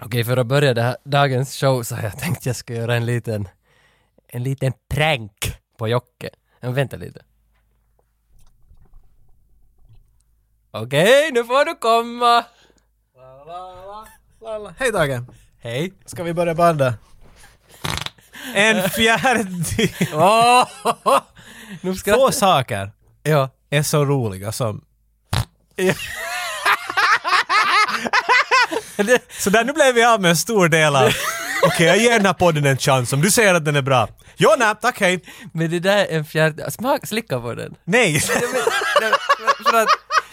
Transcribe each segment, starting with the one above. Okej, för att börja det här, dagens show så har jag tänkt jag ska göra en liten, en liten prank på Jocke. Men vänta lite. Okej, nu får du komma! Lala. Hej Dagen! Hej! Ska vi börja banda? En fjärdedel... Åh! nu ska Få saker Ja. är så roliga som... Det, Så där nu blev vi av med en stor del av... Okej, jag ger den här podden en chans om du säger att den är bra. Jonna, tack hej! men det där är en fjärde... Smak, slicka på den. Nej! Ja, men, nej, men för att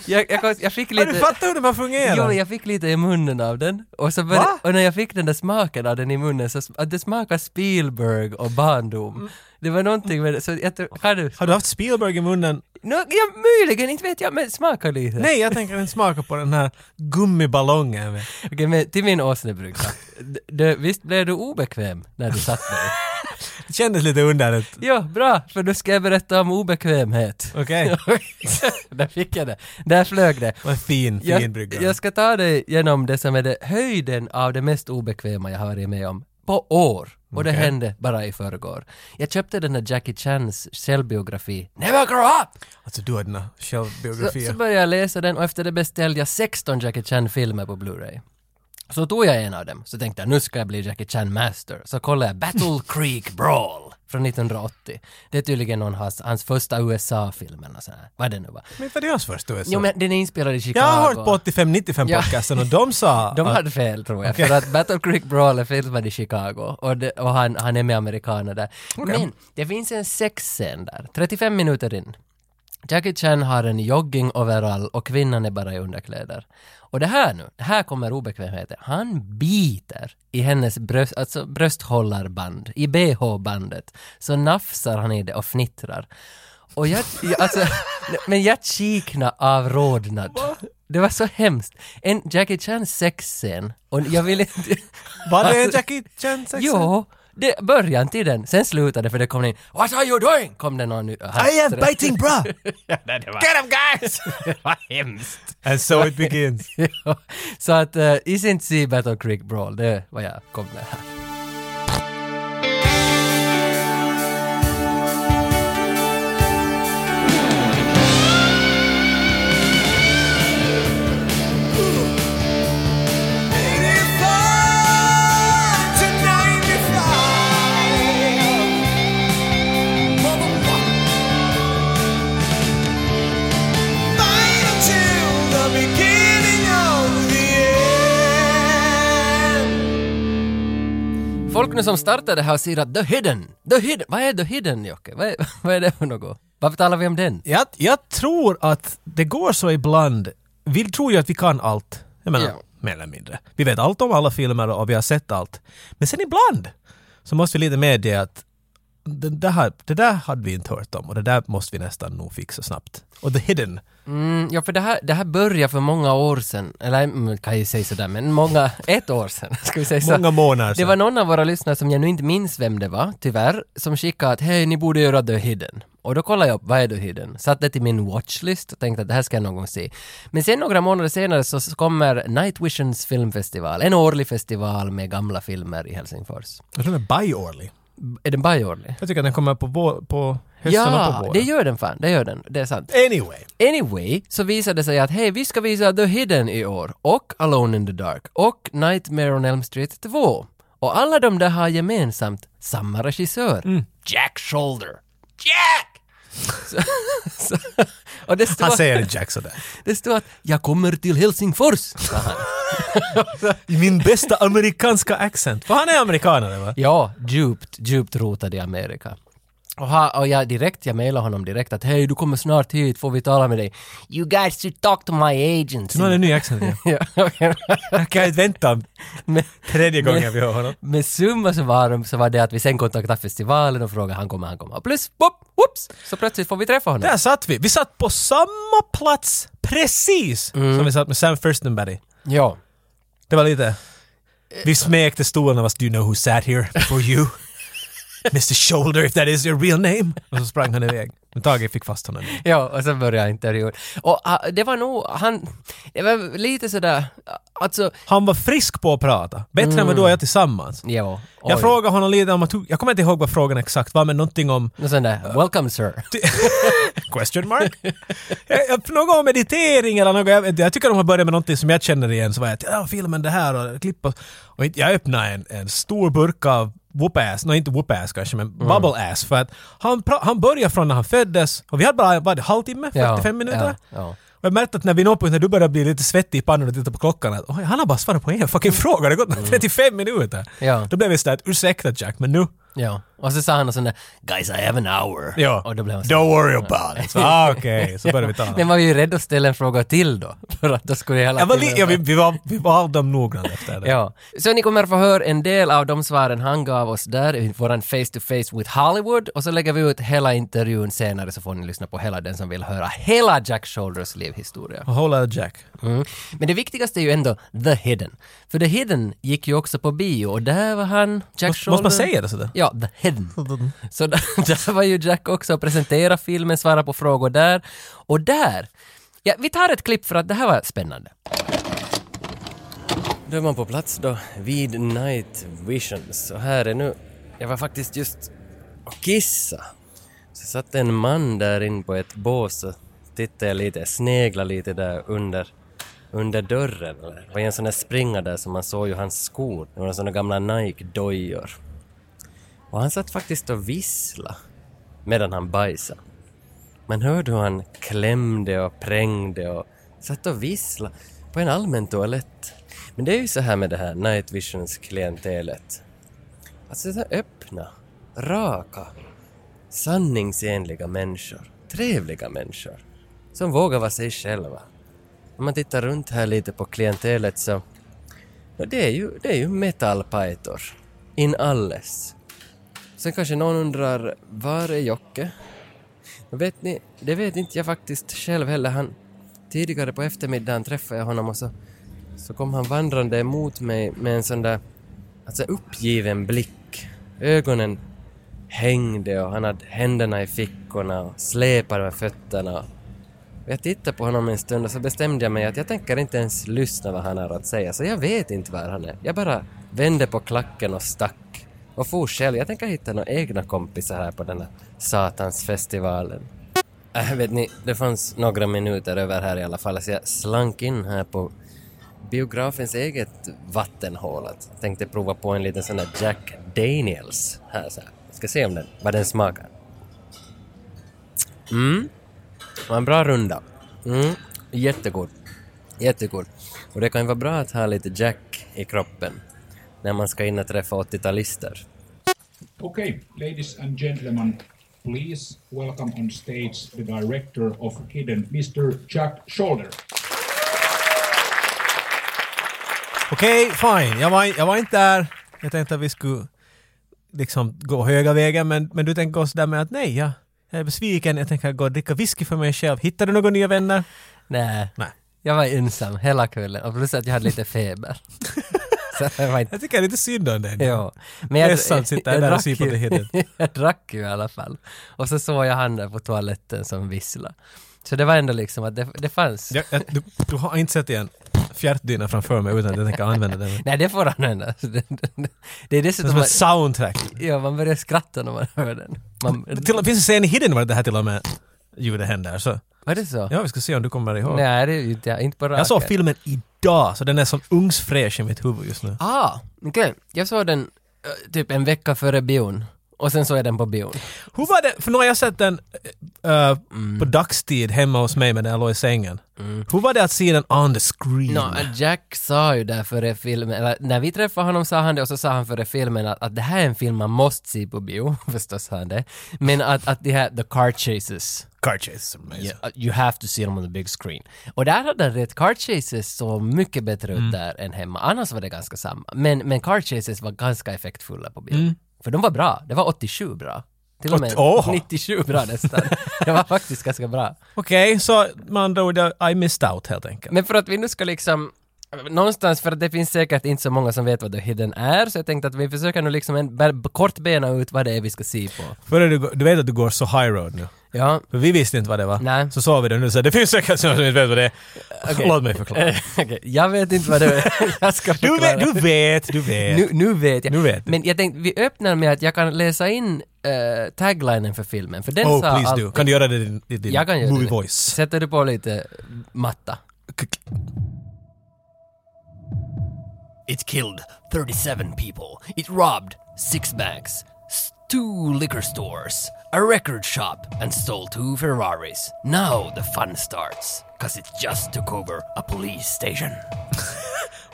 jag, jag, kom- jag fick Har du lite... fattat hur den här fungerar? Jo, jag fick lite i munnen av den. Och, så började, Va? och när jag fick den där smaken av den i munnen så sm- att det smakade Spielberg och Mm. barndom. Det var någonting med det, så jag tror, har du? Har du haft Spielberg i munnen? No, ja, möjligen, inte vet jag, men smaka lite. Nej, jag tänker inte smaka på den här gummiballongen. vet du. Okej, men till min åsnebrygga. D- det- Visst blev du obekväm när du satt där? Det kändes lite underligt. ja, bra, för nu ska jag berätta om obekvämhet. Okej. där fick jag det. Där flög det. Vad fin, fin Jag, brygga. jag ska ta dig genom det som är det, höjden av det mest obekväma jag har varit med om på år. Och det Okej. hände bara i förrgår. Jag köpte den här Jackie Chans självbiografi Never Grow Up! Alltså du har dina Så, så självbiografier. började jag läsa den och efter det beställde jag 16 Jackie Chan-filmer på Blu-ray. Så tog jag en av dem, så tänkte jag nu ska jag bli Jackie Chan Master. Så kollade jag Battle Creek Brawl från 1980. Det är tydligen någon hans, hans första USA-film eller så här. Vad det nu var. Men inte var det hans första USA. Jo men den är inspelad i Chicago. Jag har hört på 85-95 Ja. podcasten och de sa De att- hade fel tror jag, för att Battle Creek Brawl är filmad i Chicago och, det, och han, han är med amerikaner där. Men det finns en sexscen där, 35 minuter in. Jackie Chan har en jogging-overall och kvinnan är bara i underkläder. Och det här nu, det här kommer obekvämheten. Han biter i hennes bröst, alltså brösthållarband, i bh-bandet. Så nafsar han i det och fnittrar. Och jag, jag alltså, men jag kikna av rodnad. Det var så hemskt. En Jackie Chan sexscen och jag ville inte... Var det en Alltså- Jackie Chan sexen? Jo, det, början till den. Sen slutade för det kom in What are you doing? Kom det någon nu. I am biting bra! Nej, det var... Get him guys! det var hemskt. And so it begins. Ja, så att uh, Isn't Sea Battle Creek Brawl, det är vad jag kom med här. Folk nu som startar det här och säger att The Hidden, The Hidden, vad är The Hidden Jocke? Vad är, vad är det för något? Varför talar vi om den? Jag, jag tror att det går så ibland. Vi tror ju att vi kan allt. Jag menar, Ja. mer eller mindre. Vi vet allt om alla filmer och vi har sett allt. Men sen ibland så måste vi lite medge att det, det, här, det där hade vi inte hört om och det där måste vi nästan nog fixa snabbt. Och the hidden. Mm, ja, för det här, det här började för många år sedan, eller mm, kan jag ju säga sådär, men många, ett år sedan, ska vi säga så. Många månader Det sedan. var någon av våra lyssnare som jag nu inte minns vem det var, tyvärr, som skickade att hej, ni borde göra The Hidden. Och då kollade jag upp, vad är The Hidden? Satte det till min watchlist och tänkte att det här ska jag någon gång se. Men sen några månader senare så så kommer Night Visions filmfestival, en årlig festival med gamla filmer i Helsingfors. Jag tror den är bi-årlig. B- Är den bara årlig? Jag tycker att den kommer på, vår, på hösten och på Ja, våren. det gör den fan, det gör den, det är sant. Anyway. Anyway, så visade det sig att hej, vi ska visa The Hidden i år och Alone in the Dark och Nightmare on Elm Street 2. Och alla de där har gemensamt samma regissör. Mm. Jack Shoulder. Jack! Så, så, och det stod, Han säger det Jack sådär. det stod att jag kommer till Helsingfors, sa han. I min bästa amerikanska accent. För han är amerikanare va? Ja, djupt, djupt rotad i Amerika. Och, ha, och jag direkt, jag mejlade honom direkt att hej, du kommer snart hit, får vi tala med dig? You guys should talk to my agent. Nu har han en ny accent igen. Ja, okej. Jag kan inte vänta Men- tredje gången vi hör honom. Men summa så var, de- så var det att vi sen kontaktade festivalen och frågade han kommer, han kommer. Och plus, pop, whoops, så plötsligt får vi träffa honom. Där satt vi. Vi satt på samma plats precis Mm. som vi satt med Sam Furstenberry. Ja. Eh. Det var lite... Vi smekte stolen av oss. Do you know who sat here for you? Mr Shoulder if that is your real name. Och så sprang han iväg. Men Tage fick fast honom. Ja, och sen började intervjun. Och ah, det var nog, han, det var lite sådär, alltså, Han var frisk på att prata. Bättre Mm. än vad du och jag tillsammans. ja. Jag frågade honom lite om att, jag kommer inte ihåg vad frågan exakt var, men någonting om Och sen där, welcome sir. Question mark? Eh, jag, jag, något om meditering eller något. Jag, vet inte. jag tycker de har börjat med någonting som jag känner igen. Så var jag ja, filmen det här och klipp och... och inte- jag öppnade en, en stor burk av whoop-ass. Nej, inte whoop-ass kanske, men bubble-ass. För att han, pra- han började från när han föddes och vi hade bara, vad, en halvtimme? 45 minuter? Ja, ja. Och jag märkte att när vi når på när du börjar bli lite svettig i pannan och tittar på klockan att "Oj, han har bara svarat på en fucking fråga, det har gått 35 minuter. Ja. Då blev vi sådär att ursäkta Jack, men nu... ja. Och så sa han och sån där, guys I have an hour. Ja. Och då blev han så, Don't worry about it. Så, Ah, Okej, så började vi ta Men man var ju rädd att ställa en fråga till då, för att då skulle hela Jag var li- filmen ja, vara- vi, vi, var, vi var dem noggranna efter det. Ja. Så ni kommer få höra en del av de svaren han gav oss där i våran Face to Face with Hollywood och så lägger vi ut hela intervjun senare så får ni lyssna på hela den som vill höra hela Jack Shoulders livhistoria. A whole lot of Jack. Mm. Men det viktigaste är ju ändå The Hidden. För The Hidden gick ju också på bio och där var han, Jack Måste, Shoulder. måste man säga det sådär? Ja, The Hidden. Så där, där var ju Jack också och presenterade filmen, svarade på frågor där. Och där, ja, vi tar ett klipp för att det här var spännande. Då är man på plats då, vid Night Visions. Och här är nu, jag var faktiskt just och kissa. Så satt en man där in på ett bås och tittade lite, sneglade lite där under, under dörren. Det var ju en sån där springa där som man såg ju hans skor. Det var såna gamla Nike-dojor. Och han satt faktiskt och vissla medan han bajsade. Man hörde hur han klämde och prängde och satt och vissla på en allmän toalett. Men det är ju så här med det här night visions klientelet. Alltså så här öppna, raka, sanningsenliga människor. Trevliga människor. Som vågar vara sig själva. Om man tittar runt här lite på klientelet så... Ja, det är ju, det är ju metalpajtor. In alles. Sen kanske någon undrar, var är Jocke? Men Vet ni, det vet inte jag faktiskt själv heller. Han, tidigare på eftermiddagen träffade jag honom och så, så kom han vandrande emot mig med en sån där alltså uppgiven blick. Ögonen hängde och han hade händerna i fickorna och släpade med fötterna. Och Jag tittade på honom en stund och så bestämde jag mig att jag tänker inte ens lyssna vad han har att säga, så jag vet inte var han är. Jag bara vände på klacken och stack. Och for själv. Jag tänker hitta några egna kompisar här på den här satansfestivalen. Äh, vet ni, det fanns några minuter över här i alla fall, så jag slank in här på biografens eget vattenhål. Att tänkte prova på en liten sån där Jack Daniels här så här. Ska se om den, vad den smakar. Mm. Det var en bra runda. Mm. Jättegod. Jättegod. Och det kan ju vara bra att ha lite Jack i kroppen när man ska in och träffa 80-talister. Okay, ladies and gentlemen, please welcome on stage the director of Hidden, Mr. Jack Shoulder. Okej, fine. Jag var, jag var inte där. Jag tänkte att vi skulle liksom gå höga vägen, men, men du tänker gå sådär med att nej, jag, jag är besviken. Jag tänker gå och dricka whisky för mig själv. Hittar du några nya vänner? Nej. Nej. Jag var ensam hela kvällen och plus att jag hade lite feber. så det var inte... Jag tycker det är lite synd om dig. Ja. Men Ledsamt sitta där och drack se på ju- det hidden. jag drack ju i alla fall. Och så såg jag han där på toaletten som vissla. Så det var ändå liksom att det, det fanns. Jag, jag, du, du har inte sett igen fjärtdyna framför mig utan att jag tänker använda den. Det Nej, det får han ändå. Det, det, det är är dessutom... som Man, ett soundtrack. ja, man börjar skratta när man hör den. Man, Till, finns det en scen i Hidden var det här till och med ljudet händer. Så. var det så? Ja, vi ska se om du kommer ihåg. Nej, det är ju inte, inte på raken. Jag såg filmen idag, så den är som ungsfräsch i mitt huvud just nu. Ah, okej. Jag såg den eh, typ en vecka före bion. Och sen såg jag den på bion. Hur var det, för nu har jag sett den eh, Mm. på dagstid hemma hos mig medan jag låg i sängen. Hur var det att se den on the screen? No, eh, Jack sa ju där före filmen, eller när vi träffade honom sa han det och så sa han före filmen att, att det här är en film man måste se på bio, förstås sa han det. Men att, att det här, the car chases, Car chase. amazing. uh, you have to see them on the big screen. Och där hade han rätt, car chases såg mycket bättre Mm. ut där än hemma. Annars var det ganska samma. Men, men car chases var ganska effektfulla på bio. För de var bra, det var 87 bra. Till och med Mm. Åt- åh! 97 bra nästan. det var faktiskt ganska bra. Okej, så med andra ord, jag- I missed out helt enkelt. Men för att vi nu ska liksom Någonstans, för att det finns säkert inte så många som vet vad The Hidden är, så jag tänkte att vi försöker nu liksom en, bara kort bena ut vad det är vi ska se på. Före du, går- du vet att du går så high road nu. Ja, För vi visste inte vad det var. Nej. Så sa vi det nu så det finns säkert någon som inte vet vad det är. Okej. Låt mig förklara. okej. Jag vet inte vad det är. Jag ska Du förklara. vet, du vet, du vet. Nu, nu vet jag. Nu vet du. Men jag tänkte, vi öppnar med att jag kan läsa in eh, taglinen för filmen, för den oh, sa please allt. do. Kan du göra det i din, i din Jag kan göra movie det. voice? Sätter du på lite matta? It killed 37 people. It robbed six banks, s- two liquor stores, a record shop, and stole two Ferraris. Now the fun starts, cause it just took over a police station.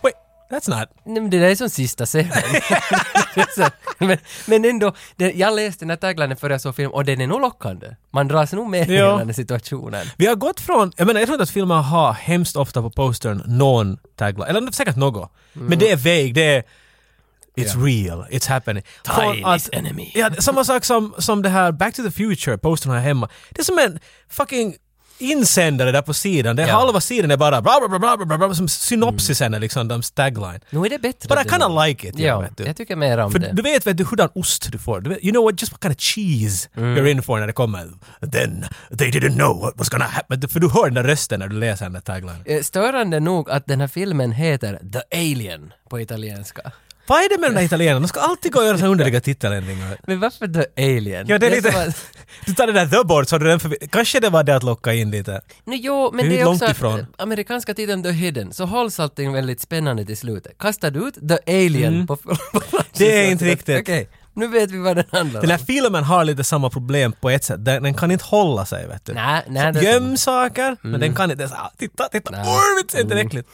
Wait, that's not... Nej, men det där är som sista serien. Det är så- men, men ändå, det, jag läste den här taglinen före jag såg film och den är nog lockande. Man dras nog med i Ja. hela den här situationen. Vi har gått från, jag menar jag tror inte att filmer har hemskt ofta på postern någon tagline, eller säkert något. Mm. Men det är vague, det är It's real, it's happening. Time Från is enemy. Ja, samma sak som, som det här Back to the Future, postern här hemma. Det är som en fucking insändare där på sidan. Det är Ja. halva sidan är bara bla bla bla bla bla, bla som synopsisen är liksom, de tagline. Nu är det bättre. But I att det kinda var- like it, jag Mm. Ja, vet du. jag tycker mer om För det. du vet, vet du hurdan ost du får. Du vet, you know what, just what kind of cheese you're in for när det kommer. Then they didn't know what was gonna happen. För du hör den där rösten när du läser den där taglinen. Eh, Störande nog att den här filmen heter The Alien på italienska. Vad är det med de där italienarna? De ska alltid gå och göra såna underliga titeländringar. Men varför The Alien? Ja, det är som lite... att- Du tar det där the board, så har du den förbi... Kanske det var det att locka in lite. Nu, jo, men är det ju är långt också att, ifrån. eh, amerikanska titeln The Hidden, så hålls allting väldigt spännande till slutet. Kastar du ut The Alien på, på Mm. Det är inte riktigt. Okej, nu vet vi vad den handlar Den här om. filmen har lite samma problem på ett sätt. Den, den kan inte hålla sig, vet du. Nej, nej, det är Mm. Göm saker, men den kan inte... Så, ah, titta, titta! Orm, det är inte äckligt.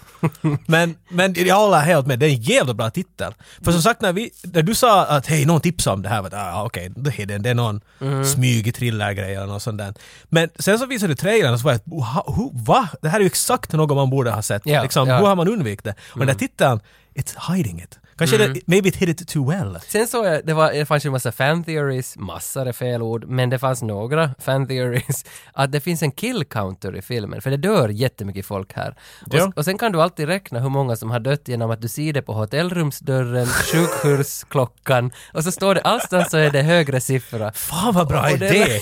men, men jag håller helt med, det är en jävla bra titel. För som sagt, när, vi, när du sa att hej, någon tipsade om det här, var det, ah, okej, det är den, det är någon Mm. smygig thrillergrej eller något sånt där. Men sen så visade du trailern och så var jag "Oha, ho, va? Det här är ju exakt något man borde ha sett. Ja, liksom, ja. Mm. Hur har man undvikit det? Och den där titeln, it's hiding it. Kanske det, maybe it hid it too well. Sen såg jag, det, var, det fanns ju en massa fan theories, massor är fel ord, men det fanns några fan theories, att det finns en kill counter i filmen, för det dör jättemycket folk här. Ja. Och, och sen kan du alltid räkna hur många som har dött genom att du ser det på hotellrumsdörren, sjukhusklockan, och så står det, allstans så är det högre siffra. Fan vad bra Och det- idé!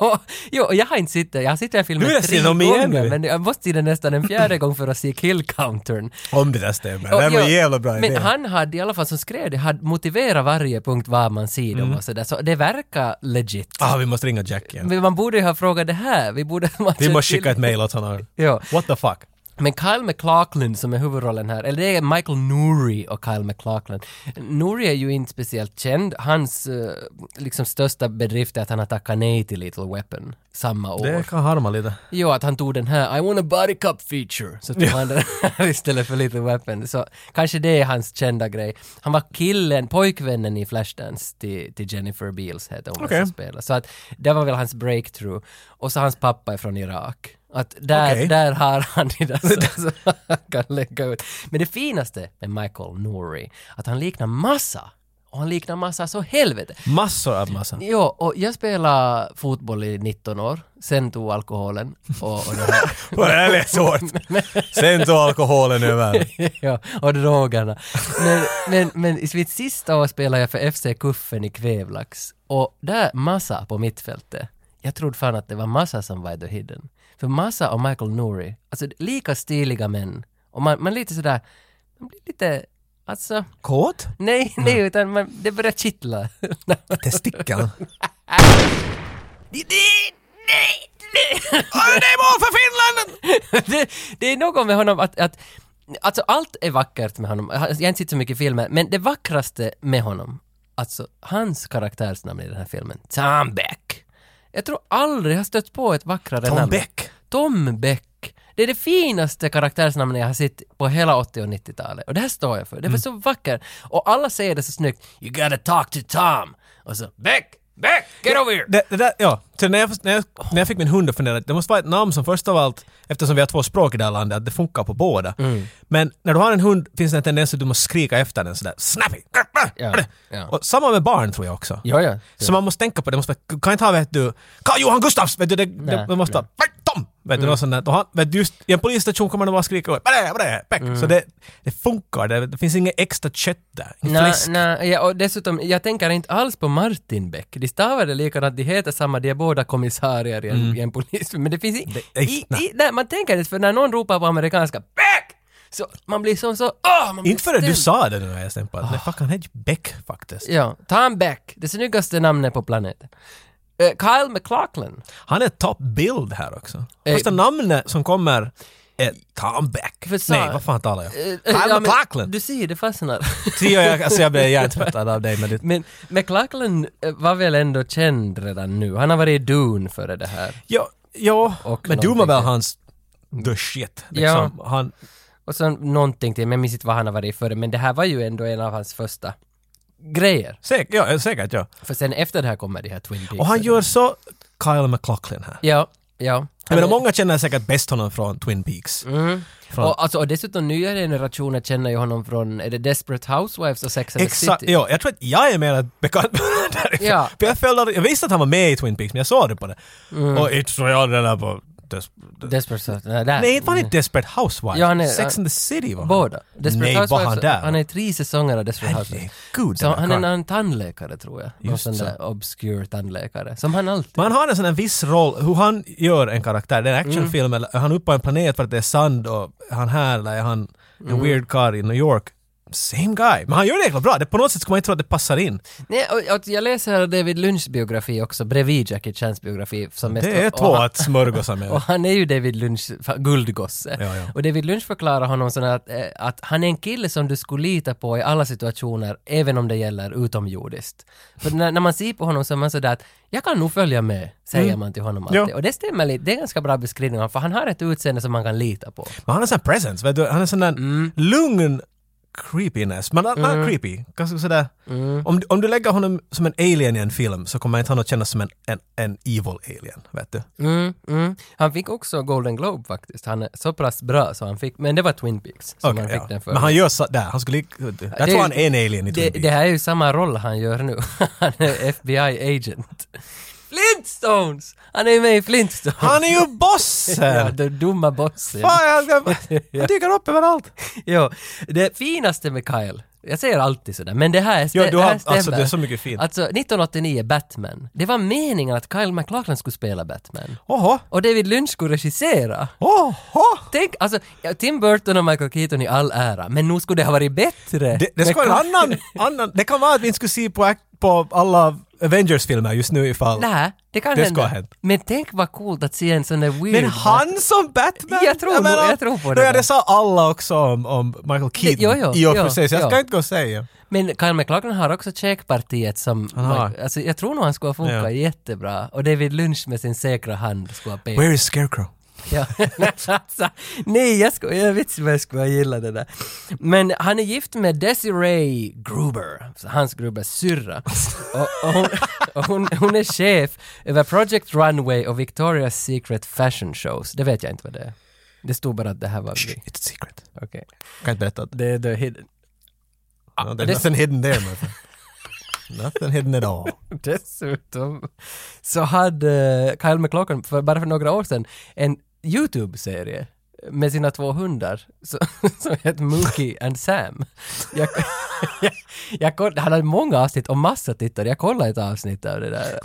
jo, jo, jag har inte sett den. Jag har sett den här filmen Nu är jag tre sett om igen, gånger, du. men jag måste se den nästan en fjärde gång för att se kill-countern. Om det där stämmer. Och det var ja, en jävla bra Men idé. han hade i alla fall som skrev det, hade motiverat varje punkt vad man ser Mm. dem och sådär, så det verkar legit. Ah, vi måste ringa Jack igen. Men man borde ju ha frågat det här, vi borde ha Vi måste skicka ett mail åt honom. Ja. What the fuck? Men Kyle MacLachlan som är huvudrollen här, eller det är Michael Nouri och Kyle MacLachlan. Nouri är ju inte speciellt känd. Hans eh, liksom största bedrift är att han har tackat nej till Little Weapon samma år. Det kan harma lite. Jo, att han tog den här I want a body cup feature, så tog han den här istället för Little Weapon. Så kanske det är hans kända grej. Han var killen, pojkvännen i Flashdance till, till Jennifer Beals hette hon Okej. som spelade. Så att det var väl hans breakthrough. Och så hans pappa är från Irak. Att där, Okej. där har han det där som som han kan lägga ut. Men det finaste med Michael Nouri, att han liknar massa. Och han liknar massa så helvete. Massor av massa. Jo, och jag spelade fotboll i 19 år, sen tog alkoholen och, och det här. Vad är det svårt? Sen tog alkoholen över. ja, och drogerna. Men, men, men i mitt sista år spelade jag för FC Kuffen i Kvävlax och där Massa på mittfältet, jag trodde fan att det var Massa som var i The Hidden. För Massa och Michael Nouri, alltså lika stiliga män och man, man lite sådär, man blir lite, alltså, Kåt? nej, nej, utan man, det börjar kittla. Testickeln? nej, nej, nej. Åh, det är mål för Finland! det, det är något med honom att, att Alltså allt är vackert med honom. Jag har inte sett så mycket filmer, men det vackraste med honom, alltså hans karaktärsnamn i den här filmen, Tom Beck. Jag tror aldrig jag har stött på ett vackrare Tom namn. Beck. Tom Beck. Det är det finaste karaktärsnamnet jag har sett på hela 80 och 90-talet. Och det här står jag för. Mm. Det var så vackert. Och alla säger det så snyggt. You gotta talk to Tom. Och så Beck! Beck! Get over here! Det, det där, ja. Så när, jag, när, jag, när jag fick min hund att fundera, det måste vara ett namn som först av allt, eftersom vi har två språk i det här landet, att det funkar på båda. Mm. Men när du har en hund finns det en tendens att du måste skrika efter den sådär snappy. Ja, ja. Och samma med barn tror jag också. Ja, ja. Så man måste tänka på det. Man måste, vara- kan inte ha vet du, Karl Johan Gustafs! Vet du, det, det, man måste vara Tom! Vet Mm. du, något sånt där. Och han, vet, du, just i en polisstation kommer de bara skrika åt "Bara det, bara det, peck." Mm. Så det, det funkar, det, det finns inget extra kött där. Inget Nej, fläsk. nej, ja, och dessutom, jag tänker inte alls på Martin Beck. De stavar det likadant, de heter samma, de är båda kommissarier i en, i en polis. Men det finns i, Mm. Det är- i, i, nej, man tänker inte, för när någon ropar på amerikanska Beck! Så man blir som så, åh! man blir Inte förrän du ställd. sa det nu har jag stämt Ah. på att nej, fuck, han heter ju Beck faktiskt. Ja, Tom Beck, det snyggaste namnet på planeten. Eh, Kyle McLaughlin. Han är top bild här också. Eh, Första namnet som kommer är Tom Beck. För sa- Nej, vad fan talar jag? Eh, Kyle ja, men McLaughlin! Du ser, det fastnar. Ser jag, alltså jag blev hjärntvättad av dig med ditt... Men McLaughlin eh, var väl ändå känd redan nu? Han har varit i Dune före det här. Ja, ja Och men du var någonting väl till. hans the shit. Liksom. Han, Och sen någonting till, men jag minns inte vad han har varit i före, men det här var ju ändå en av hans första grejer. säk, ja, säkert ja. För sen efter det här kommer de här Twin Peaks. Och han gör så Kyle MacLachlan här. Ja, ja. Jag menar, många känner säkert bäst honom från Twin Peaks. Från, Och, alltså, och dessutom nya generationer känner ju honom från, är det Desperate Housewives och Sex and the Exakt, City? ja, jag tror att jag är mer bekant med honom därifrån. Ja. För jag, följde, aldrig- jag visste att han var med i Twin Peaks, men jag såg det på det. Mm. Och inte såg jag den där på... Des, Desperate Housewives, nej, där. nej, inte var han i Desperate Housewives? Ja, han är- Sex and the City var Båda. Desperate Nej, var han där? Han är i tre säsonger av Desperate Housewives. Herregud, Så den han är här en karln. annan tandläkare tror jag. Någon Just sån så. där obscure tandläkare. Som han alltid... Man har en sån här viss roll, hur han gör en karaktär. Det är Mm. en actionfilm, eller är han uppe på en planet för att det är sand och är han här eller är han en Mm. weird karl i New York? Same guy. Men han gör det jäkla bra. Det, på något sätt ska man inte tro att det passar in. Nej, och, och jag läser David Lynchs biografi också, bredvid Jackie Chans biografi. Som mest- Det är och två han- att smörgåsa med. Och han är ju David Lynchs fa- guldgosse. Ja, ja. Och David Lynch förklarar honom så att, eh, att han är en kille som du skulle lita på i alla situationer, även om det gäller utomjordiskt. För när, när man ser på honom så är man sådär att jag kan nog följa med, säger man till honom alltid. Mm. Ja. Och det stämmer lite, det är en ganska bra beskrivning av honom, för han har ett utseende som man kan lita på. Men han har sån här presence, vet du? Han är sån där Mm. lugn creepiness. Man, man är creepy. Ganska sådär. Mm. Om, du- om du lägger honom som en alien i en film så kommer inte han att kännas som en, en, en evil alien, vet du? Mm, mm. Han fick också Golden Globe faktiskt, han är så pass bra så han fick, men det var Twin Peaks som Okej, han fick ja. den för. Men han gör så där. Han skulle... Jag tror han är en alien i det, Twin det Peaks. här är ju samma roll han gör nu. Han är FBI-agent. Flintstones! Han är ju med i Flintstones! Han är ju Ja, bossen! den dumma bossen. Fan, jag ska... Han dyker upp överallt! Jo, det finaste med Kyle, jag säger alltid sådär, men det här, stä- Jo, du det har- här alltså, stämmer. det är så mycket fint. Alltså, 1989, Batman. Det var meningen att Kyle MacLachlan skulle spela Batman. Oho! Och David Lynch skulle regissera. Oho! Tänk, alltså, ja, Tim Burton och Michael Keaton i all ära, men nog skulle det ha varit bättre. Det, det med ska vara Kyle- en annan, annan... Det kan vara att vi inte skulle se på, act- på alla Avengers-filmer just nu ifall... Nej, det kan Det ska hända. ha hänt. Men tänk vad coolt att se en sån där weird... Men han som Batman? Jag tror nog- jag tror på det Ja, där. det sa alla också om, om Michael Keaton. jo, jo, I och för jo, sig, så jag ska jo. inte gå och säga. Men Kyle MacLachlan har också checkpartiet som... Aha. Alltså, jag tror nog han skulle ha funkat Ja. jättebra. Och David Lynch med sin säkra hand skulle ha pekat. Where is Scarecrow? Ja. alltså, nej, jag, skulle, jag vet inte vad jag skulle ha gillat det där. Men han är gift med Desiree Gruber, så hans Grubers syrra. Och, och, hon, och hon, hon är chef över Project Runway och Victoria's Secret Fashion Shows. Det vet jag inte vad det är. Det stod bara att det här var... Shh, It's a secret. Okej. Kan inte berätta. Det är the hidden... Ah, no, there's det- nothing hidden there, my friend. Nothing hidden at all. Dessutom så hade eh, Kyle MacLachlan för bara för några år sedan en YouTube-serie med sina två hundar så- som hette Mookie and Sam. Jag, jag, jag, koll- han hade många avsnitt och massa tittare. Jag kollade ett avsnitt av det där.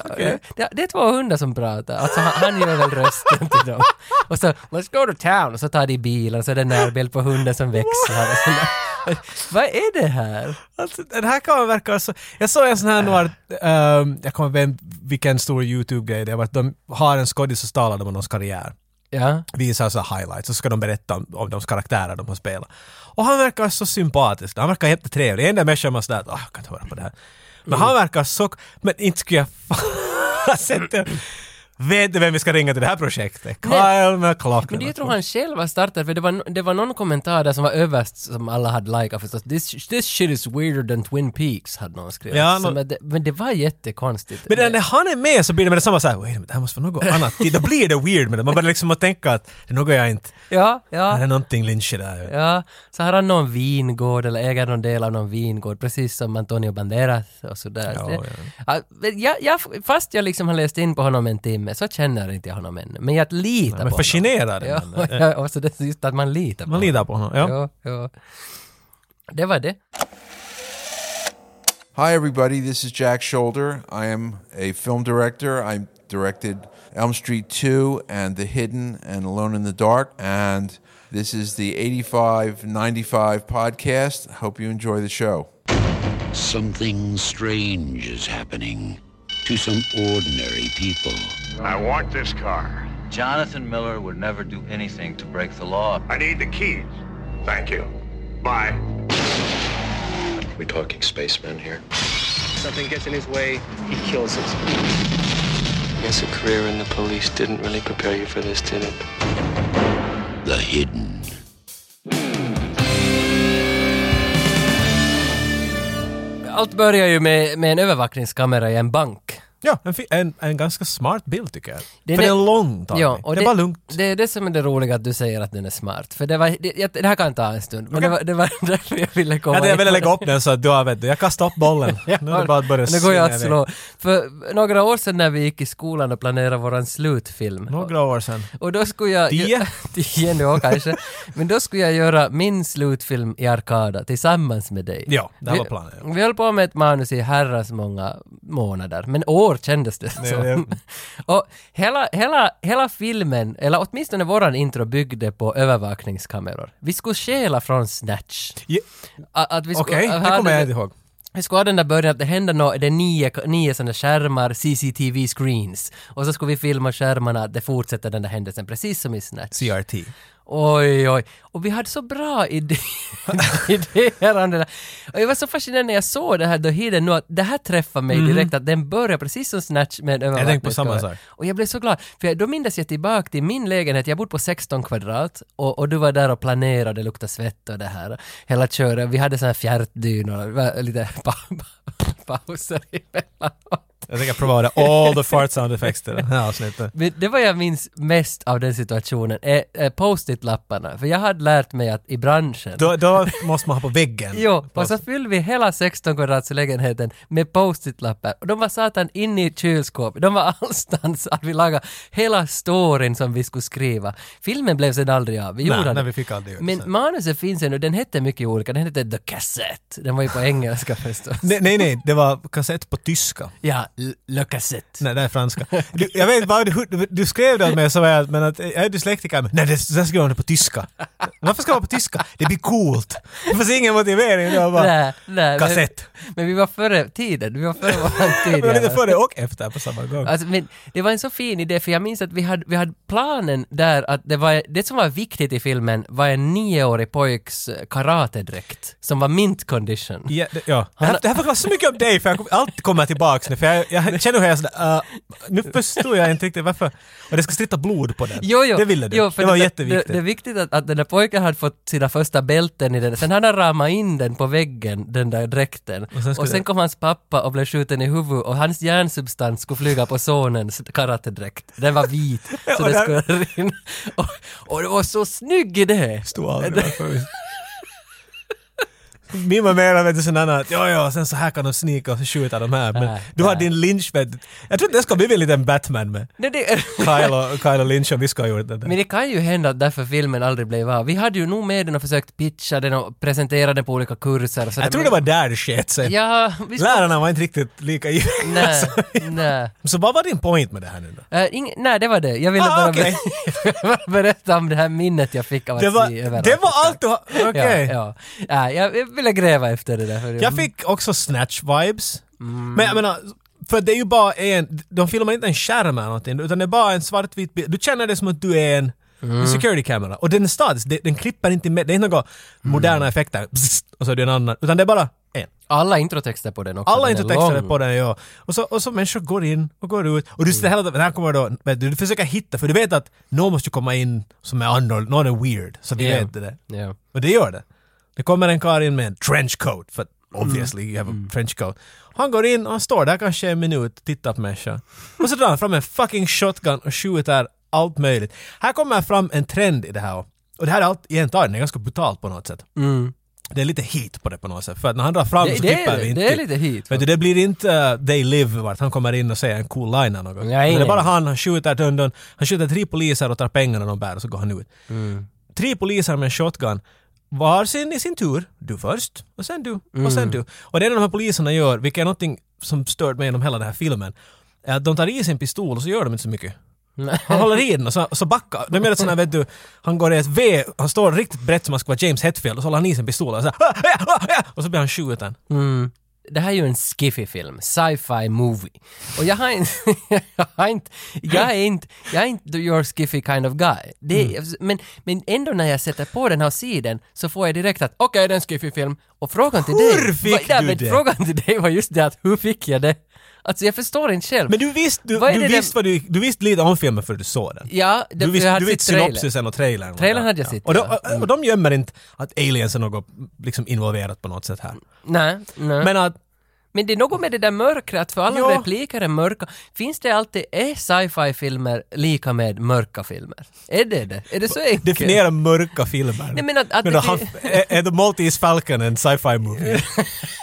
Det, det är två hundar som pratar. Alltså han, han gör väl rösten till dem. Och så “Let's go to town” och så tar de bilen så är det en närbild på hunden som växlar. Och sådär. Vad är det här? Alltså, den här kameran verkar så... Jag såg en sån här några... ehm, jag kommer inte ihåg vilken stor YouTube-grej det var. att De har en skådis och så talar de om någons karriär. Ja. visar så här highlights så ska de berätta om, om de karaktärer de har spelat. Och han verkar så sympatisk. Han verkar jättetrevlig. Den enda människan man sådär, "Åh, jag "Ah, kan inte höra på det här. Men han Mm. verkar så... Men inte skulle jag fan sett det. Vet du vem vi ska ringa till det här projektet? Kyle Men det MacLachlan. jag tror han själv har startat, för det var, det var någon kommentar där som var överst som alla hade likat förstås. This, this shit is weirder than Twin Peaks, hade någon skrivit. Ja, Som nå- att det, men det var jättekonstigt. Men när- när han är med så blir det med detsamma såhär, wait a minute, det här måste vara något annat. Då blir det weird med det. Man börjar liksom att tänka att det är något jag inte... Ja, Det ja. är någonting lynchigt där. Ja, så har han någon vingård eller äger någon del av någon vingård, precis som Antonio Banderas och sådär. Ja, Så det- ja. Ja, men jag, jag, fast jag liksom har läst in på honom en timme ännu, så känner inte jag honom ännu. Men jag litar Men på honom. fascinerad. Ja, men, eh, ja, och så det är just att man litar på Man litar på honom. Ja. honom. Ja, ja. Det var det. Hi, everybody. This is Jack Shoulder. I am a film director. I directed Elm Street 2 and The Hidden and Alone in the Dark. And this is the 85 95 podcast. Hope you enjoy the show. Something strange is happening to some ordinary people. I want this car. Jonathan Miller would never do anything to break the law. I need the keys. Thank you. Bye. We talking spacemen here? Something gets in his way, he kills it. I guess a career in the police didn't really prepare you for this, did it? The Hidden. Allt börjar ju med, med en övervakningskamera i en bank. Ja, en, fi- en, en ganska smart bild tycker jag. Den För är- det är lång tagning. Ja, och det, var lugnt. Det är det som är det roliga att du säger att den är smart. För det var, det, jag, det här kan ta en stund, men det, var, det var därför jag ville komma Ja, det jag in på ville det. lägga upp den så att du har, vet du, jag kastar upp bollen. Nu är det bara att börja Nu går jag svinga att iväg. slå. För några år sedan när vi gick i skolan och planerade våran slutfilm. Några år sedan. Och då skulle jag... Tio? Tio nu kanske. Men då skulle jag göra min slutfilm i Arkada tillsammans med dig. Ja, det här Vi- var planen, ja. Vi höll på med ett manus i herrans många månader, men år kändes det som. det- Och hela, hela, hela filmen, eller åtminstone våran intro, byggde på övervakningskameror. Vi skulle stjäla från Snatch. Ja, A- Att vi skulle- Okej, det hade- kommer jag inte ihåg. vi skulle ha den där början att det hände nå det är nio, nio sådana skärmar, CCTV-screens. Och så skulle vi filma skärmarna, det fortsätter den där händelsen precis som i Snatch. CRT. Oj, oj. Och vi hade så bra idé- idéer om det där. Och jag var så fascinerad när jag såg det här The Hidden nu, att det här träffade Mhm. mig direkt, att den börjar precis som Snatch med en Jag tänkte på samma övervakningskamera. sak. Och jag blev så glad, för jag, då mindes jag tillbaka till min lägenhet, jag bodde på 16 kvadrat och, och du var där och planerade, det luktade svett och det här. Hela köret, vi hade sådana här fjärtdynor, det var lite pa, pa, pauser emellanåt. Jag tänker prova det. All the fart sound effects till det här avsnittet. Men det vad jag minns mest av den situationen är, är post-it-lapparna, för jag hade lärt mig att i branschen Då, då måste man ha på väggen. Jo, och så fyllde vi hela 16 kvadrats lägenheten med post-it-lappar. Och de var satan inne i kylskåpet, de var allstans. Att vi lagade hela storyn som vi skulle skriva. Filmen blev sen aldrig av. Vi Nej, gjorde den. nej, vi fick aldrig göra det Men sen. manuset finns ännu, den hette mycket olika. Den hette The Cassette. Den var ju på engelska förstås. Nej, nej, nej, det var kassett på tyska. Ja, L- Le Cassette. Nej, det är franska. Du, jag vet bara, du, du- du skrev det åt mig så var jag, men att, eh, jag är dyslektiker. Men, nej, det, det skrev hon på tyska. Varför ska man på tyska? Det blir coolt. Det fanns ingen motivering. Det var bara Nej, nej, kassett. Men, men vi var före tiden, vi var före vår tid. Det var lite jävlar. före och efter på samma gång. Alltså, men det var en så fin idé, för jag minns att vi hade, vi hade planen där att det, var, det som var viktigt i filmen var en nioårig pojks eh, karatedräkt som var mint condition. Ja, det, ja. Det, här, det här förklarar så mycket om dig, för jag kom, allt kommer tillbaks nu. För jag, jag känner hur jag är sådär, uh, nu förstår jag inte riktigt varför. Och det ska stritta blod på den. Jo, jo. Det ville du. Jo, det var det, jätteviktigt. Det, det är viktigt att, att den där pojken hade fått sina första bälten i den. Sen hade han ramat in den på väggen, den där dräkten. Och sen, sen skulle det- kom hans pappa och blev skjuten i huvudet och hans hjärnsubstans skulle flyga på sonens karatedräkt. Den var vit, så och det där- skulle rinna. Och, och det var så snygg idé! Förstod aldrig varför. Min var mer vet du sådana att ja, ja, sen så här kan de snika och så skjuta de här. Men Nej, du har nej. din Lynch vet du. Jag trodde det ska bli en liten Batman med Nej, det... Kyle och, Kyle och Lynch om vi ska ha gjort det där. Men det kan ju hända att därför filmen aldrig blev av. Vi hade ju nog med den och försökt pitcha den och presentera den på olika kurser och sådär, Jag tror det men- var där det sket sig. Ja, vi ska... Lärarna var inte riktigt lika i. Nej, nej. Så vad var din point med det här nu då? Eh, ing... nej, det var det. Jag ville Ah, bara okej. ber- berätta om det här minnet jag fick av att Det var, se överallt. det var allt du har... Okej. Ja, ja. Nej, jag, jag ville gräva efter det där. För Jag fick också snatch-vibes. Mm. Men jag menar, för det är ju bara en... De filmar inte en skärm eller någonting, utan det är bara en svartvit bild. Du känner det som att du är en... Mm. en security camera. Och den är statisk, den, den klipper inte med. Det är inte några Mm. moderna effekter. Bzzzt, och så är det en annan. Utan det är bara en. Alla introtexter på den också. Alla den är intertexter är lång. Mm. på den, ja. Och så, och så människor går in och går ut. Och du sitter hela tiden, här kommer då, vet du, du försöker hitta, för du vet att någon måste ju komma in som är annorlunda, någon är weird. Så vi Ja. vet det. Ja. Och det gör det. Det kommer en karl in med en trenchcoat, för att Mm. obviously you have a trenchcoat. Han går in och han står där kanske en minut, tittar på människan. Och så drar han fram en fucking shotgun och skjuter allt möjligt. Här kommer fram en trend i det här. Och det här är allt, egentligen, det är ganska brutalt på något sätt. Det är lite heat på det på något sätt. För att när han drar fram Mm. Det- så det är klipper det. vi inte. Det är lite heat, Vet du, det blir inte uh, They Live vart han kommer in och säger en cool line eller något. Nej, det är nej. bara han, han skjuter ett undan. Han skjuter tre poliser och tar pengarna de bär och så går han ut. Mm. Tre poliser med en shotgun. Varsin i sin tur. Du först och sen du och Mm. sen du. Och det är det de här poliserna gör, vilket är någonting som stört mig genom hela den här filmen. är Att de tar i sin pistol och så gör de inte så mycket. Han håller i den och så, och så backar. De gör ett sånt här, vet du, han går i ett V, han står riktigt brett som han ska vara James Hetfield och så håller han i sin pistol och så här, "Ah, ah, ah, ah", Och så blir han skjuten. det här är ju en skiffy-film, sci-fi movie. Och jag har inte, jag har inte, jag är inte, jag är inte your skiffy kind of guy. Det, är- Mm. men, men ändå när jag sätter på den här sidan så får jag direkt att okej, det är en skiffy-film. Och frågan till dig... Hur fick Ja, du men det? Frågan till dig var just det att hur fick jag det? Alltså jag förstår inte själv. Men du visste, du, Vad är du, det visste vad du, du visste lite om filmen för du såg den. Ja, det, du jag visste, hade du sett visste trailern. synopsisen och trailern. Trailern hade jag Ja. sett, Och de, ja. och- och de gömmer inte att aliens är något liksom involverat på något sätt Mm. här. Nej, nej. Men att Men det är något med det där mörkret, för alla Ja. repliker är mörka. Finns det alltid, är sci-fi-filmer lika med mörka filmer? Är det det? Är det så enkelt? definiera mörka filmer. Nej, men att- att men det då, han, blir- är, är The Maltese Falcon en sci-fi movie?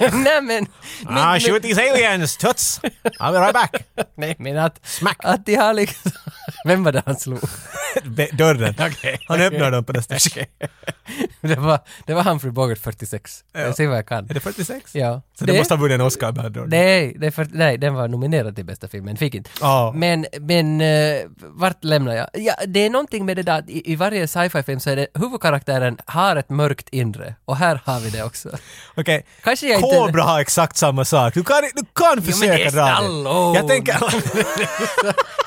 nej men... men, ah, men- shoot these aliens, tuts! I'll be right back! Nej men att... Smack! Att de har liksom... Vem var det han slog? Be- Dörren. Han öppnar den på nästa skick. Det var, det var Humphrey Bogart 46. Jag ser vad jag kan. Är det 46? Ja. Så det, måste ha vunnit en Oscar med Dörren. Nej, det är för, nej, den var nominerad till bästa filmen, fick inte. Ja. Men, men eh, vart lämnar jag? Ja, det är någonting med det där, att i, i varje sci-fi-film så är det huvudkaraktären har ett mörkt inre. Och här har vi det också. Okej. Kanske jag inte- Kobra har exakt samma sak. Du kan, du kan försöka det är dra Stallone. Jag tänker...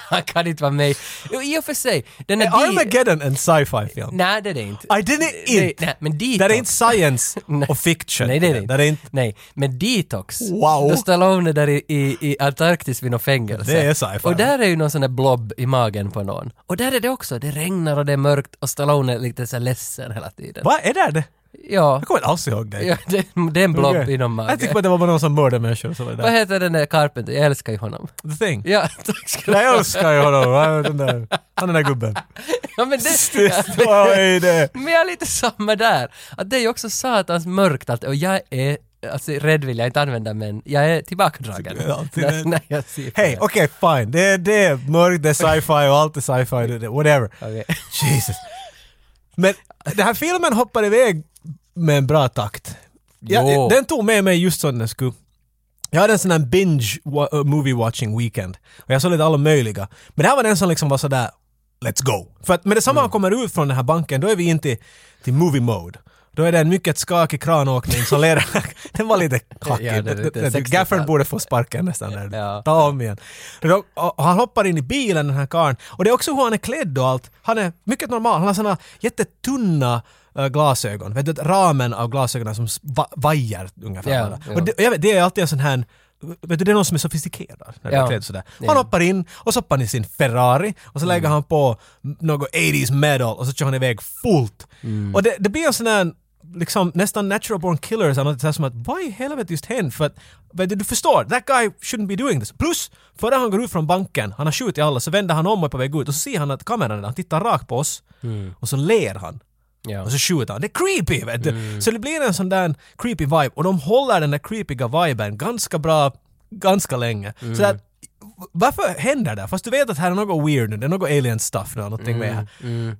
Han kan inte vara med. Jo, I och för sig, den är... är Armageddon en sci-fi film? Nej, det är det inte. Nej, den är inte. Nej, men Detox. Det är inte science Nej. och fiction. Nej, det är det Det är inte. Nej, men Detox. Wow. Då Stallone är där i, i, i Antarktis vid något fängelse. Det är sci-fi. Och där är ju någon sån där blob i magen på någon. Och där är det också, det regnar och det är mörkt och Stallone är lite så här ledsen hela tiden. Vad är det? det? Ja. Jag kommer inte alls ihåg det. ja det, det är en blob Okej. inom magen. Jag tycker bara det var bara någon som mördade människor. Så var det Vad där. heter den där Carpenter? Jag älskar ju honom. The thing. Ja, tack ska du Nej, ha. jag älskar ju honom. Han den där- han den där gubben. Ja, men Tyst, det... vad är det? Men jag är lite samma där. Att det är ju också satans mörkt allt. Och jag är, alltså rädd vill jag inte använda men jag är tillbakadragen. Du är alltid när, rädd. när jag ser på Hej, det. okej, fine. Det är det är mörkt, det är sci-fi och allt är sci-fi, det- det- whatever. Okej. Jesus. Men den här filmen hoppar iväg med en bra takt. Jo. Jag, den tog med mig just som den skulle. Jag hade en sån här binge wa- uh, movie watching weekend. Och jag såg lite alla möjliga. Men det här var den som liksom var sådär, let's go. För att med Mm. detsamma han kommer ut från den här banken, då är vi in till, till movie mode. Då är det en mycket skakig kranåkning som leder... den var lite kackig. Ja, det är lite Den- 60-tal. den- Gaffern borde få sparken nästan. Där. Ja. Ta om igen. Då- och Han hoppar in i bilen den här karln. Och det är också hur han är klädd och allt. Han är mycket normal. Han har såna jättetunna eh, glasögon. Vet du, att ramen av glasögonen som s- va- vajar ungefär. Ja, bara. ja. Och det, och jag vet, det är alltid en sån här Vet du, det är någon som är sofistikerad när Ja. ja. klädd sådär. Han Ja. hoppar in och så hoppar han i sin Ferrari och så lägger han på något 80s metal och så kör han iväg fullt. Och det, det blir en sån här liksom nästan natural born killers eller något sånt som att vad i helvete just hände? För att vet du, du förstår, that guy shouldn't be doing this. Plus, före han går ut från banken, han har skjutit alla, så vänder han om och är på väg ut och så ser han att kameran är där, han tittar rakt på oss och så ler han. Ja. Och så skjuter han. Det är creepy! Vet du? Så det blir en sån där creepy vibe. Och de håller den där creepiga viben ganska bra, ganska länge. Så att, varför händer det? Fast du vet att här är något weird nu, det är något alien stuff nu, någonting med här.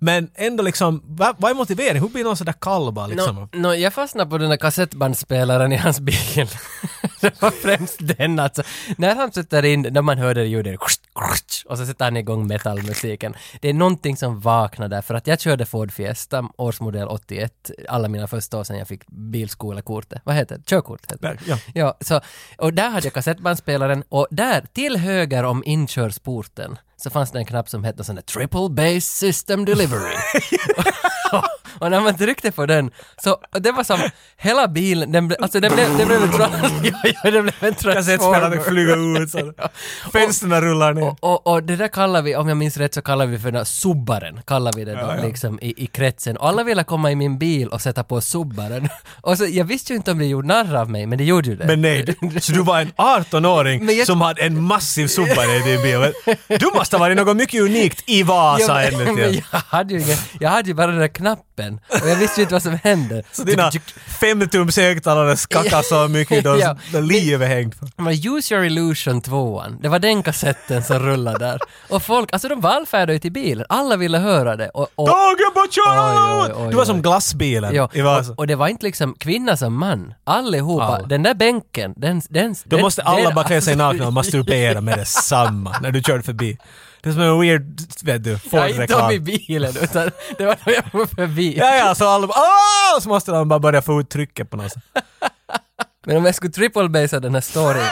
Men ändå liksom, va- vad är motiveringen? Hur blir någon sån där kall bara liksom? Nå, nå, jag fastnade på den där kassettbandspelaren i hans bil. det var främst den alltså. När han sätter in, när man hör det ljudet, krst, krst, och så sätter han igång metalmusiken. Det är någonting som vaknar där, för att jag körde Ford Fiesta, årsmodell 81, alla mina första år sedan jag fick bilskolekortet. Vad heter det? Körkort heter det. Ja. Ja, så, och där hade jag kassettbandspelaren och där till höger om inkörsporten så fanns det en knapp som hette sån där Triple Bass System Delivery. och, och när man tryckte på den så och det var som hela bilen, den ble, alltså den blev, den blev, en tra- ja, ja, den blev en Alltså, Kassettspelaren transformer. flyger ut, så fönstren rullar ner. Och, och det där kallar vi, om jag minns rätt så kallar vi för den här subbaren, kallar vi det då liksom i, i kretsen. Och alla ville komma i min bil och sätta på subbaren. Och så, jag visste ju inte om det gjorde narr av mig, men det gjorde ju det. Men nej, du- så du var en 18-åring Men jag- som hade en massiv subbare i din bil. Du måste måste ha varit något mycket unikt i Vasa men- ännu men till. jag, hade ju ingen, jag hade ju bara den där knappen och jag visste ju inte vad som hände. Så dina femtums högtalare skakar så mycket, de, Ja. de livet hängt på. Men Use Your Illusion 2 det var den kassetten som rullade där. Och folk, alltså de vallfärdade ju till bilen, alla ville höra det. Och, och, Dagen på Oj, oj, oj, kört! Du var som oj. glassbilen ja, i Vasa. och, och det var inte liksom kvinna som man, allihopa. Alla. Den där bänken, den... den Då den, måste alla den- bara klä sig nakna och masturbera med detsamma när du körde förbi. Det är som en weird, vet du, Ja, inte om i Ford-reklam. bilen utan det var då jag var förbi. Ja, ja, så alla bara "Åh!" Så måste de bara börja få ut trycket på något sätt. Men om jag skulle triple-basea den här storyn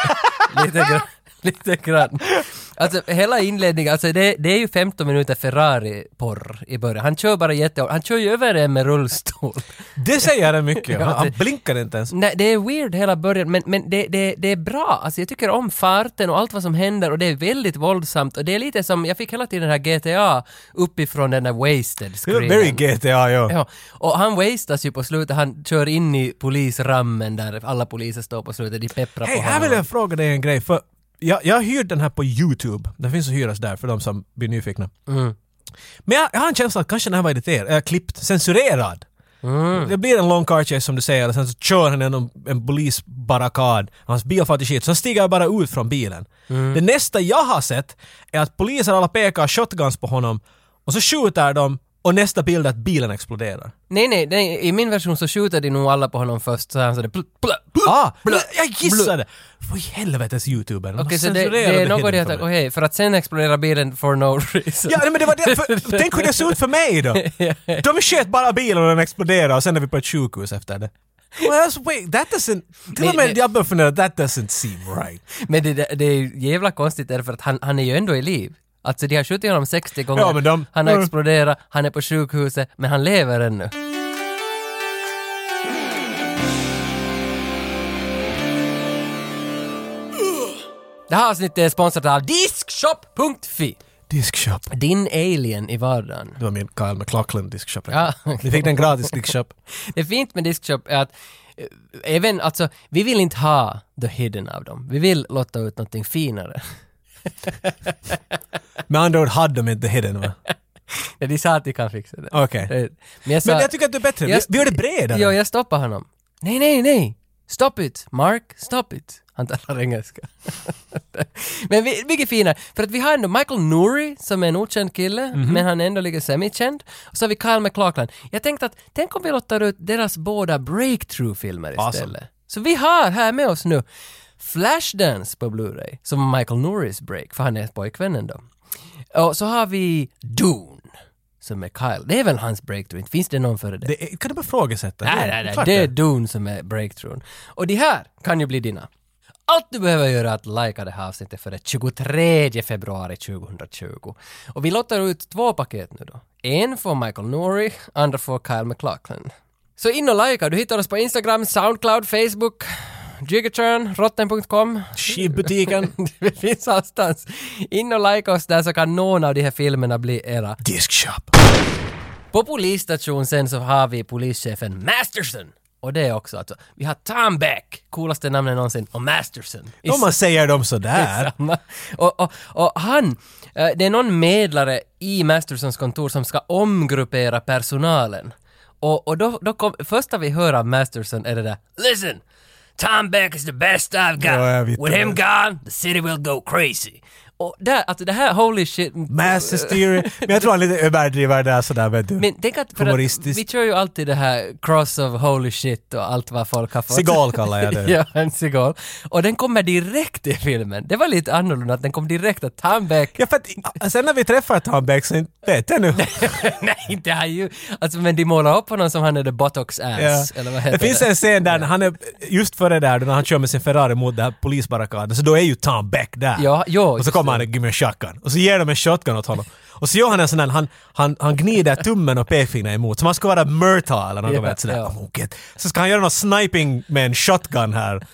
lite grann. Lite grann. Alltså hela inledningen, alltså det, det är ju 15 minuter Ferrari-porr i början. Han kör bara jättehårt, han kör ju över en med rullstol. Det säger det mycket. Han, Ja, han det- blinkar inte ens. Nej, det är weird hela början, men, men det, det, det är bra. Alltså jag tycker om farten och allt vad som händer och det är väldigt våldsamt och det är lite som, jag fick hela tiden den här GTA uppifrån den där wasted Det var screenen. very GTA, ja. Ja, och han wastas ju på slutet, han kör in i polisrammen där alla poliser står på slutet, de pepprar Hej, på här vill jag fråga dig en grej. För jag, jag har hyrt den här på YouTube. Den finns att hyras där för de som blir nyfikna. Mm. Men jag, jag har en känsla att kanske den här var editerad, äh, klippt, censurerad. Mm. Det blir en lång car chase som du säger och sen så kör han genom en polisbarrikad. Hans bil far till skit. Så han stiger jag bara ut från bilen. Mm. Det nästa jag har sett är att poliser alla pekar shotguns på honom och så skjuter de och nästa bild är att bilen exploderar. Nej, nej, nej, i min version så skjuter de nog alla på honom först, så han sådär plö, plö, plö. Ah! blö, Jag gissade! Vad i helvetes youtuber? De har Okej, så det, censurerat det är the något i hidden att, from it. okej, för att sen explodera bilen for no reason. Ja, nej, men det var det. För, tänk hur det såg ut för mig då. De sköt bara bilen och den exploderade och sen är vi på ett sjukhus efter det. Well, that's, wait, that doesn't... Till och Men- med jag började fundera, that doesn't seem right. Men det, det, det är ju jävla konstigt därför att han, han är ju ändå i liv. Alltså de har skjutit honom 60 gånger, Ja, men de- han har Mm. exploderat, han är på sjukhuset, men han lever ännu. Det här avsnittet är sponsrat av Diskshop.fi, Diskshop. din alien i vardagen. Det var min Kyle McLachlan diskshop. Ja. Ni fick den gratis diskshop. Det är fint med diskshop är att eh, även, alltså, vi vill inte ha the hidden av dem. Vi vill lotta ut någonting finare. Med andra ord hade de inte hidden va? Nej, de sa att de kan fixa det. Okej. Eh, Men jag, sa, Men jag tycker att det är bättre. Vi, Jag- vi gör det bredare. Jo, jag stoppar honom. Nej, nej, nej! Stop it, Mark, stop it. Han talar engelska. men vi, mycket finare, för att vi har ändå Michael Nouri som är en okänd kille, Mhm. men han är ändå lite semikänd. Och så har vi Kyle MacLachlan. Jag tänkte att, tänk om vi lottar ut deras båda breakthrough-filmer istället. Awesome. Så vi har här med oss nu Flashdance på Blu-ray, som Michael Norris break, för han är pojkvännen då. Och så har vi Dune, som är Kyle. Det är väl hans breakthrough, inte finns det någon före det? Det är, kan du bara frågasätta? Nej, Det är nej, nej. klart Det är Dune som är breakthroughen. Och de här kan ju bli dina. Allt du behöver göra är att likea det här avsnittet före 23 februari 2020. Och vi lottar ut två paket nu då. En får Michael Nouri, andra får Kyle MacLachlan. Så in och likea. Du hittar oss på Instagram, Soundcloud, Facebook, Jigaturn, rotten.com. Skivbutiken. Vi finns allstans. In och likea oss där så kan någon av de här filmerna bli era. Diskshop. På polisstation sen så har vi polischefen Masterson. Och det är också alltså, vi har Tom Beck, coolaste namnet någonsin, och Masterson. I Om man säger dem sådär. samma. Och, och, och han, eh, det är någon medlare i Mastersons kontor som ska omgruppera personalen. Och, och då, då kom, första vi hör av Masterson är det där “Listen, Tom Beck is the best I've got. Ja, jag vet With det. him gone, the city will go crazy”. Och där, alltså det här, holy shit. Mass hysteria. Men jag tror han är lite överdriver där sådär vet du. Men tänk att, för att Humoristiskt. vi kör ju alltid det här cross of holy shit och allt vad folk har fått. Cigal kallar jag det. ja, en cigal. Och den kommer direkt i filmen. Det var lite annorlunda att den kom direkt att Tom Beck, Ja, för att, i- sen när vi träffar Tom Beck så inte vet jag nu. nej inte han ju, alltså men de målar upp honom som han är the botox ass, Ja. eller vad Det heter finns en scen där han är just före där då när han kör med sin Ferrari mot den här polisbarrikaden så då är ju Tom Beck där. Ja, jo, och så just kommer det. han och ger mig en shotgun och så ger de en shotgun åt honom. Och så gör han en sån där, han, han, han gnider tummen och pekfingret emot som han ska vara Murtaugh eller något Ja, vet, sådär. ja. Oh, get. Så ska han göra något sniping med en shotgun här.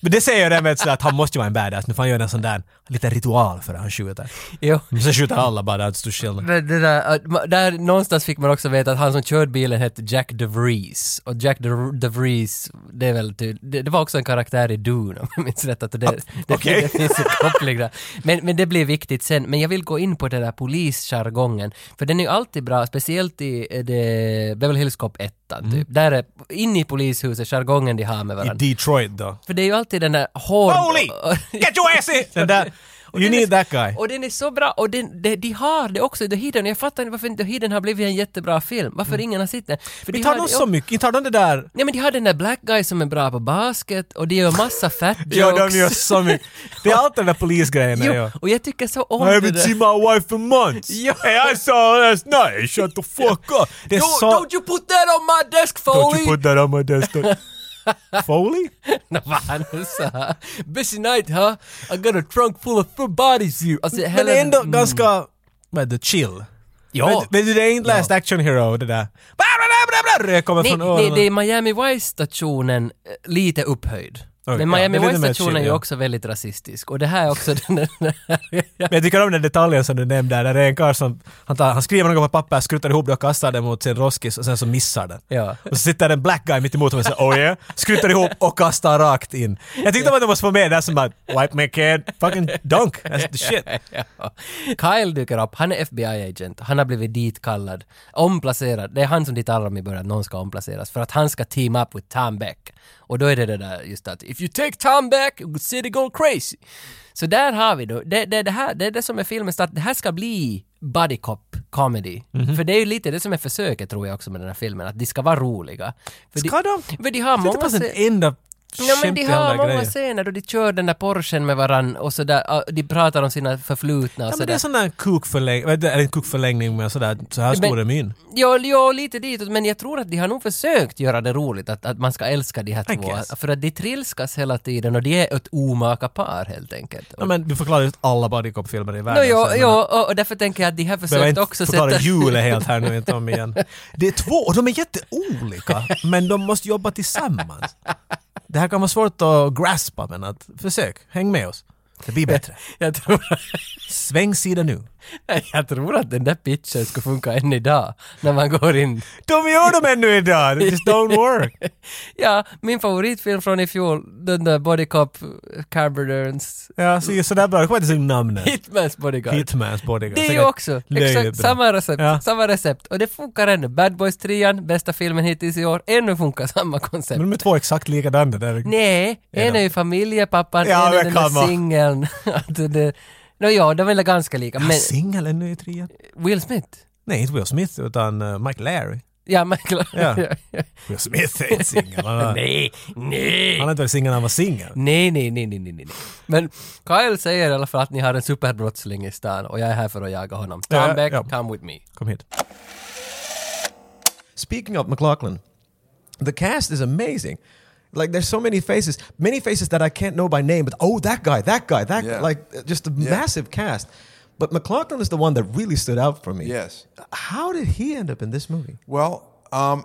Men det säger jag det med ett sådär att han måste ju vara en badass. Nu får han göra en sån där liten ritual för att han skjuter. Jo. Men sen skjuter alla bara, det är en stor skillnad. Men det där, att ma- där någonstans fick man också veta att han som körde bilen hette Jack DeVries. Och Jack De- DeVries, det är väl ty- det, det var också en karaktär i Dune om jag minns rätt. Att det, det, Ah, okej. det finns en koppling där. Men, men det blir viktigt sen. Men jag vill gå in på den där polisjargongen. För den är ju alltid bra, speciellt i eh, det, Beverly Hills Cop 1 typ. Där är, inne i polishuset, jargongen de har med Mm. I varandra. Detroit då. För det är ju alltid den där hård... Holy! Get your ass in! Den där, you den need är, that guy. Och den är så bra, och den, de, de har det också i The Hidden. Jag fattar inte varför inte The Hidden har blivit en jättebra film. Varför Mm. ingen har sett den. För Inte har det de också- så mycket, inte har de det där... Nej men de har den där black guy som är bra på basket och de gör massa fat jokes. Ja, de gör så mycket. Det är allt den där polisgrejen. Jo, ja. och jag tycker så om I det haven't där. seen my wife for months. Ja. Hey, I saw her last night. Shut the fuck up. Det är Don't, så... don't you put that on my desk Don't Foley! you put that on my desktop. Foley? Nå, Vad han nu sa. Busy night huh? I got a trunk full of full bodies you. Alltså, Men Helen- det är ändå ganska... Vad det? Chill. Ja. Men, men det är inte Last Action Hero det där. Bla, bla, bla, bla, bla, Det kommer Nej, från nej, öronen. det är Miami Vice-stationen eh, lite upphöjd. Okej, Men ja, det Miami är lite mer Vice-stationen är chill, ju ja. också väldigt rasistisk. Och det här är också den... Men jag tycker om den detaljen som du nämnde där. Där är en karl som... Han, tar, han skriver något på papper, skrutar ihop det och kastar det mot sin roskis och sen så missar den. Ja. Och så sitter en black guy mitt emot honom och säger oh yeah. Skrutar ihop och kastar rakt in. Jag tyckte att de måste få med det där som bara wipe me kid, fucking dunk. That's the shit. Ja. Kyle dyker upp, han är FBI-agent, han har blivit ditkallad, omplacerad. Det är han som de talar om i början, att någon ska omplaceras, för att han ska team up with Tom Beck. Och då är det det där just att if you take Tom Beck, city go crazy. Så där har vi då, det, det, det, här, det är det som är filmen, att det här ska bli buddy cop comedy. Mhm. För det är ju lite det som är försöket tror jag också med den här filmen, att de ska vara roliga. För Ska de? de? För de har Det är inte många... pass en se- enda Ja men skämt de i har alla många grejer. scener då de kör den där Porschen med varann och sådär, ah, de pratar om sina förflutna och Ja, men Alltså, det sådär. är sån där kukförlängning, eller en kukförlängning med sådär, så här stor är min. Ja, ja, lite ditåt, men jag tror att de har nog försökt göra det roligt att, att man ska älska de här I två. guess. För att de trilskas hela tiden och de är ett omaka par helt enkelt. Ja, men du förklarar just alla bodycop-filmer i Nå, världen. jo, så jag jo, menar, och, och därför tänker jag att de har Behöver försökt inte också förklara sätta... hjulet helt här nu inte om igen. Det är två, och de är jätteolika, men de måste jobba tillsammans. Det här kan vara svårt att graspa, men att försök, häng med oss. Det blir bättre. jag, tror, Sväng sida nu. jag tror att den där pitchen skulle funka än idag, när man går in. De gör dem ännu idag! It just don't work! Ja, min favoritfilm från i fjol, den där Body Cop, Carberderns, Ja, så sådär bra. Jag kommer inte ihåg namnet. Hitmans Bodyguard. Hitmans bodyguard. Det är ju Säkert också löjligt exakt bra. samma recept, Ja. samma recept. Och det funkar ännu. Bad Boys 3, bästa filmen hittills i år, ännu funkar samma koncept. Men de är två exakt likadana där. Nej, en de? är ju familjepappan, Ja, en är men den där come on. singeln. Att det- Nåja, de är väl ganska lika. Men... Men Ah, Singel ännu i trean? Will Smith? Nej, inte Will Smith utan eh, Mike Larry. Ja, Michael. Ja. Will Smith är inte singel. Han har- nej, nej. han har inte varit singel när han var singel. Nej, nej, nej, nej, nej, nej. Men Kyle säger i alla fall att ni har en superbrottsling i stan och jag är här för att jaga honom. Tom Ja, back, ja. come with me. Kom hit. Speaking of McLaughlin, the cast is amazing. Like there's so many faces, many faces that I can't know by name, but oh that guy, that guy, that Yeah. like just a massive cast. But McLaughlin is the one that really stood out for me. Yes. How did he end up in this movie? Well, um,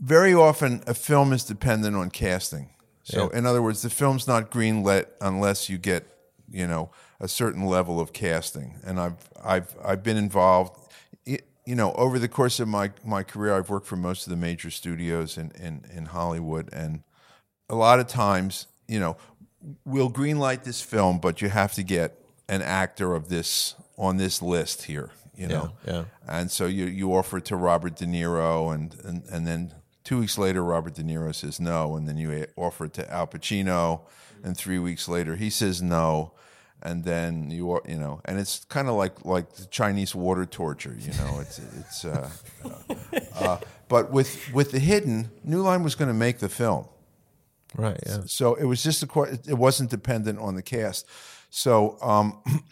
very often a film is dependent on casting. So, in other words, the film's not greenlit unless you get, you know, a certain level of casting. And I've I've I've been involved. i- You know, over the course of my my career, I've worked for most of the major studios in in, in Hollywood, and a lot of times, you know, we'll greenlight this film, but you have to get an actor of this on this list here, you know. yeah. And so you you offer it to Robert De Niro, and and and then two weeks later, Robert De Niro says no, and then you offer it to Al Pacino, and three weeks later he says no. And then you are, you know, and it's kind of like like the Chinese water torture, you know. It's it's, uh, uh, but with with the hidden, New Line was going to make the film, Right. Yeah. so it was just a que- it wasn't dependent on the cast. So um,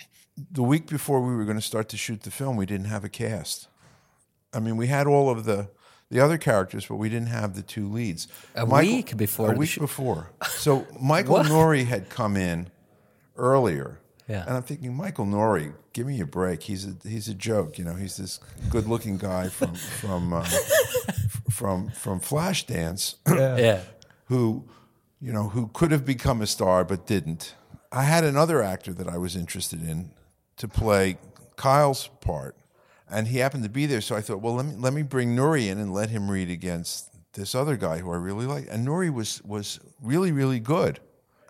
the week before we were going to start to shoot the film, we didn't have a cast. I mean, we had all of the the other characters, but we didn't have the two leads. A week before a the week shoot. before. So Michael What? Nori had come in earlier. Yeah. And I'm thinking, Michael Nori, give me a break. He's a he's a joke, you know. He's this good-looking guy from from uh, f- from from Flashdance Yeah. who you know, who could have become a star but didn't. I had another actor that I was interested in to play Kyle's part, and he happened to be there. So I thought, well, let me let me bring Nuri in and let him read against this other guy who I really like. And Nuri was was really really good,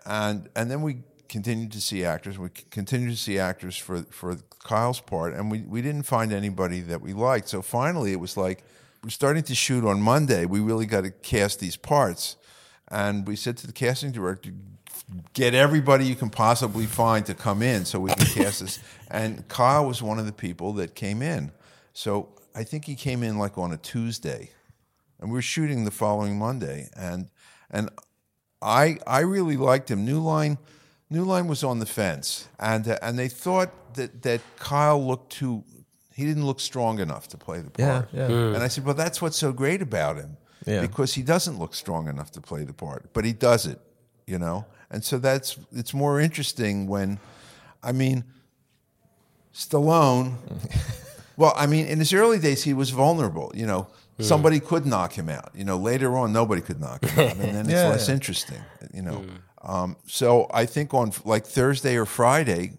and and then we continued to see actors. We c- continued to see actors for for Kyle's part, and we we didn't find anybody that we liked. So finally, it was like we're starting to shoot on Monday. We really got to cast these parts. And we said to the casting director, get everybody you can possibly find to come in so we can cast this. And Kyle was one of the people that came in. So I think he came in like on a Tuesday. And we were shooting the following Monday. And and I I really liked him. New Line New Line was on the fence. And uh, and they thought that that Kyle looked too he didn't look strong enough to play the part. yeah. And I said, Well, that's what's so great about him. Yeah. Because he doesn't look strong enough to play the part, but he does it, you know? And so that's it's more interesting when I mean Stallone Well, I mean, in his early days he was vulnerable, you know. Somebody could knock him out. You know, later on nobody could knock him out. And then it's Yeah. less interesting, you know. Um, so I think on like Thursday or Friday,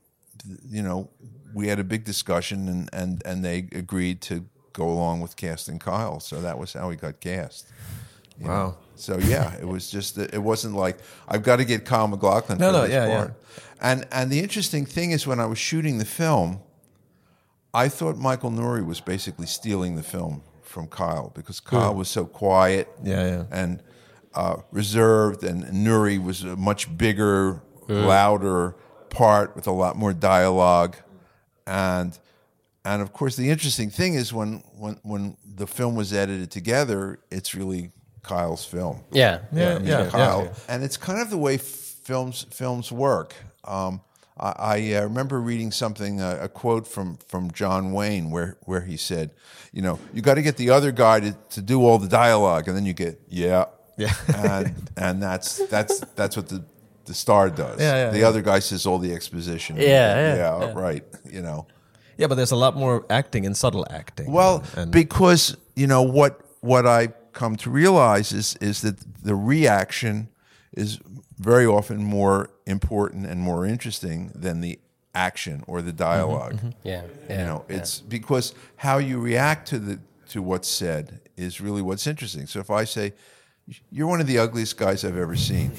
you know, we had a big discussion and, and, and they agreed to go along with casting Kyle. So that was how he got cast. you know. Wow. So yeah, it was just it wasn't like I've got to get Kyle McLaughlin No, for no, this yeah, yeah. part. And and the interesting thing is when I was shooting the film, I thought Michael Nouri was basically stealing the film from Kyle because Kyle was so quiet Yeah, yeah. and uh, reserved, and Nuri was a much bigger, louder part with a lot more dialogue, and and of course the interesting thing is when when when the film was edited together, it's really Kyle's film. Yeah. Yeah, yeah, yeah. Kyle, and it's kind of the way films films work. Um, I, I uh, remember reading something, uh, a quote from from John Wayne, where where he said, "You know, you got to get the other guy to, to do all the dialogue, and then you get yeah, Yeah. and and that's that's that's what the the star does. Yeah, yeah, the yeah. other guy says all the exposition. Yeah, yeah, yeah. right. You know, Yeah, but there's a lot more acting and subtle acting. well, and, because you know what what I come to realize is is that the reaction is very often more important and more interesting than the action or the dialog Mm-hmm, Yeah. You know, it's because how you react to the to what's said is really what's interesting. So if I say, "You're one of the ugliest guys I've ever seen,"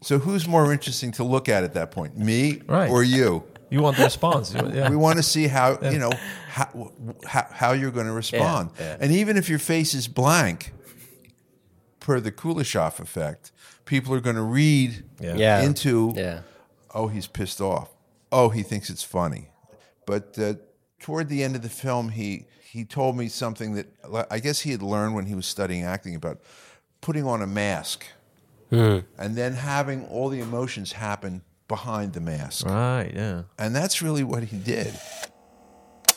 so who's more interesting to look at at that point, me Right. or you? you want the response. You- yeah. We want to see how you know how w- how, how you're going to respond, and even if your face is blank, per the Kuleshov effect, people are going to read Yeah. Yeah. into Yeah. oh he's pissed off, oh he thinks it's funny, but uh, toward the end of the film he he told me something that I guess he had learned when he was studying acting about putting on a mask, Hmm. and then having all the emotions happen behind the mask. Right, yeah. And that's really what he did.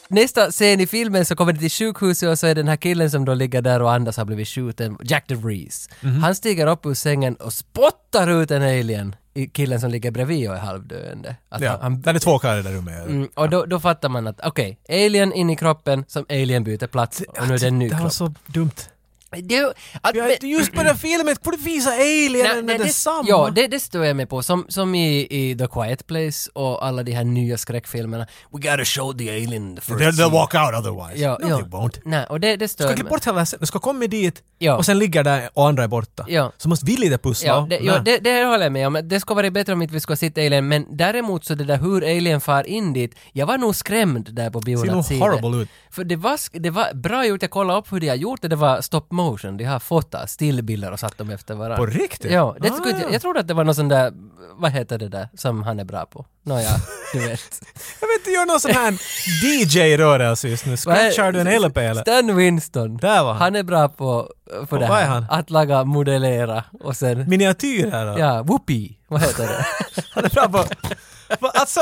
Nästa scen i filmen så kommer de till sjukhuset och så är den här killen som då ligger där och andas har blivit skjuten, Jack DeVries. Mhm. Han stiger upp ur sängen och spottar ut en alien i killen som ligger bredvid och är halvdöende. Att Ja, han, han, där är två karlar i det rummet. Mm, och då, då fattar man att okej, alien in i kroppen som alien byter plats och nu är det en ny Det här var kropp. så dumt. Det är ju- att- Jag, men- just på den filmen borde visa alien Nej, är nej, detsamma. Ja, det, det står jag med på. Som, som i, i The Quiet Place och alla de här nya skräckfilmerna. We gotta show the alien in the first They'll, they'll scene. walk out otherwise. Ja, no, ja. they won't. Nej, och det, det stör Du ska mig. klippa bort hela scenen. Du ska komma dit Ja. och sen ligger där och andra är borta. Ja. Så måste vi lite pussla. Ja, det, ja Nej. det, det håller jag med om. Det skulle vara bättre om inte vi skulle sitta Alien, men däremot så det där hur Alien far in dit, jag var nog skrämd där på Ser bion nog att se horrible det. ut. För det var, sk- det var bra gjort, jag kollade upp hur de har gjort det, det var stop motion, de har fotat stillbilder och satt dem efter varandra. På riktigt? Ja, det Ah, skulle, ja. jag, jag trodde att det var någon sån där, vad heter det där, som han är bra på? Nåja, du vet. Jag vet inte, gör någon sån här DJ-rörelse just nu. Vad är- Scratchar du en LP eller? Stan Winston. Där var han. Han är bra på, på det vad är här. han? Att laga, modellera och sen, Miniatyr här då. ja, whoopee, vad heter det? Han är bra på... Va, alltså,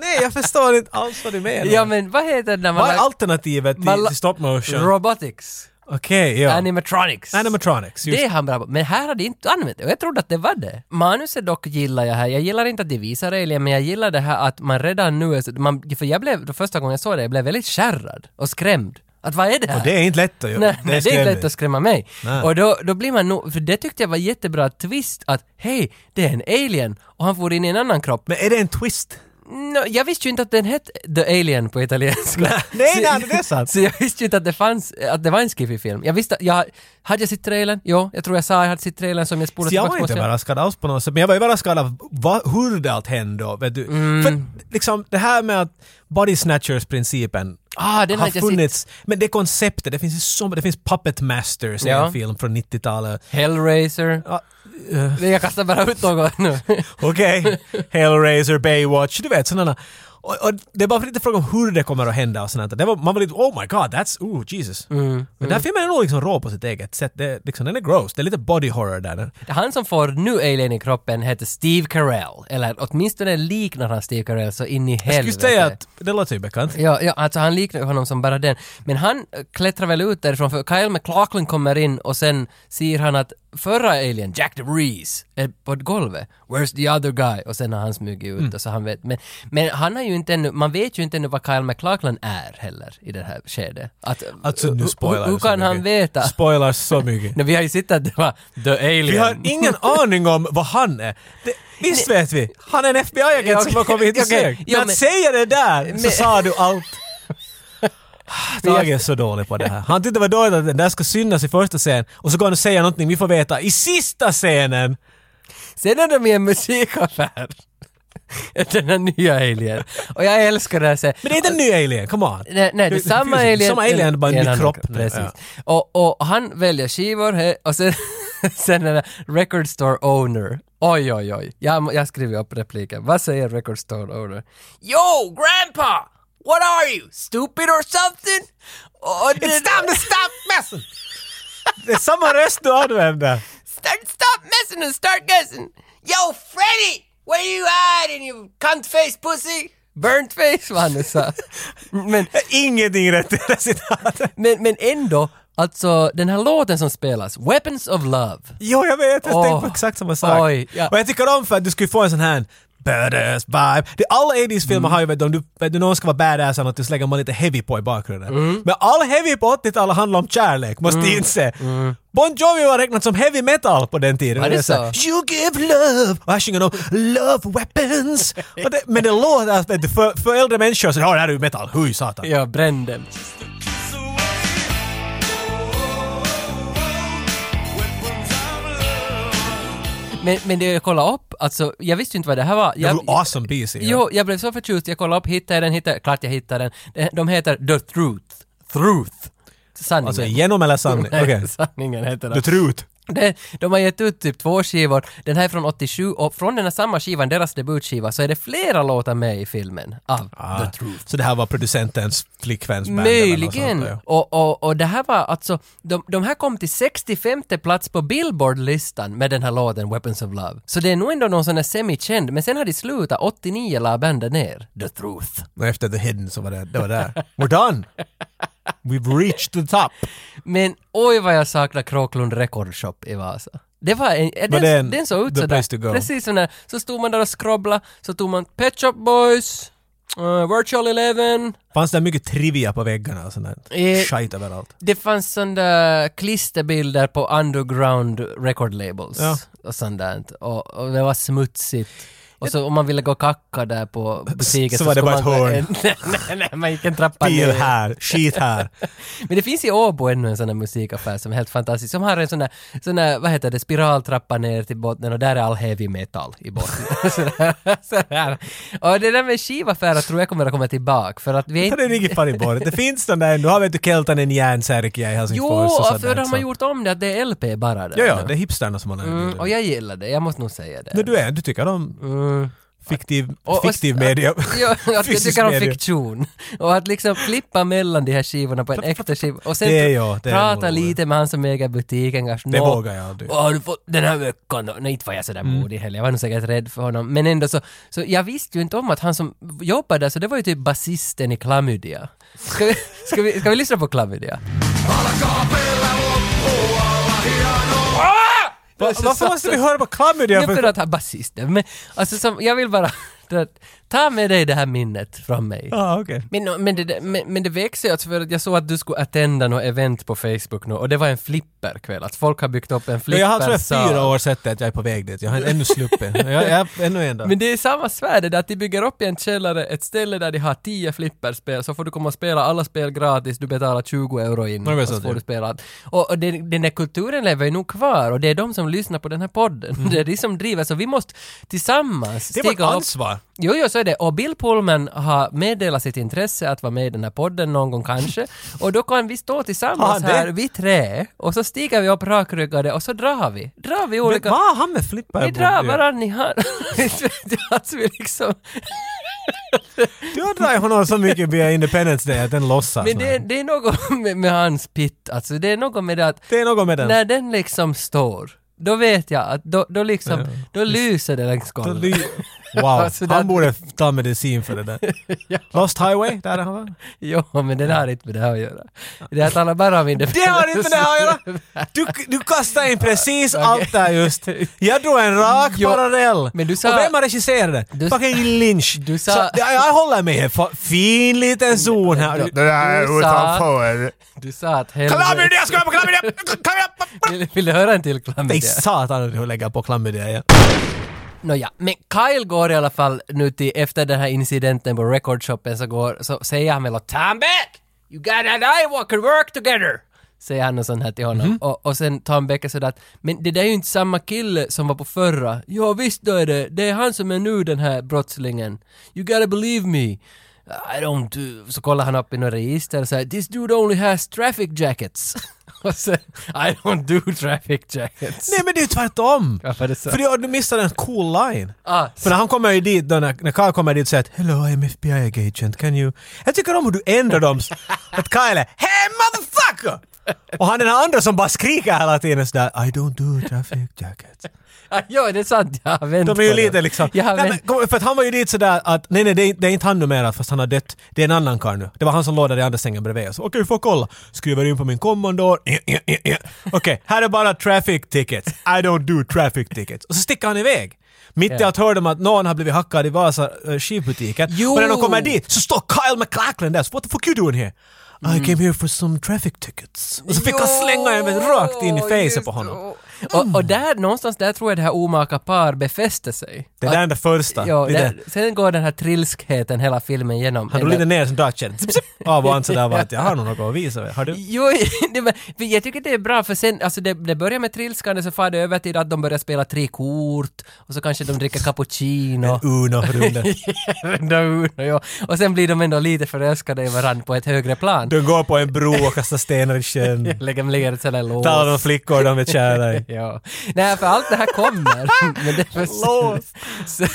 nej jag förstår inte alls vad du menar. Ja men vad heter det när man... vad är lag- alternativet man till, la- till stop motion? Robotics. Okej, ja. Animatronics. Animatronics, just det är han bra på. Men här hade inte använt det och jag trodde att det var det. Manuset dock gillar jag här. Jag gillar inte att de visar Alien men jag gillar det här att man redan nu är så, man, För jag blev, då första gången jag såg det, jag blev väldigt skärrad och skrämd. Att vad är det här? Och det är inte lätt att göra. Nej, nej, det är inte lätt att skrämma mig. Nej. Och då, då blir man nog, för det tyckte jag var jättebra twist att hej, det är en alien och han får in i en annan kropp. Men är det en twist? Nå, jag visste ju inte att den hette The Alien på italienska. Nej, nej, nej, det är sant. Så jag visste ju inte att det fanns, att det var en skiffig-film. Jag visste, jag, hade jag sett trailern? Jo, jag tror jag sa jag hade sett trailern som jag spolade Så jag var tillbaka inte måste jag- överraskad alls på något sätt, men jag var överraskad av vad, hur det allt hände. och Vet du? Mm. För liksom det här med att body snatchers-principen Ah, den har hade jag sett. funnits. Men det konceptet, det finns ju så det finns Puppet Masters, Ja. en film från 90-talet. Hellraiser. Ja, Jag kastar bara ut något nu. Okej, Hellraiser, Baywatch, du vet sådana. Och, och det är bara lite fråga om hur det kommer att hända och sånt där. Det var, man var lite oh my god, that's, oh Jesus. Mm, Men den här filmen är nog liksom rå på sitt eget sätt. Det, liksom, den är gross, det är lite body horror där. Den, Han som får nu alien i kroppen heter Steve Carell. Eller åtminstone liknar han Steve Carell så in i helvete. jag skulle säga att, det låter ju bekant. Ja, ja, alltså han liknar ju honom som bara den. Men han eh, klättrar väl ut därifrån för Kyle McLachlan kommer in och sen ser han att förra alien, Jack the Reese, är på ett golvet. Where's the other guy? Och sen har han smugit Mm. ut och så han vet. Men, men han har ju inte ännu, man vet ju inte ännu vad Kyle McLachlan är heller i det här skedet. Att, Alltså hur- nu spoilar hur, hur du så kan han mycket. veta? Spoilar så mycket. Nej, vi har ju sett att det var The Alien. Vi har ingen aning om vad han är. Det, visst vet vi, han är en FBI-agent Ja, som har okej. kommit hit och Okej. sökt. Ja, Men att men- säga det där så Men- sa du allt. Ah, Tage är så dålig på det här. Han tyckte det var dåligt att den där ska synas i första scenen och så går han och säger någonting vi får veta i sista scenen. Sen är de i en musikaffär. Den här nya alien. Och jag älskar det här. så- Men det är inte en ny alien, come on. Nej, nej det är Du- samma precis, alien. Samma alien, bara en ny annan kropp. kropp, nu. Precis. Ja. Och, och han väljer skivor he, och sen, sen den där record store owner. Oj, oj, oj. Jag, jag skriver upp repliken. Vad säger record store owner? Yo, grandpa! What are you? Stupid or something? Och det, It's time to stop messing! Det är samma röst du använder. Start, stop messing and start guessing. Yo, Freddy! Where you hiding you cunt face pussy? Burnt face var han nu sa. Men, Ingenting rätt i det här citatet. men, men ändå, alltså den här låten som spelas, Weapons of Love. Jo, jag vet. Jag Åh. tänkte på exakt samma sak. Oj, ja. Och jag tycker om för att du skulle få en sån här badass vibe. Det, alla 80s-filmer Mm. har ju, vet du, om du, vet du, någon ska vara badass eller något, så lägger man lite heavy på i bakgrunden. Mm. Men all heavy på 80-talet handlar om kärlek, måste mm. inse. Bon Jovi var räknat som heavy metal på den tiden. Var det är här, You give love! Och här sjunger de “Love weapons”. Och det, men det låter, alltså, vet du, för, för äldre människor så “Ja, det här är ju metal, hui satan”. Ja, bränn den. Men, men det jag kollade upp, alltså jag visste ju inte vad det här var. Det Jag, var awesome BC. Jo, jag blev så förtjust. Jag kollade upp, hittade jag den, hittade Klart jag hittade den. De heter The Truth. Truth. Sanningen. Alltså genom eller sanning? Nej, Okej. sanningen heter The den. truth. De, de har gett ut typ två skivor. Den här är från 87 och från den här samma skivan, deras debutskiva, så är det flera låtar med i filmen av Ah, The Truth. Så det här var producentens flickväns band eller något Möjligen. sånt, ja. och, och, och det här var alltså, de, de här kom till 65 plats på Billboard-listan med den här låten Weapons of Love. Så det är nog ändå någon sån här semi-känd, men sen har de slutat, 89 la bandet ner. The Truth. Och efter The Hidden så var det, det var där. We're done! We've reached the top! Men oj vad jag saknar Kråklund Record Shop i Vasa. Det var en, den, det är en- den, såg ut the sådär. place to go. Precis sådär. Så stod man där och skrobbla, så tog man Pet Shop Boys, eh, Virtual Eleven. Fanns det mycket trivia på väggarna och sånt där? Eh, Skit överallt. Det fanns sådana klisterbilder på underground record labels Ja. och sånt där. Och, och det var smutsigt. Och så om man ville gå kacka där på butiken så var det skulle bara ett man gå hörn. en- nej, nej, nej, man gick en trappa Bil ner. här, skit här. Men det finns i Åbo ännu en sån här musikaffär som är helt fantastisk, som har en sån där, sån där vad heter det, spiraltrappa ner till botten och där är all heavy metal i botten. Sådär, sådär. Och det där med skivaffärer tror jag kommer att komma tillbaka för att vi är Det är inget fan i bordet. Det finns den där ändå. Har vet du Keltan en järnsärkja i Jo, Helsingfors och sådant för där, de har så. gjort om det att det är LP bara där. Ja, ja, nu. det är hipsterna som har mm, Mm, och jag gillar det, jag måste nog säga det. Men du är, du tycker om fiktiv, Och- och- fiktiv media. Jo, att jag Fysisk tycker om media. fiktion. Och att liksom klippa mellan de här skivorna på en äkta skiva. Och sen Det är jag, det är prata nog- lite med han som äger butiken kanske. Det Nå, vågar jag Mm. aldrig. Vad har du fått den här veckan då? Nej, inte var jag sådär modig heller. Jag var nog säkert rädd för honom. Men ändå så, så jag visste ju inte om att han som jobbade där, så det var ju typ basisten i Klamydia. Ska vi, ska vi, ska vi lyssna på Klamydia? Va- Varför måste vi höra på klamydia? Nu för- för att ha basisten, men alltså som, jag vill bara Det- Ta med dig det här minnet från mig. ah, okej. Men, men, det, men, men det växer ju alltså för att jag såg att du skulle attenda något event på Facebook nu och det var en flipperkväll. Att folk har byggt upp en Ja, Jag har tror jag flippersal. fyra år sett att jag är på väg dit. Jag har ännu sluppit. Jag, jag är ännu en dag. Men det är samma svärd, det där att de bygger upp i en källare ett ställe där de har tio flipperspel, så får du komma och spela alla spel gratis, du betalar 20 euro in Ja, det är och så sant, får ja. du spela allt. Och, och den, den där kulturen lever ju nog kvar och det är de som lyssnar på den här podden. Det är de som driver, så vi måste tillsammans Mm. Det är vårt stiga upp ansvar. Jo, jo, så är det. Och Bill Pullman har meddelat sitt intresse att vara med i den här podden någon gång kanske. Och då kan vi stå Har tillsammans han det? här, vi tre, och så stiger vi upp rakryggade och så drar vi. Drar vi Men olika... vad har han med flipper? Vi drar varann i hand. Inte vet jag att vi liksom... Du har dragit honom så mycket via Independence Day att den lossas. Men det, det är något med, med hans pitt, alltså. Det är något med det att det är något med den. när den liksom står, då vet jag att då, då liksom, då lyser det längs Då golvet. ly- Wow, Alltså, han det- borde ta medicin för det där. Lost Highway, där är han va? Jo, men den har inte med det här att göra. Det här talar bara om Det har inte med det här att göra! Du, du kastar in precis allt där just. Jag drog en rak Jo, parallell. men du sa- Och vem har regisserat det? Du- Fucking Lynch. Du sa- Så, jag, jag håller med. Fa- Fin liten zon här. Du- du sa- Du sa att helvete... Klamydia ska jag på klamydia! Klamydia! Vill, vill du höra en till Nej, klamydia? satan hur lägger på klamydia igen. Nåja, men Kyle går i alla fall nu till, efter den här incidenten på recordshoppen så går, så säger han väl åt Tom Beck! You got and I walk and work together! Säger han och sånt här till honom. Mhm. Och, och sen Tom Beck är sådär att, men det där är ju inte samma kille som var på förra. Ja visst då är det, det är han som är nu den här brottslingen. You gotta believe me. I don't... uh," Så kollar han upp i några register och säger this dude only has traffic jackets. och sen, I don't do traffic jackets. Nej men det är ju tvärtom! Ja, för det är så. För du, du missade en cool line. Ah, För när han kommer ju dit, då, när, när Kyle kommer dit och säger att “Hello, I'm FBI agent, can you...” Jag tycker om hur du ändrar dem. s- att Kyle är “Hey motherfucker!” Och han den här andra som bara skriker hela tiden sådär “I don't do traffic jackets”. Ah, ja, det är sant. Jag har vänt De är ju på det. lite liksom... Jag har Nej, men, vänt. kom- för att han var ju dit sådär att “Nej, nej, det är, det är inte han numera fast han har dött. Det är en annan karl nu.” Det var han som låg där i andra sängen bredvid oss. “Okej, får kolla.” Skriver in på min kommandor. Eh, eh, eh, eh. Okej, här är bara traffic tickets. I don't do traffic tickets. Och så sticker han iväg. Mitt i Ja. att höra dem att någon har blivit hackad i Vasa eh, skivbutiken. Jo! Och när de kommer dit så står Kyle McLachlan där. Så “What the fuck you doing here?” Mm. I came here for some traffic tickets. Och så fick han slänga en rakt in i just facet på honom. det. Och, och där någonstans där tror jag det här omaka par befäste sig. Det där är den första. ja, Lite- där, sen går den här trilskheten hela filmen igenom. Han drog lite ner som Dutchen. Zip, zip. Av och an sådär bara att jag har nog något att visa. Har du? Jo, det, men- för jag tycker det är bra för sen, alltså det, det börjar med trilskande så far det över till att de börjar spela tre kort och så kanske de dricker cappuccino. Uno-runden. Runda Uno, ja. Och sen blir de ändå lite förälskade i varandra på ett högre plan. Du går på en bro och kastar stenar i sjön. Lägger, lägger ett sånt där lås. Talar om flickor de är kära i. Ja. Nej, för allt det här kommer. men det är för Lås. Så-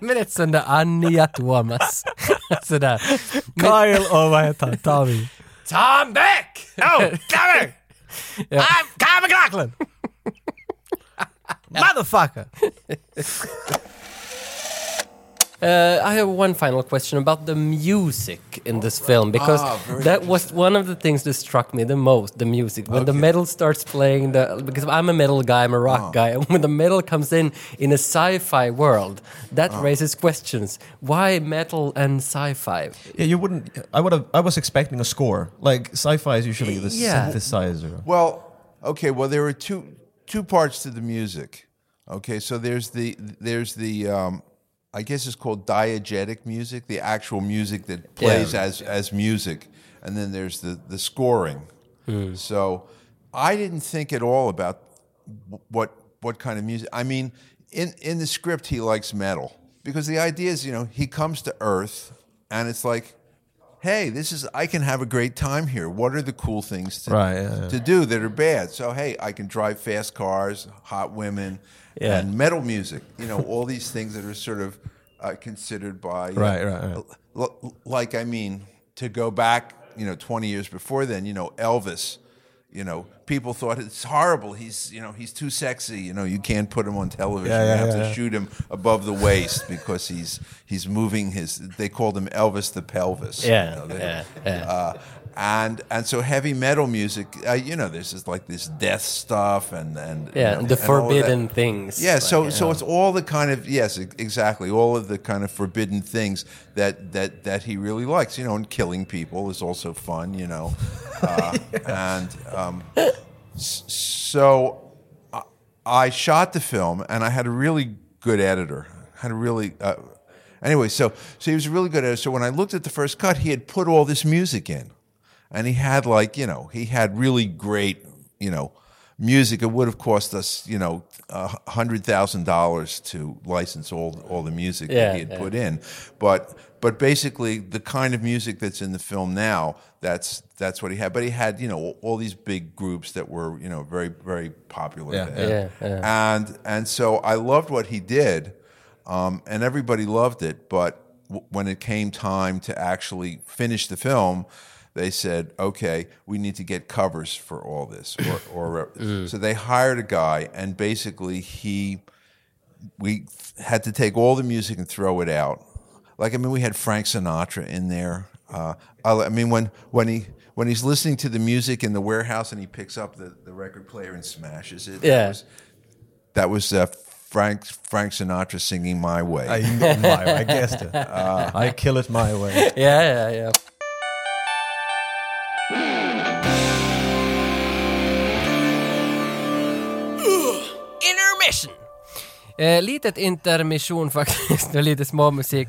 men er ett sånt där Anja Thomas. er. Sådär. Men, Kyle och vad heter han? Tommy. Tom Beck! Oh, Tommy! I'm Kyle McLaughlin! Motherfucker! Uh, I have one final question about the music in this film because Ah, very that was one of the things that struck me the most. The music when the metal starts playing, the because I'm a metal guy, I'm a rock Ah. guy, and when the metal comes in in a sci-fi world, that Ah. raises questions. Why metal and sci-fi? Yeah, you wouldn't. I would have. I was expecting a score. Like sci-fi is usually the Yeah. synthesizer. Well, okay. Well, there are two two parts to the music. Okay, so there's the there's the um, I guess it's called diegetic music, the actual music that plays as as music, and then there's the the scoring. Mm. So I didn't think at all about w- what what kind of music. I mean, in in the script, he likes metal because the idea is, you know, he comes to Earth, and it's like. Hey, this is I can have a great time here. What are the cool things to, Right, yeah, yeah. to do that are bad. So hey, I can drive fast cars, hot women, Yeah. and metal music. You know, all these things that are sort of uh, considered by Right, right, right. l- like I mean, to go back, you know, 20 years before then, you know, Elvis, you know, people thought it's horrible. He's, you know, he's too sexy. You know, you can't put him on television. Yeah, yeah, you have yeah, to yeah. shoot him above the waist because he's he's moving his. They called him Elvis the pelvis. Yeah, you know, they- yeah, yeah. Uh, and and so heavy metal music, uh, you know, there's just like this death stuff and and Yeah, you know, the and all of that. forbidden things, Yeah, so like, so yeah. it's all the kind of yes, e- exactly, all of the kind of forbidden things that that that he really likes, you know, and killing people is also fun, you know, uh, and um, s- so I shot the film, and I had a really good editor. Had a really uh, anyway. So so he was a really good editor. So when I looked at the first cut, he had put all this music in, and he had like you know he had really great you know music. It would have cost us you know a hundred thousand dollars to license all all the music that Yeah, he had yeah. put in, but. But basically, the kind of music that's in the film now—that's that's what he had. But he had, you know, all these big groups that were, you know, very very popular. Yeah, then. yeah. Yeah, yeah. And and so I loved what he did, um, and everybody loved it. But w- when it came time to actually finish the film, they said, "Okay, we need to get covers for all this." Or, or so they hired a guy, and basically he we had to take all the music and throw it out. Like I mean, we had Frank Sinatra in there. Uh, I, I mean, when when he when he's listening to the music in the warehouse and he picks up the, the record player and smashes it. Yeah. that was, that was uh, Frank Frank Sinatra singing "My Way." I, my way. I guessed it. I kill it my way. yeah, yeah, yeah. Intermission! Eh, litet intermission faktiskt, och lite småmusik.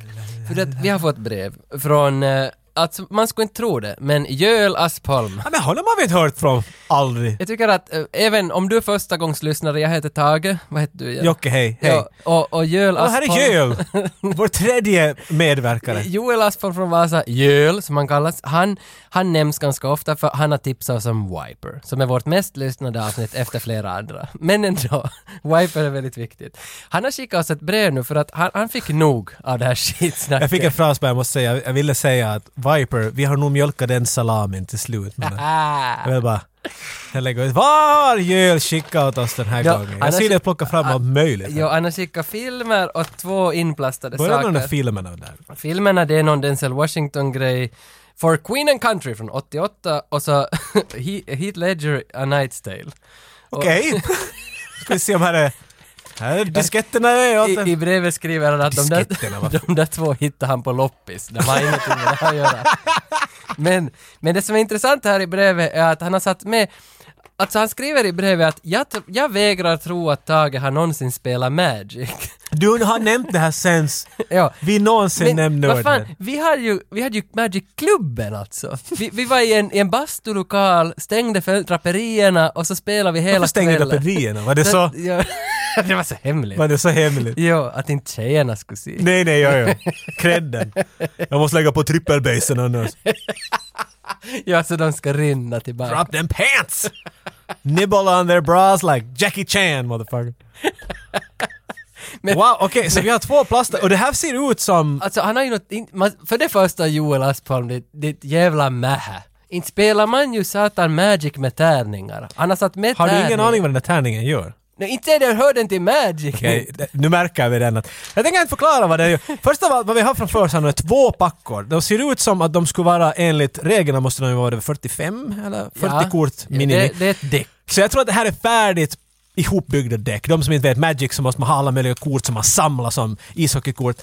För att vi har fått brev från, eh, alltså man skulle inte tro det, men Göl Aspholm. Ja, men honom har vi inte hört från. Aldrig. Jag tycker att, eh, även om du är första gångs lyssnare, jag heter Tage, vad heter du igen? Jocke, hej. Hej. Ja, och, och Göl Och här Aspholm. är Göl, vår tredje medverkare. Eh, Joel Aspholm från Vasa, Jöl som han kallas, han, han nämns ganska ofta för han har tipsat oss om Wiper, som är vårt mest lyssnade avsnitt efter flera andra. Men ändå, Wiper är väldigt viktigt. Han har skickat oss ett brev nu för att han, han fick nog av det här skitsnacket. Jag fick en fras bara jag måste säga. Jag ville säga att Viper, vi har nog mjölkat den salamin till slut. Men Ah! jag vill bara... Jag lägger ut. Var Göl skicka åt oss den här Ja, gången? Jag annars- ser dig plocka fram allt möjligt. Jo, han har skickat filmer och två inplastade Börja med de där saker. filmerna där. Filmerna, det är någon Denzel Washington-grej. For Queen and Country från 88 och så He- Heath Ledger, A Night's Tale. Okej. Ska vi se om här är... Här är disketterna. Är åt I, I brevet skriver han att de där, Disketterna, vad de där två hittade han på loppis. De har ingenting med det här att göra. Men, men det som är intressant här i brevet är att han har satt med Alltså han skriver i brevet att jag, tr- jag vägrar tro att Tage har någonsin spelat Magic. Du har nämnt det här sen Ja. vi någonsin nämnde vad fan, ordet. vi hade ju, vi hade ju Magic-klubben alltså. Vi, vi var i en, i en bastulokal, stängde för draperierna och så spelade vi hela Varför stängde du kvällen. draperierna? Var det så, Ja, det var så hemligt. var det så hemligt? Jo, att inte tjejerna skulle se. Nej, nej, ja, ja. Credden. Jag måste lägga på trippelbasen annars. Ja, så de ska rinna tillbaka. Drop them pants! Nibble on their bras like Jackie Chan, motherfucker. wow, okej, så vi har två plaster och det här ser ut som... Alltså han har ju något, in, man, för det första Joel Aspholm, det, det jävla mähä. Inte spelar man ju satan Magic med tärningar. Han har satt med Har du ingen tärningar. aning vad den där tärningen gör? Nej, inte är det, hör den till Magic. Okej, det- nu märker vi den att... Jag tänker inte förklara vad det är. Först av allt, vad vi har framför oss här nu är två packor. De ser ut som att de skulle vara, enligt reglerna måste de ju vara 45 eller 40 Ja. kort Ja, minimi. Det, det är ett däck. Så jag tror att det här är färdigt ihopbyggda däck. De som inte vet Magic så måste man ha alla möjliga kort som man samlar som ishockeykort.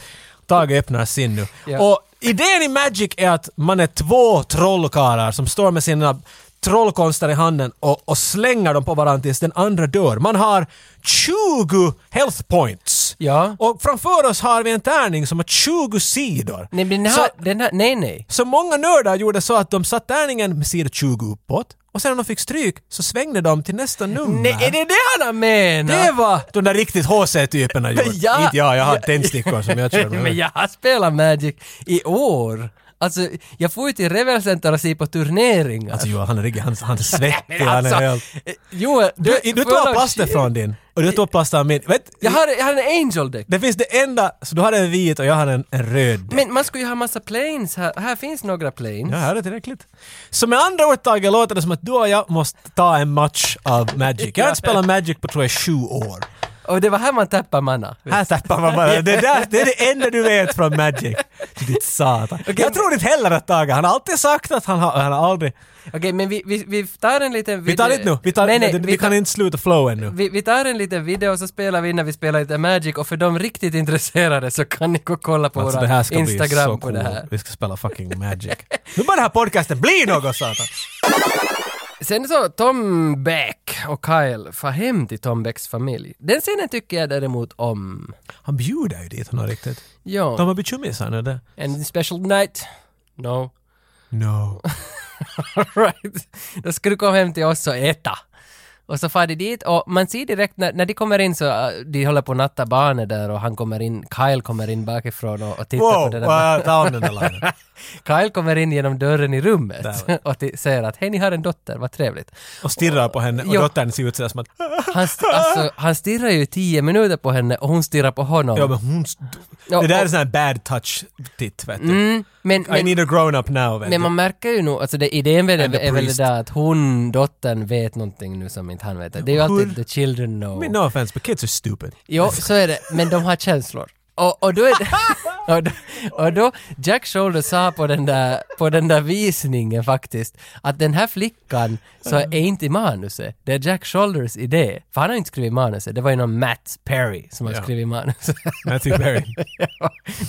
Tage öppnar sin nu. Ja. Och idén i Magic är att man är två trollkarlar som står med sina trollkonster i handen och, och slänger dem på varandra tills den andra dör. Man har 20 health points. Ja. Och framför oss har vi en tärning som har 20 sidor. Nej, men den Så- här, den här, nej, nej. så många nördar gjorde så att de satt tärningen med sida 20 uppåt och sen när de fick stryk så svängde de till nästa nummer. Nej, är det det han har menat? Det var de där riktigt HC-typerna gjorde. Ja. Inte jag, jag har tändstickor som jag kör Men med. jag har spelat Magic i år. Alltså, jag får ju till Revel Center och ser på turneringar. Alltså Johan, han är riktigt, han, han är svettig, Men han är helt... eh, Joel, Du, du tog plasten från din och du tog plasten av min. Vet, Jag har, jag har en Angel-däck. det finns det enda, så du har en vit och jag har en, en röd. Men man skulle ju ha massa planes här. Här finns några planes. Ja, här är det tillräckligt. Så med andra ord Tage, låter det som att du och jag måste ta en match av Magic. Jag har inte spelat Magic på tror jag sju år. Och det var här man tappar manna. Här tappar man bara. Det, där, det är det enda du vet från Magic. Ditt satan. Jag tror inte heller att Tage, han har alltid sagt att han har, han har aldrig... Okej, men vi, vi, vi tar en liten video. Vi tar inte nu, vi, tar, nej, nej, vi, vi, kan tar- inte sluta flow ännu. vi, vi tar en liten video och så spelar vi innan vi spelar lite Magic och för de riktigt intresserade så kan ni gå och kolla på Alltså våra det här ska bli Instagram så på det här. coolt. Vi ska spela fucking Magic. Nu börjar den här podcasten bli något satan! Sen så Tom Beck och Kyle far hem till Tom Becks familj. Den scenen tycker jag däremot om. Han bjuder ju dit honom riktigt. Ja, De har blivit tjummisar nu det. en special night. No. No. right. Då ska du komma hem till oss och äta. Och så far de dit och man ser direkt när, när de kommer in så äh, de håller på att natta barnet där och han kommer in, Kyle kommer in bakifrån och, och tittar på Wow, det där. wow, ta om den där linen. Kyle kommer in genom dörren i rummet Där. och t- säger att hej ni har en dotter, vad trevligt. Och stirrar på henne och Jo. dottern ser ut sådär som att Han, st- alltså, han stirrar ju i tio minuter på henne och hon stirrar på honom. Ja men hon... Ja, det där är och- sån här bad touch-titt vet du. men, I men, need a grown up now vet men du. man märker ju nog, alltså det, idén med And det the är väl det priest. där att hon, dottern, vet någonting nu som inte han vet. Det är ju alltid Hur- the children know. I mean, no offense, but kids are stupid. Jo, så är det. Men de har känslor. Och, och då är det... Och då, och då Jack Shoulder sa på den, där, på den där visningen faktiskt att den här flickan så är inte i manuset. Det är Jack Shoulders idé. För han har inte skrivit manuset. Det var ju någon Matt Perry som har Ja. skrivit manuset. Matthew Perry.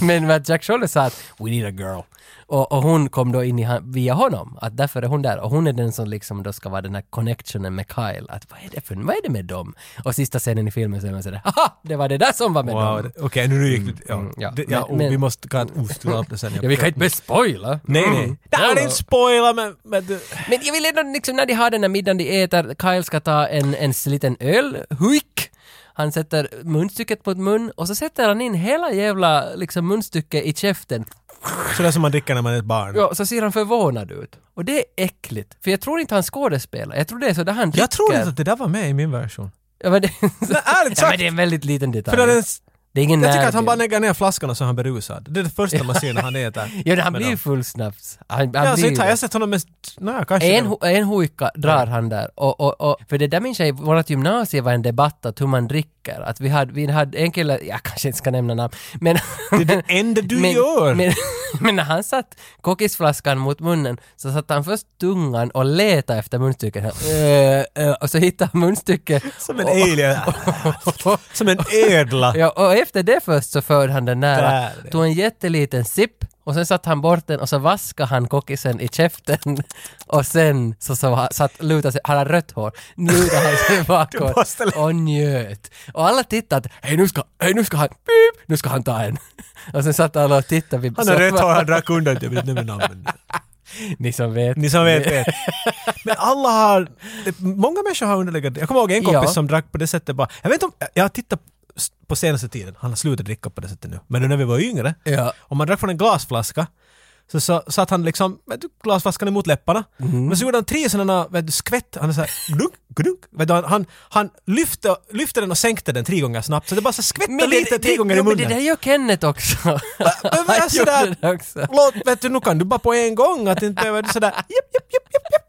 Men vad Jack Scholler sa att “We need a girl” och, och hon kom då in i, han- via honom, att därför är hon där och hon är den som liksom då ska vara den här connectionen med Kyle, att vad är det för, vad är det med dem? Och sista scenen i filmen så är man sådär “Haha, det var det där som var med Wow. dem!” det- Okej, nu gick det... Ja, mm, ja. det, ja Men- och vi men- måste kan ostula upp det sen. Ja, vi kan inte börja spoila! Mm. Nej, nej. Det här är inte spoila, men... men du, Men jag vill ändå liksom när de har den här middagen de äter, Kyle ska ta en, en liten öl, huik! Han sätter munstycket på ett mun och så sätter han in hela jävla liksom munstycket i käften sådär som man dricker när man är ett barn. Ja, så ser han förvånad ut. Och det är äckligt. För jag tror inte han skådespelar. Jag tror det är så där han Jag tror dricker. inte att det där var med i min version. Ja, men det, Men ärligt ja, men sagt! det är en väldigt liten detalj. För det är en- det är ingen jag tycker att han närbild. bara lägger ner flaskan och så är han berusad. Det är det första man ser när han äter. Ja, han Men blir ju ja. full snabbt. Han, han Ja, så blir inte har ju jag sett honom med... Nej, kanske... En, ho- en hojka drar han där. Och, och, och, för det där minns jag i vårt gymnasium var en debatt att hur man dricker. Att vi hade, vi hade en kille, jag kanske inte ska nämna namn, men... Det är det enda du men, gör! Men, men när han satt kokisflaskan mot munnen så satte han först tungan och letade efter munstycket. Han, eh, eh, och så hittade han munstycket. som en och, alien. som en ödla. Ja, och efter det först så förde han den nära, Där, ja. tog en jätteliten sipp och sen satte han bort den och så vaskade han kokisen i käften och sen så, så han- satt, lutade sig, han hade rött hår, lutade han sig bakåt måste lä- och njöt. Och alla tittade att hej nu ska, hej nu ska han, pip, nu ska han ta en. Och sen satt alla och tittade vid Han har rött soffan. hår, han drack undan. Jag vill inte nämna namn. men- Ni som vet. Ni som vet vet. Men alla har... det- Många människor har underliggande... Jag kommer ihåg en kompis Ja. som drack på det sättet bara... Jag vet inte om... Jag har tittat på senaste tiden. Han har slutat dricka på det sättet nu. Men nu när vi var yngre. Ja. Om man drack från en glasflaska så, så satt han liksom vet du, glasflaskan emot läpparna. Mhm. Men så gjorde han tre sådana vet du, skvätt. Han är så här, glunk, glunk. Vet du, han han, han lyfte, lyfte den och sänkte den tre gånger snabbt. Så det bara så skvättade lite tre gånger jo, i men munnen. det där gör Kenneth också. Men vad är Han gjorde sådär, det också. låt, vet du, nu kan du bara på en gång att inte behöver sådär, japp, japp, japp, japp, japp.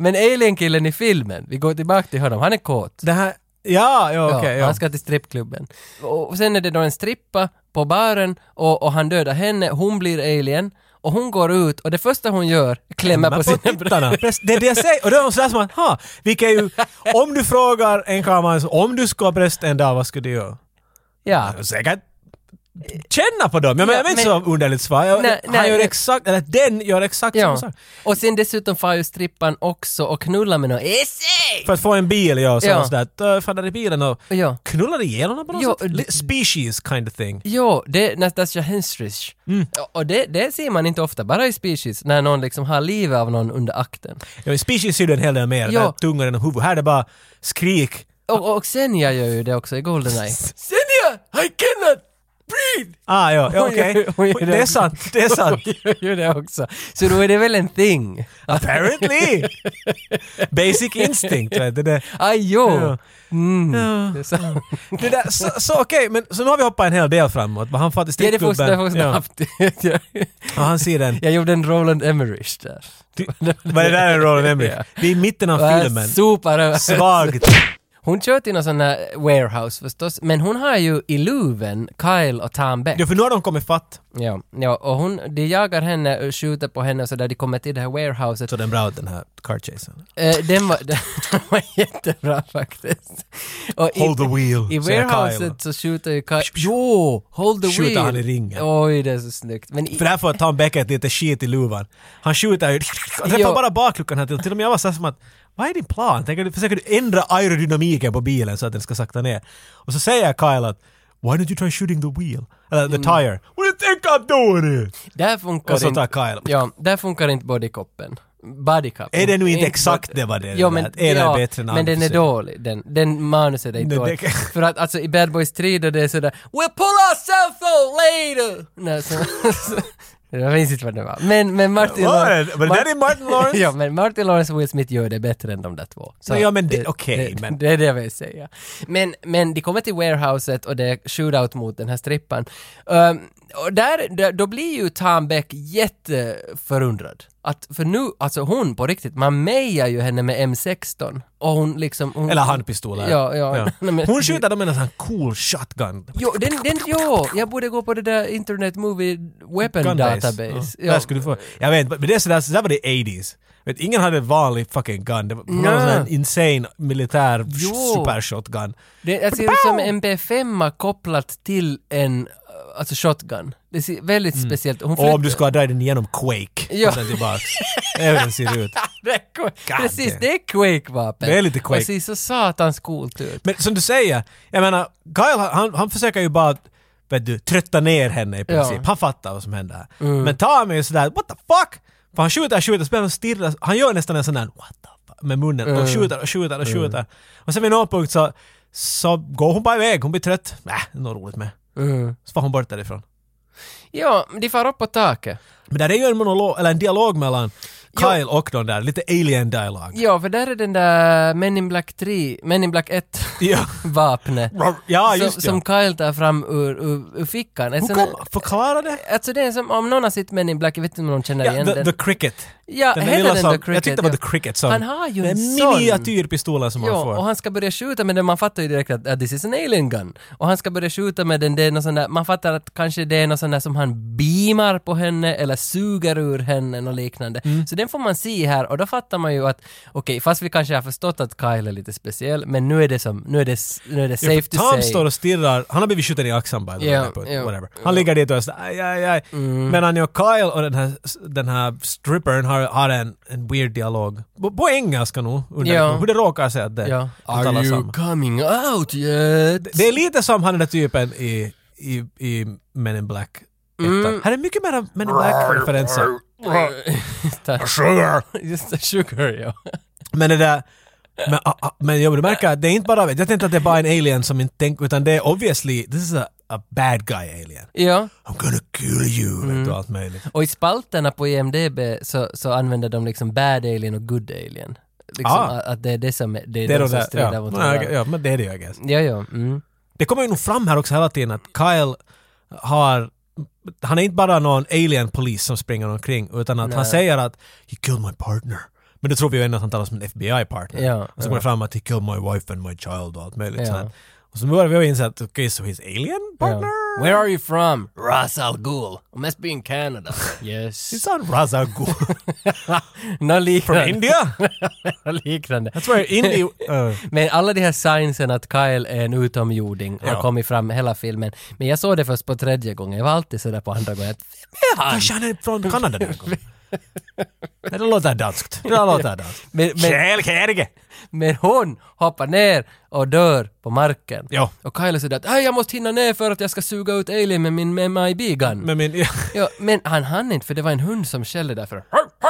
Men alien-killen i filmen, vi går tillbaka till honom, han är kåt. Det här, ja, ja, okej, ja, ja. Han ska till strippklubben. Och och sen är det då en strippa på baren och, och han dödar henne, hon blir alien och hon går ut och det första hon gör är klämma på, Men sina bröst. tittarna. Precis, Det är det jag säger. Och då är de sådär som att, ha, vilket är ju, om du frågar en kameraman, så om du ska ha bröst en dag, vad skulle du göra? Ja. Säkert känna på dem. Jag menar, Ja, jag vet inte men- så underligt svar. Jag, Nej, han nej, gör nej. exakt, eller den gör exakt samma ja. sak. Och sen dessutom far ju strippan också och knullar med någon. Esse! För att få en bil, ja, så Ja. ja. sådär, faller i bilen och Ja. knullar ihjäl honom på något Jo, sätt. Li- Species kind of thing. Jo, det, Nastasia Henstrich. Mm. Och det, det ser man inte ofta, bara i Species, när någon liksom har livet av någon under akten. Ja, men species är ju en hel del mer, Ja. ja. tungan genom huvudet. Här är det bara skrik. Och, och Senja gör ju det också i Goldeneye. Senja! I cannot breathe! Ah, ja, ja Hon gör- okej. hon gör Det är sant, det är sant. Hon gör ju det också. Så då är det väl en thing. Apparently! Basic instinct, vet du. Det, Aj jo! Ja. Mm. Det är sant. det där, så, så okej, men så nu har vi hoppat en hel del framåt. Men Han fattar Det är det första jag får ja, snabbt. Jag- och han ser den. Jag gjorde en Roland Emmerich där. Vad är det där en Roland Emmerich? Ja. Vi är i mitten av Och jag filmen. sopar över. Svagt. Hon kör till någon sån här warehouse förstås, men hon har ju i luven Kyle och Tom Beck. Ja, för nu har de kommit fatt. Ja, ja, och hon, de jagar henne, och skjuter på henne och så där de kommer till det här warehouset. Så den är bra ut den här car chasen. Eh, den, var, den var jättebra faktiskt. Och i- Hold the wheel, I säger warehouset så skjuter ju Kyle... Jo! Hold the Skjuter wheel! han i ringen. Oj, det är så snyggt. Men i, För därför får Tom Beckett lite skit i luvan. Han skjuter ju... Han träffar Jo. bara bakluckan här till. Till och med jag var såhär som att... Vad är din plan? Tänker du, försöker du ändra aerodynamiken på bilen så att den ska sakta ner? Och så säger Kyle att... Why don't you try shooting the wheel? Eller Mm. the tire. What do you think I'm doing it? där funkar Och så tar inte... Kyle. Ja, där funkar inte bodycoppen. Bodycup. Är det nu inte exakt det vad det är? Jo, men, Att ena är bättre än men den är andra. dålig. Den, den manuset är Nej, inte det dålig. kan- För att alltså i Bad Boys 3 då det är sådär “We'll pull ourselves out later!” Nej, så, så, Jag minns inte vad det var. Men, men Martin Vad Lawrence... är det? Var det där i Martin Lawrence? ja, men Martin Lawrence och Will Smith gör det bättre än de där två. Så Nej, ja, men det- okej, det, men- det är det jag vill säga. Men, men de kommer till warehouset och det är shootout mot den här strippan. Ehm, och där, där, då blir ju Tom Beck jätteförundrad. Att, för nu, alltså hon på riktigt, man mejar ju henne med M16 och hon liksom... Hon, Eller handpistoler. Ja, ja. Nej, men- Hon skjuter dem med en sån här cool shotgun. Jo, den, den, jo, jag borde gå på det där Internet Movie Weapon Gun base. Database. Ja. Där skulle du få. Jag vet, men det är sådär, sådär var det 80s. Vet, ingen hade en vanlig fucking gun. Det var någon Nej. sån här insane militär Jo. supershotgun. Det jag ser ut som en MP5 kopplat till en äh, alltså shotgun. Det ser väldigt speciellt Hon Mm. Och om du flyttar- ska dra den igenom Quake. Ja. Ja. Och sen tillbaks. Det är hur den ser ut. Det är Quake. God Precis, damn. det är Quake-vapen. Det är lite Quake. Och ser så satans coolt ut. Men som du säger, jag menar, Kyle han, han försöker ju bara vet du, trötta ner henne i princip. Ja. Mm. Han fattar vad som händer här. Men Tom är ju sådär what the fuck? För han skjuter, skjuter, spelar och stirrar. Han gör nästan en sån där what the fuck med munnen Mm. och skjuter och skjuter och skjuter. Och sen vid någon punkt så, så går hon bara iväg. Hon blir trött. Nä, det är något roligt med. Mm. Så var hon bort därifrån. Ja, de far upp på taket. Men där är ju en monolog, eller en dialog mellan Kyle och de där, lite alien dialog. Ja, för där är den där Men in Black 3, Men in Black 1 Ja. vapnet. Ja, just som, det. som Kyle tar fram ur, ur, ur fickan. En Hon sån här- kom, förklara det. Alltså det är som om någon har sett Men in Black, jag vet inte om någon känner Ja, igen the, den. the Cricket. ja, Den där heter lilla den som, The Cricket? jag tyckte det var ja. The Cricket som... Han har ju den en sån. miniatyrpistolen som han Ja, och får. han ska börja skjuta med den, man fattar ju direkt att ah, this is an alien gun. Och han ska börja skjuta med den, det är någon sån där, man fattar att kanske det är någon sån där som han beamar på henne eller suger ur henne och liknande. Mm. Så den får man se här och då fattar man ju att okej, fast vi kanske har förstått att Kyle är lite speciell, men nu är det som, nu är det, nu är det Ja, safe för to Tom say. står och stirrar, han har blivit skjuten i axeln by the Ja, way. på- ja. Mm. whatever. Han ligger dit och är sådär aj, aj, aj. Medan jag och Kyle och den här, den här strippern har, har en, en weird dialog. På, på engelska nog, undrar Ja. jag hur det råkar sig att det ja. att alla Are you samma. coming out yet? Det är lite som han den där typen i, i, i Men in Black. Mm. Här är mycket mer Men in Black-referenser. Just det. Sugar! Just det, sugar ja. Men det där... Men, ah, ah, men ja, men du märker att det är inte bara... Jag tänkte att det är bara en alien som inte tänker... Utan det är obviously... This is a, a bad guy alien. Ja. I'm gonna kill you! Mm. Vet du, allt möjligt. Och i spalterna på E IMDB så, så använder de liksom bad alien och good alien. Liksom Ah. a- att det är det som är, det är Det är de då som det... strider Ja. mot Nej, varandra. okej, ja, men det är det jag guess. Ja, ja. Mm. Det kommer ju nog fram här också hela tiden att Kyle har... Han är inte bara någon alien polis som springer omkring utan att han säger att “You killed my partner”. Men det tror vi ju ändå att han talar som en FBI-partner. Ja, och så ja. kommer det fram att “He killed my wife and my child” och allt möjligt Ja. sånt. Och så börjar vi inse att okej, okay, so he's alien ja. partner? Where are you from? Ras Al Ghul. Must be in Canada. yes. Is that Raza Ghul Något from liknande. India? Något liknande. That's where India... Uh, Men alla de här signsen att Kyle är en utomjording har Ja. kommit fram hela filmen. Men jag såg det först på tredje gången. Jag var alltid sådär på andra gången. att, Vem är han? kanske han är från Kanada den här gången. Ah. Det där låter danskt. Det där låter danskt. Men- men- Kjell Kerge! Men hon hoppar ner och dör på marken. Ja. Och Kyle säger att "Aj, jag måste hinna ner för att jag ska suga ut Alien med min med MIB-gun. Men, Men min... ja, men han hann inte för det var en hund som skällde därför.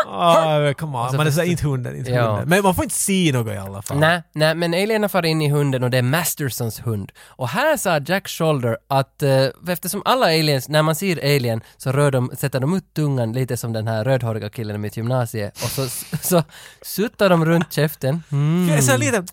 Ah, men come on. Alltså, Man är sådär, förstå- inte hunden, inte Ja. hunden. Men man får inte se något i alla fall. Nej, nej, men alienerna far in i hunden och det är Mastersons hund. Och här sa Jack Shoulder att eh, eftersom alla aliens, när man ser alien så rör de, sätter de ut tungan lite som den här rödhåriga killen i mitt gymnasie och så, så suttar de runt käften. Jag är så lite...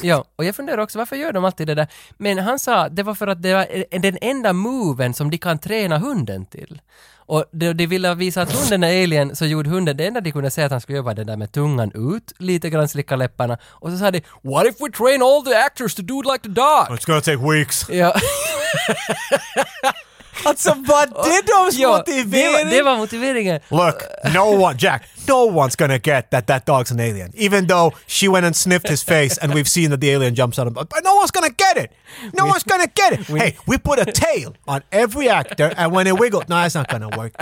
Ja, och jag funderar också varför gör de alltid det där? Men han sa att det var för att det var eh, den enda moven som de kan träna hunden till. Och de, de ville visa att hunden är alien så gjorde hunden, det enda de de kunde se att han skulle jobba det där med tungan ut, lite grann slicka läpparna, och så sa de “What if we train all the actors to do it like the dog?” It's gonna take weeks. Ja, Alltså vad det de ja det, var, motivering? det var motiveringen. Look, no one, Jack, no one's gonna get that that dog's an alien. Even though she went and sniffed his face and we've seen that the alien jumps out of him. But no one's gonna get it! No one's gonna get it! hey, we put a tail on every actor and when it wiggled, no, that's not gonna work.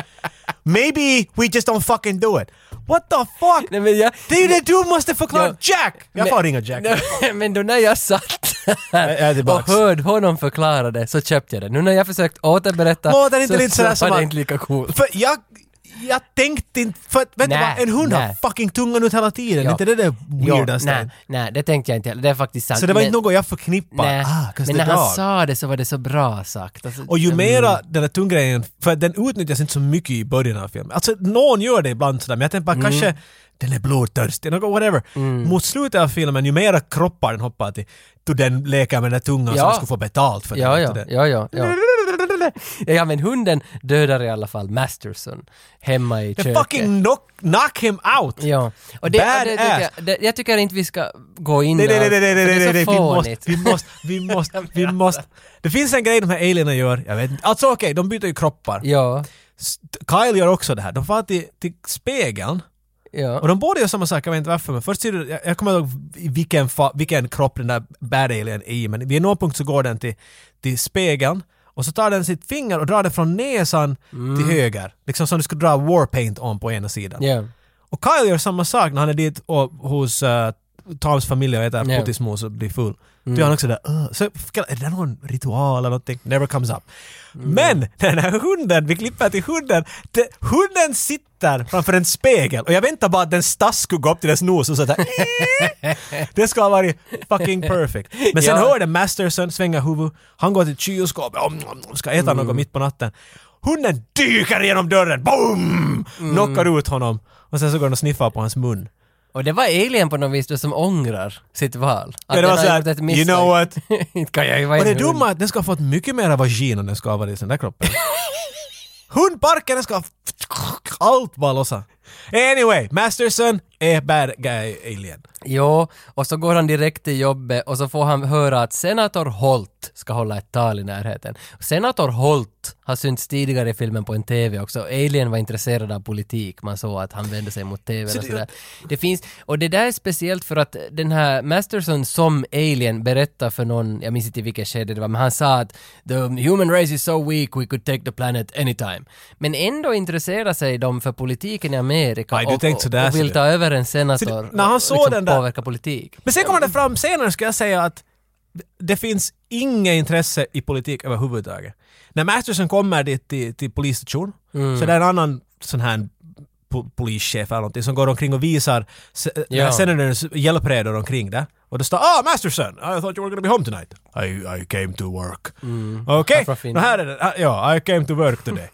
Maybe we just don't fucking do it. What the fuck? Nej, men jag, Det, det du måste förklara, Ja. Jack! Jag Men- får ringa Jack. Nej, men då när jag satt Jag är här och tillbaks. hörde honom förklara det så köpte jag det. Nu när jag försökt återberätta Låter inte så, lite sådär så som var det att- inte lika coolt. För jag, jag tänkte inte... För, att- vänta, Nej, vad, en hund har nej. fucking tungan ut hela tiden. Ja. Inte det där weirdaste? nej, nej, det tänkte jag inte heller. Det är faktiskt sant. Så det var Men- inte något jag förknippade? Nej, Ah, 'cause men det när är bra. han sa det så var det så bra sagt. Alltså, Och ju mm. mera den där tunggrejen, för att den utnyttjas inte så mycket i början av filmen. Alltså någon gör det ibland sådär, men jag Mm. tänkte bara kanske den är blodtörstig, något whatever. Mot slutet av filmen, ju mera kroppar den hoppar till, då den leker med den där tungan så Ja. den skulle få betalt för Ja, den. ja, vet du det. ja, ja, ja. Ja, men hunden dödar i alla fall Masterson hemma i They köket. fucking knock, knock him out! Ja. Och det, Bad och det, tycker ass. jag, det, jag tycker inte vi ska gå in Nej, nej, nej, alls, nej, nej, för nej, nej, det är nej, så vi måste, fånigt. vi måste, vi måste, vi måste. Det finns en grej de här alienerna gör, jag vet inte. Alltså okej, de byter ju kroppar. Ja, St- Kyle gör också det här, de far till, till spegeln ja. Och de båda gör samma sak, jag vet inte varför, men först ser du, jag, jag kommer ihåg i vilken, fa, vilken kropp den där bad alien är i, men vid någon punkt så går den till, till spegeln och så tar den sitt finger och drar det från näsan till höger. Liksom som du skulle dra warpaint om på ena sidan. Mm. ja. Och Kyle gör samma sak när han är dit och, hos uh, Toms familj och äter Ja. pottismos och blir full. Då gör han också det där, "Ugh." så är det någon ritual eller någonting? Never comes up. Men den här hunden, vi klipper till hunden, det, hunden sitter framför en spegel och jag väntar bara att den stass skulle gå upp till dess nos och sådär Det ska ha varit fucking perfect. Men sen Ja. hör den Masterson svänga huvud, han går till kylskåpet och ska äta Mm. något mitt på natten. Hunden dyker genom dörren, boom! Mm. Knockar ut honom och sen så går den och sniffar på hans mun. Och det var Alien på något vis då som ångrar sitt val. Att Ja, det den var har gjort såhär, ett you misstag." know what? Inte kan jag ju vara Och det en hund. dumma är att den ska ha fått mycket mer vagin om den ska ha varit i den där kroppen. Hundparken, den ska ha... Allt bara lossa. Anyway, Masterson är bad guy alien. Jo, och så går han direkt till jobbet och så får han höra att senator Holt ska hålla ett tal i närheten. Senator Holt har synts tidigare i filmen på en TV också. Alien var intresserad av politik, man såg att han vände sig mot TV och sådär. Det finns, och det där är speciellt för att den här Masterson som alien berättar för någon, jag minns inte i vilket skede det var, men han sa att the human race is so weak we could take the planet anytime. Men ändå intresserar sig de för politiken i Amerika Aj, du och, tänkte sådär, och, och ser vill du. ta över en senator Så det- när han och såg den där- liksom påverka politik. Men sen kommer det fram senare, ska jag säga, att det finns inget intresse i politik överhuvudtaget. När Masterson kommer dit till, till polisstation, så är det en annan sån här po- polischef eller någonting som går omkring och visar eh, se- Ja. ja. senatorns hjälpredor omkring där. Och då står ah Masterson, I thought you were gonna be home tonight. I, I came to work. Okej, Varför fin- nå här är den. Ah, Ja, I came to work today.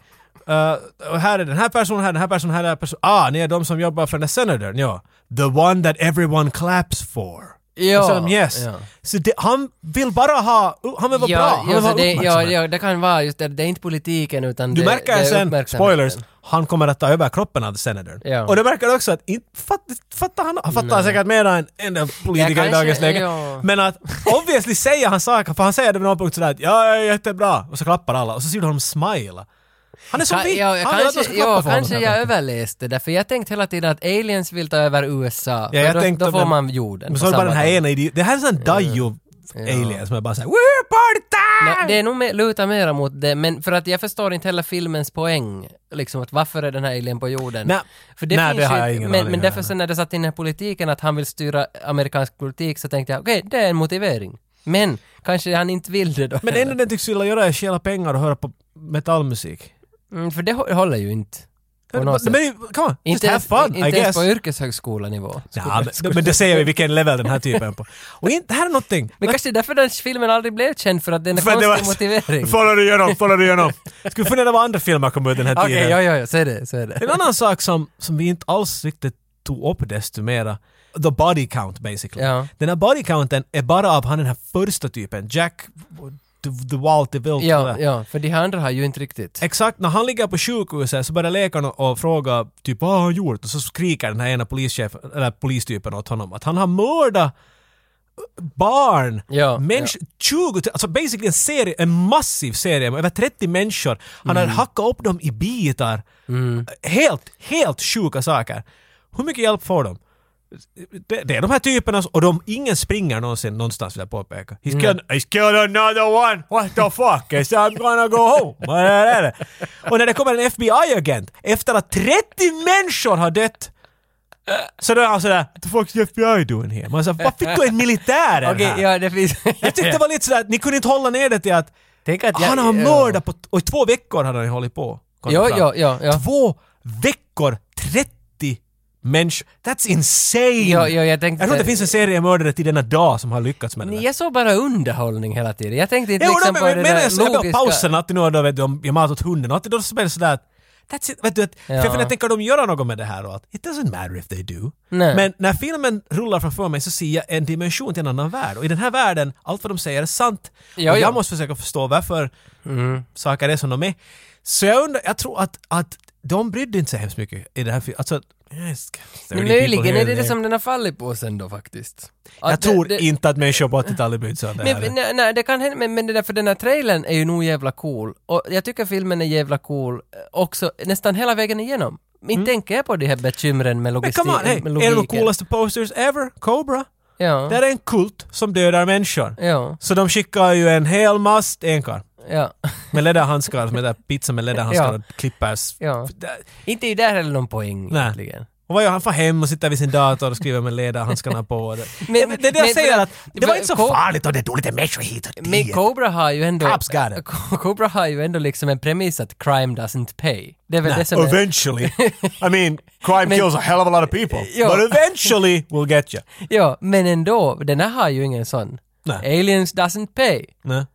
Eh, och här är den här personen, här den här personen, här den här personen. Ah, ni är de som jobbar för den här senatorn, ja. The one that everyone claps for. Ja, Och så de, yes. ja. Så det, han vill bara ha, han vill vara bra, han vill ja, vara så det, ja, uppmärksamhet. ja, det kan vara just det, det är inte politiken utan Du det, märker det är sen, uppmärksamheten. spoilers, han kommer att ta över kroppen av senatorn. Ja. Och det märker också att, inte fatt, fattar han, han fattar säkert mer än en enda politiker Ja, i kanske, dagens läge. ja. Men att obviously säger han saker, för han säger det vid någon punkt sådär att ja, jag är jättebra. Och så klappar alla och så ser du honom smila. Han är så Ka- vit! ja, han vill att man ska kanske, klappa ja, för honom. kanske här jag veckan. överläste det, för jag tänkte hela tiden att aliens vill ta över USA. Ja, för jag då, tänkte då får väl- man jorden. Men på så är det bara samma den här gång. ena idioten. Det här är en sån här dajo alien som är bara såhär “We're party time!” Nej, det är nog mer, lutar mera mot det, men för att jag förstår inte heller filmens poäng. Liksom att varför är den här alien på jorden? Nej. för det, Nej, finns det ju har jag inte- ingen men, aning men om. därför sen när det satt in den här politiken att han vill styra amerikansk politik så tänkte jag okej, det är en motivering. Men kanske han inte vill det då. Men det heller. enda den tycks vilja göra är stjäla pengar och höra på metallmusik. Mm, för det hå- håller ju inte. På Men något sätt. men- come on, just Inte, have ens, fun, inte I ens guess. på yrkeshögskolanivå. Ja, men, men det säger vi vilken level den här typen är på. Och inte, här är någonting. Men kanske det är därför den filmen aldrig blev känd, för att den är För att konstig det var- motivering. Follow du igenom, follow du igenom. Skulle fundera vad andra filmer kom ut den här Okej, tiden. ja, ja, ja, så är det, så är det. En annan sak som, som vi inte alls riktigt tog upp desto mera, the body count basically. Ja. Den här body counten är bara av han den här första typen, Jack the- the Walter Wilt. Ja, ja, för de här andra har ju inte riktigt. Exakt, när han ligger på sjukhuset så börjar läkarna och fråga typ vad har han gjort? Och så skriker den här ena polischefen, eller polistypen åt honom att han har mördat barn, Ja, människor, 20, alltså basically en serie, en massiv serie med över 30 människor. Han Mm. har hackat upp dem i bitar. Helt, helt sjuka saker. Hur mycket hjälp får de? Det, det är de här typerna och de, ingen springer någonsin någonstans vill jag påpeka. He's killed, he's killed another one! What the fuck? Is I'm gonna go home! Vad är det? Och när det kommer en FBI-agent efter att 30 människor har dött så då är han sådär “What the fuck is the FBI doing here?” Man säger “Vad fick du en militär här?” Okej, ja det finns... Jag tyckte det var lite sådär att ni kunde inte hålla ner det till att Tänk att jag- han har ja. mördat på... Och i två veckor hade han ju hållit på. kom Ja, det fram. ja, ja, ja. Två veckor, 30 människor. That's insane! Ja, ja, jag tänkte- jag tror inte det finns en seriemördare till denna dag som har lyckats med det. Nej, där. Jag såg bara underhållning hela tiden. Jag tänkte inte Jo, liksom men, på men, det men jag där såg logiska... på pausen alltid nu då vet du om jag matat åt hunden och alltid då så blir det sådär att That's it. Vet du, att, för Ja. jag funderar, tänker de göra något med det här och att it doesn't matter if they do. Nej. Men när filmen rullar framför mig så ser jag en dimension till en annan värld och i den här världen, allt vad de säger är sant. Ja, Mm. och jag ja. måste försöka förstå varför saker är som de är. Så jag undrar, jag tror att, att de brydde inte sig hemskt mycket i det här filmen. Alltså, yes, 30 Men people möjligen here är and det det there. som den har fallit på sen då faktiskt. Att typ Jag tror det, det, inte att människor på 80-talet brydde sig om det här. Nej, nej, nej, det kan hända, men, men det där, för den här trailern är ju nog jävla cool. Och jag tycker filmen är jävla cool eh, också nästan hela vägen igenom. Inte tänker jag på de här bekymren med Mm. Men logistiken. come on, hey, med en av de logiken. coolaste posters ever, Cobra. Ja. Det är en kult som dödar människor. Ja, Så de skickar ju en hel mast enkar ja. med läderhandskar, med där pizza med läderhandskar Ja. och klippers. Ja. Det- Inte ju där heller någon poäng Nej. egentligen. Och vad gör han? får hem och sitter vid sin dator och skriver med läderhandskarna på. Och det. Men- Ja, men det är det jag men- säger men- att det var inte så Co- farligt och det är dåligt med människor hit och Men dit. Cobra har ju ändå... Cops got it. Co- Cobra har ju ändå liksom en premiss att crime doesn't pay. Det är väl det som är... Eventually. I mean, crime Men- kills a hell of a lot of people. Ja. But eventually we'll get you. Ja, men ändå, den här har ju ingen sån. Nej. Aliens doesn't pay. Nej.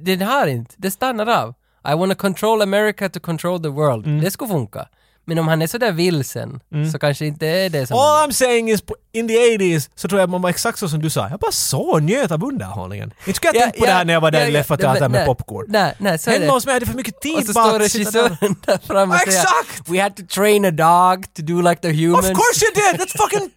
Den har inte, det stannar av. I wanna control America to control the world. Mm. Det skulle funka. Men om han är sådär vilsen så kanske inte är det som... All I'm saying is, på- in the 80s så tror jag man var exakt så som du sa. Jag bara så och njöt av underhållningen. Inte skulle jag tänkt på det här när jag var där i Leffa Teatern med nej, popcorn. Nej, nej, så är Hemma det. hos mig hade jag för mycket tid Och så bara står att sitta där. regissören där framme och säger Exakt! We had to train a dog to do like the Of humans. course you did! That's fucking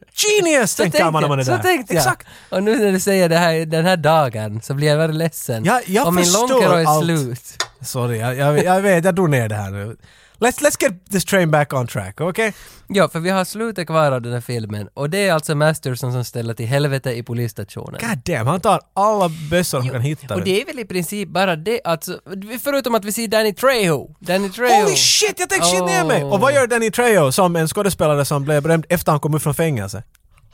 genius! Så tänker man när man är så där. tänkte jag. Exakt. Och nu när du säger det här, den här dagen så blir jag väldigt ledsen. Ja, jag och min förstår långkero är allt. slut. Sorry, jag, jag, jag vet, jag drog ner det här nu. Let's, let's get this train back on track, okej? Ja, för vi har slutet kvar av den här filmen och det är alltså Masterson som ställer till helvete i polisstationen. God damn, han tar alla bössor han kan hitta. Och det är väl i princip bara det, alltså, förutom att vi ser Danny Trejo. Danny Trejo. Holy shit, jag tänkte shit ner mig! Oh. Och vad gör Danny Trejo som en skådespelare som blev berömd efter han kom ut från fängelse?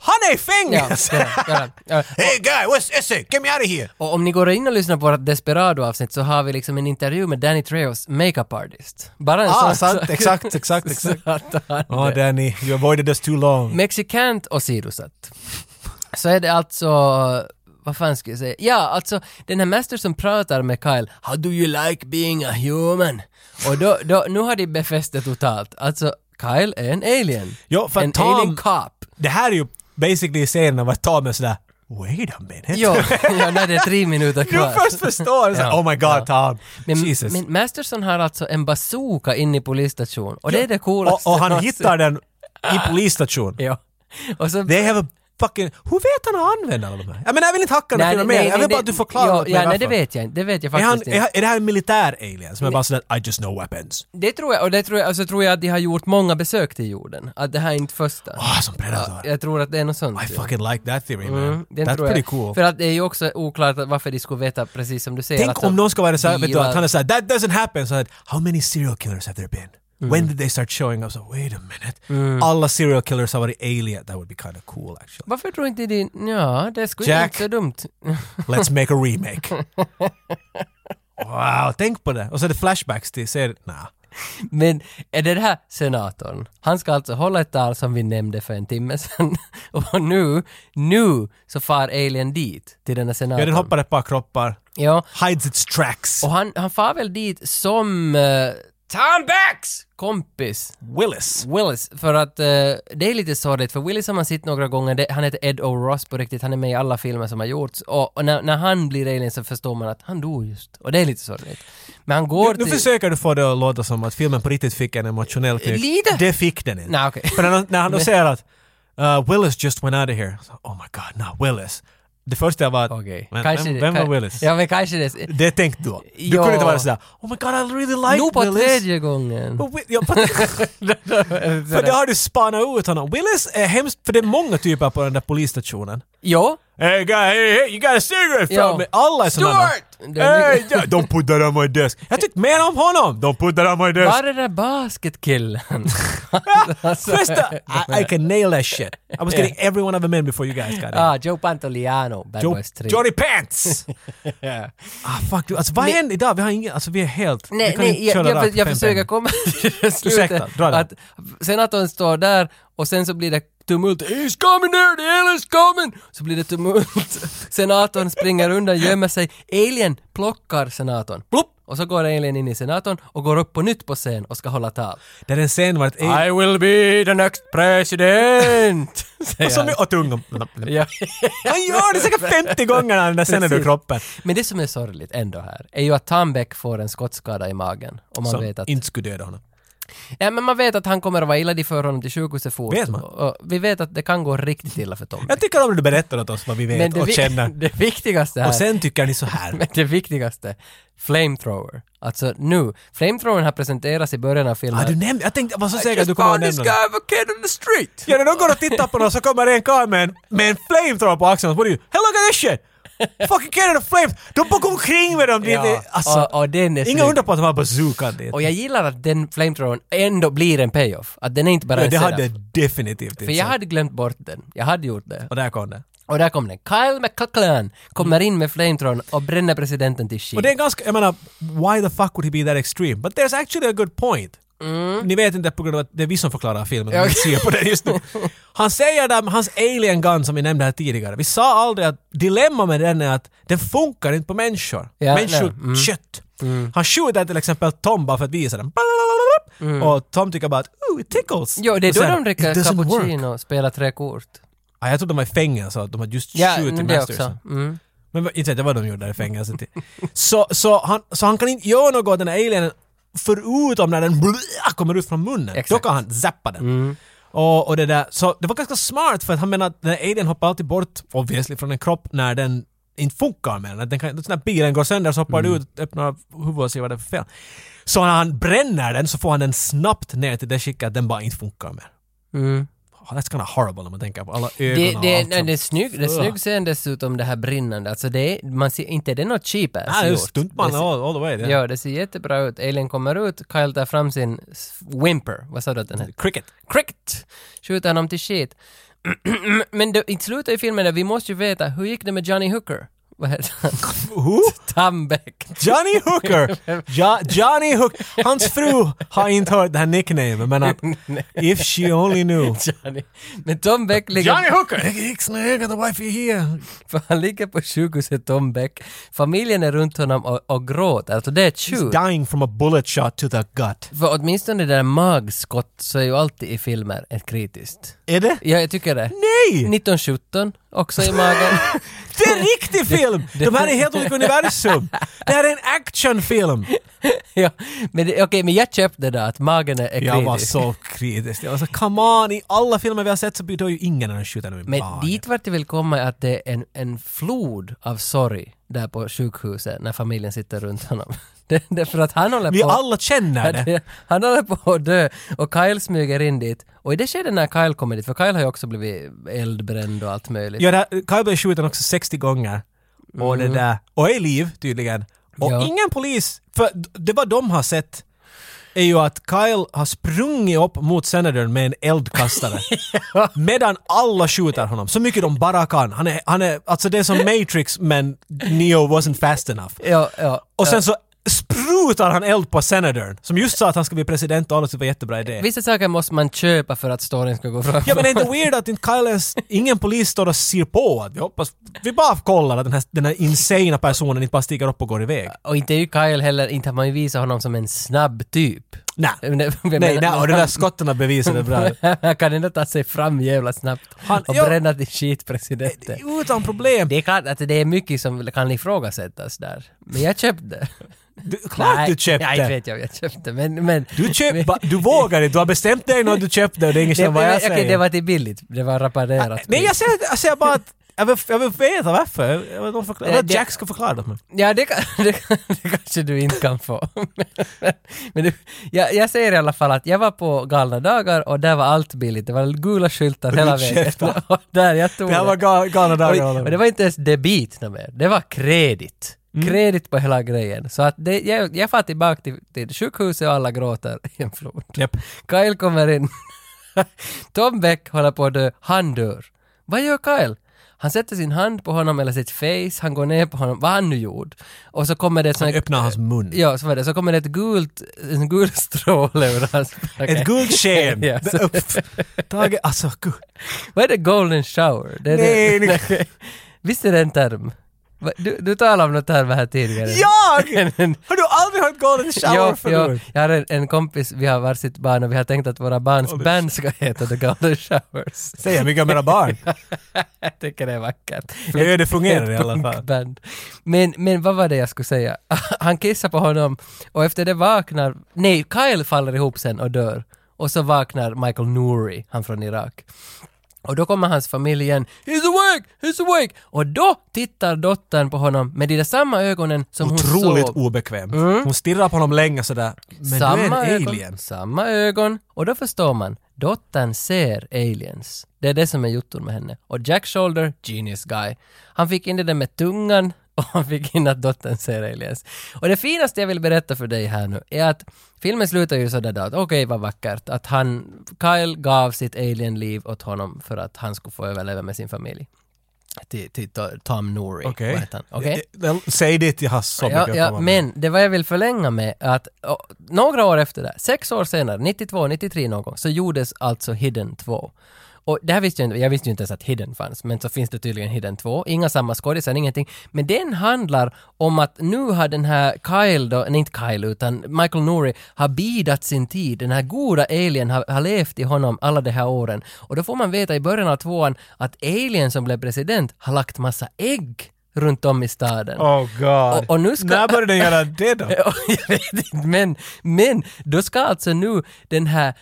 Han är i Ja, fängelse! ja, ja, ja. Hey guy, what's essay? Get me out of here! Och om ni går in och lyssnar på vårt Desperado-avsnitt så har vi liksom en intervju med Danny Trejos makeup artist. Bara en Ah, sån sant, sak. exakt, exakt, exakt. Så att han- Oh Danny, you avoided us too long. Mexikant åsidosatt. Så är det alltså, vad fan ska jag säga? Ja, alltså den här master som pratar med Kyle, How do you like being a human? Och då, då nu har de befäst det totalt. Alltså, Kyle är en alien. Ja, för en Tom- alien cop. Det här är ju basically scenen av att Tom är sådär Wait a minute. Jo, ja, när det är tre minuter Du kvar. först förstår, så, Ja, oh my god Tom. Men, Jesus. men Masterson har alltså en bazooka inne i polisstation och det är det coolaste. och, och han någonsin. hittar den i polisstation. Alltså- Ah. Ja. Och så... They have a fucking... Hur vet han att använda alla de här? Jag menar jag vill inte hacka några mer, jag vill bara att du förklarar ja, åt mig ja, nej, det varför. vet jag inte. Det vet jag Är, faktiskt han, inte. är, han- är det här en militär alien som är bara sådär I just know weapons? Det tror jag, och det tror jag, alltså tror jag att de har gjort många besök till jorden. Att det här är inte första. Ah, som predator. jag tror att det är något sånt. I ja. fucking like that theory man. Mm, den That's tror jag. pretty cool. För att det är ju också oklart att varför de skulle veta precis som du säger. att Tänk de om någon ska vara såhär, vet du, gillar- att han är såhär that doesn't happen. Så att, how many serial killers have there been? When did they start showing up? So, wait a minute. Alla serial killers har varit alien. That would be kind of cool actually. Varför tror inte de... Ja, det skulle ju Jack. inte så dumt. Let's make a remake. wow, tänk på det. Och så är det flashbacks till serien. Nah. Men är det den här senatorn? Han ska alltså hålla ett tal som vi nämnde för en timme sedan. Och nu, nu så far Alien dit, till den här senatorn. Ja, den hoppar ett par kroppar. Ja, Hides its tracks. och han, han far väl dit som eh, Tom Backs kompis Willis. Willis, för att eh, det är lite sorgligt, för Willis har man sett några gånger, det, han heter Ed O. Ross på riktigt, han är med i alla filmer som har gjorts, och, och när, när han blir alien så förstår man att han dog just, och det är lite sorgligt. Men han går Nu till... försöker du få det att låta som att filmen på riktigt fick en emotionell knyck. Lite. Det fick den inte. Nej, okej. För när, han- när han då säger att uh, Willis just went out of here. Så, oh my god, now Willis. Det första var att, Okej. men, Kanske vem, det- vem var ka- Willis? Ja, men kanske det. Det tänkte du. Du Ja. kunde inte vara sådär Oh my god, I really like Nu på Willis. Oh. tredje gången. But Wi- ja, för- för det har du spanat ut honom. Willis är hemskt, för det är många typer på den där polisstationen. Jo, Hey guy, hey, hey, you got a cigarette Ja. from me? Alla är sådana. Stuart! Hey, yeah, don't put that on my desk. Jag tyckte mer om honom! Don't put that on my desk! var Alltså, det där basketkillen? Första, Alltså, I, I can nail that shit. I was getting every one of them in before you guys got it. ah, Joe Pantoliano, Bad Joe, Boys 3. Johnny Pants! Ja. ah, fuck du. Alltså vad händer idag? Vi har ingen, alltså vi är helt... vi Nej, kan nej, inte jag, köra jag, rakt jag, jag fem försöker pennor. komma till slutet. Ursäkta, dra den. att, sen att hon står där och sen så blir det tumult. He's coming there, the alien's coming! Så blir det tumult. Senatorn springer undan, gömmer sig. Alien plockar senatorn. Blupp! Och så går alien in i senatorn och går upp på nytt på scen och ska hålla tal. Det är en scen e- vart... I will be the next president! Och så säger han. mycket... Och tungan. Ja. Han gör det säkert 50 gånger när den där scenen är ur Precis. kroppen. Men det som är sorgligt ändå här är ju att Tambeck får en skottskada i magen. Och man Som vet att... inte skulle döda honom. Nej, men man vet att han kommer att vara illa, de för honom till sjukhuset fort. Vet man? Och, och vi vet att det kan gå riktigt illa för Tommy. Jag tycker om när du berättar åt oss vad vi vet Men det, och vi- känner. det viktigaste här, Och sen tycker ni så här. men det viktigaste, flamethrower. Alltså nu, flamethrowern har presenterats i början av filmen. Ah, du nämnde, jag tänkte, jag var så säker att du kommer att nämna det. a kid on the street! Ja, när de går och tittar på någon så kommer en karl med en, med en flamethrower på axeln. What do you? Hey, look at this shit! Fucking carry the flames! De bara går omkring med dem! Det, Ja, det, alltså, och- och den är inga snygg. undra på att de har bazookan dit. Och jag gillar att den flamethrowern ändå blir en payoff. Att den är inte bara ja, en det setup. hade definitivt inte För jag sett. hade glömt bort den. Jag hade gjort det. Och där kom det. Och där kom den. Kyle McCucklan kommer in med flamethrowern och bränner presidenten till Och shit. det är ganska, jag menar, why the fuck would he be that extreme? But there's actually a good point. Mm. Ni vet inte på grund av att det är vi som förklarar filmen, och vi ser på den just nu. Han säger där med hans alien gun som vi nämnde här tidigare, vi sa aldrig att dilemma med den är att den funkar inte på människor. Ja, människor, nej. Mm. kött. Han skjuter till exempel Tom bara för att visa den. Blablabla. Och Tom tycker bara att ooh, it tickles. Jo, Mm. det är Och då sen, de dricker "It doesn't work." cappuccino och spelar tre kort. Ah, jag trodde de var i fängelse och att de hade just Ja, skjutit det Masterson. också. Mm. Men vad- inte vet jag vad de gjorde där i fängelset. så, så, han, så han kan inte göra något åt den här alienen förutom när den blä- kommer ut från munnen. Då Exakt. Mm. kan han zappa den. Och, och det där. Så det var ganska smart för att han menar att den här alien hoppar alltid bort, obviously, från en kropp när den inte funkar med den. Att den kan, när bilen går sönder så Mm. hoppar det ut, öppnar huvudet och ser vad det är för fel. Så när han bränner den så får han den snabbt ner till det skicket att den bara inte funkar mer. Mm. Oh, that's kind of horrible när man tänker på alla ögon Det, och det, allt nej, som- det är snygg, det är Ugh. snygg scen dessutom det här brinnande. Alltså det är, man ser inte, det är något cheap ass Ah, det är gjort. stuntman Det ser- all, all the way. Det. Ja, det ser jättebra ut. Alien kommer ut, Kyle tar fram sin s- whimper. Vad sa du att den hette? Cricket. Cricket! Skjuter honom till shit. Men det, i slutet i filmen, där, vi måste ju veta, hur gick det med Johnny Hooker? Vad heter han? Who? Tambeck. Johnny Hooker! Jo- Johnny Hooker! Hans fru har inte hört det här nicknamen men att if she only knew. Johnny. Men Tom Beck ligger... Hooker! Jag gick snö, I got the wife here. För han ligger på sjukhuset Tom Beck. Familjen är runt honom och, och gråter. Alltså det är ett tjut. He's dying from a bullet shot to the gut. För åtminstone det där magskott så är ju alltid i filmer ett kritiskt. Är det? Ja, jag tycker det. Nej! 1917, också i magen. Det är en riktig film! De här är helt olika universum. Det här är en actionfilm. ja, men det- okej, men jag köpte det där att magen är, är Jag var kritisk. så kritisk. Jag var så come on, i alla filmer vi har sett så blir ju ingen när de skjuter någon i Men magen. dit vart jag vill komma är att det är en, en flod av sorg där på sjukhuset när familjen sitter runt honom. Det, det är för att han håller Vi på... alla känner det. Han- Han håller på att dö och Kyle smyger in dit. Och i det skedet när Kyle kommer dit, för Kyle har ju också blivit eldbränd och allt möjligt. Ja, där, Kyle blev skjuten också 60 gånger. Och det där. Och är i liv tydligen. Och Mm. Ja. ingen polis, för d- det var de har sett är ju att Kyle har sprungit upp mot senatorn med en eldkastare. Medan alla skjuter honom så mycket de bara kan. Han är, han är, alltså det är som Matrix men Neo wasn't fast enough. Ja, ja. Och sen så sprutar han eld på senatorn som just sa att han ska bli president och alla tyckte det var en jättebra idé. Vissa saker måste man köpa för att storyn ska gå fram. Ja men är inte weird att inte Kyle ens, ingen polis står och ser på att vi hoppas, vi bara kollar att den här, den här insana personen inte bara stiger upp och går iväg. Och inte är ju Kyle heller, inte har man ju visat honom som en snabb typ. Nej. Men- Nej, men- nej, och de där skotten bevisade bra. Han kan ändå ta sig fram jävla snabbt Han- och ja. bränna till skitpresidenten. Utan problem. Det är klart att det är mycket som kan ifrågasättas där. Men jag köpte. Du, klart nej, du köpte! Nej, vet jag, jag köpte. Men, men, Du men- köpte, du vågar inte, du har bestämt dig när du köpte och det är inget Nej, som vad men- jag okej, säger. det var till billigt. Det var reparerat. Nej, jag säger, jag säger bara att jag vill, jag vill veta varför. Jag vill, att någon förklara- jag vill att Det- Jack ska förklara det för mig. Ja, det, kan, det, kan, det kanske du inte kan få. Men du, jag, jag säger i alla fall att jag var på galna dagar och där var allt billigt. Det var gula skyltar hela vägen. Ursäkta. Och där jag tog Det här var gal- galna dagar. Och, och Oh, det var inte ens debit nå mer. Det var kredit. Mm. Kredit på hela grejen. Så att det, jag, jag far tillbaka till, till sjukhuset och alla gråter i en flod. Japp. Kyle kommer in. Tom Beck håller på att dö. Han dör. Vad gör Kyle? Han sätter sin hand på honom eller sitt face, han går ner på honom, vad han nu gjorde. Och så kommer det ett sånt här- Öppna hans mun. eh, Ja, så var det. Så kommer det ett gult, en gul stråle ur hans... Ett gult sken! Ja, Det- så- upp. Tage, alltså gud. Vad är det golden shower? Det är Nej, det, Visst är det en term? Va- Du, du talade om något termer här tidigare. Jag! Har du aldrig hört Golden Shower Jo, jo, förut? jag har en, en kompis, vi har varsitt barn och vi har tänkt att våra barns band ska heta The Golden Showers. Säger jag mycket om era barn. Jag tycker det är vackert. Jag gör det fungerar i Ett alla fall. punkband. Men, men vad var det jag skulle säga? Han kissar på honom och efter det vaknar... Nej, Kyle faller ihop sen och dör. Och så vaknar Michael Nouri, han från Irak. Och då kommer hans familj igen. He's awake! He's awake! Och då tittar dottern på honom med de där samma ögonen som hon Otroligt såg. obekvämt. Hon stirrar på honom länge sådär. Men du är en alien. Ögon, samma ögon. Och då förstår man, dottern ser aliens. Det är det som är jotton med henne. Och Jack Shoulder, genius guy. Han fick in det där med tungan och han fick in att dottern ser aliens. Och det finaste jag vill berätta för dig här nu är att filmen slutar ju sådär då att okej vad vackert att han, Kyle gav sitt alienliv åt honom för att han skulle få överleva med sin familj. Till, till Tom Nouri. vad Okej. heter han? Okej? Ja, ja, Säg det till Hasse så ja, mycket ja, jag kommer men det var jag vill förlänga med att å, några år efter det, sex år senare, 92, 93 någon gång, så gjordes alltså Hidden 2. Och det här visste jag inte, jag visste ju inte ens att Hidden fanns, men så finns det tydligen Hidden 2, inga samma skådisar, ingenting. Men den handlar om att nu har den här Kyle då, nej inte Kyle utan Michael Nouri har bidat sin tid, den här goda alien har, har levt i honom alla de här åren. Och då får man veta i början av tvåan att alien som blev president har lagt massa ägg runt om i staden. Oh god. Och- och nu ska- När började den göra det då? Ja, jag vet inte, men, men då ska alltså nu den här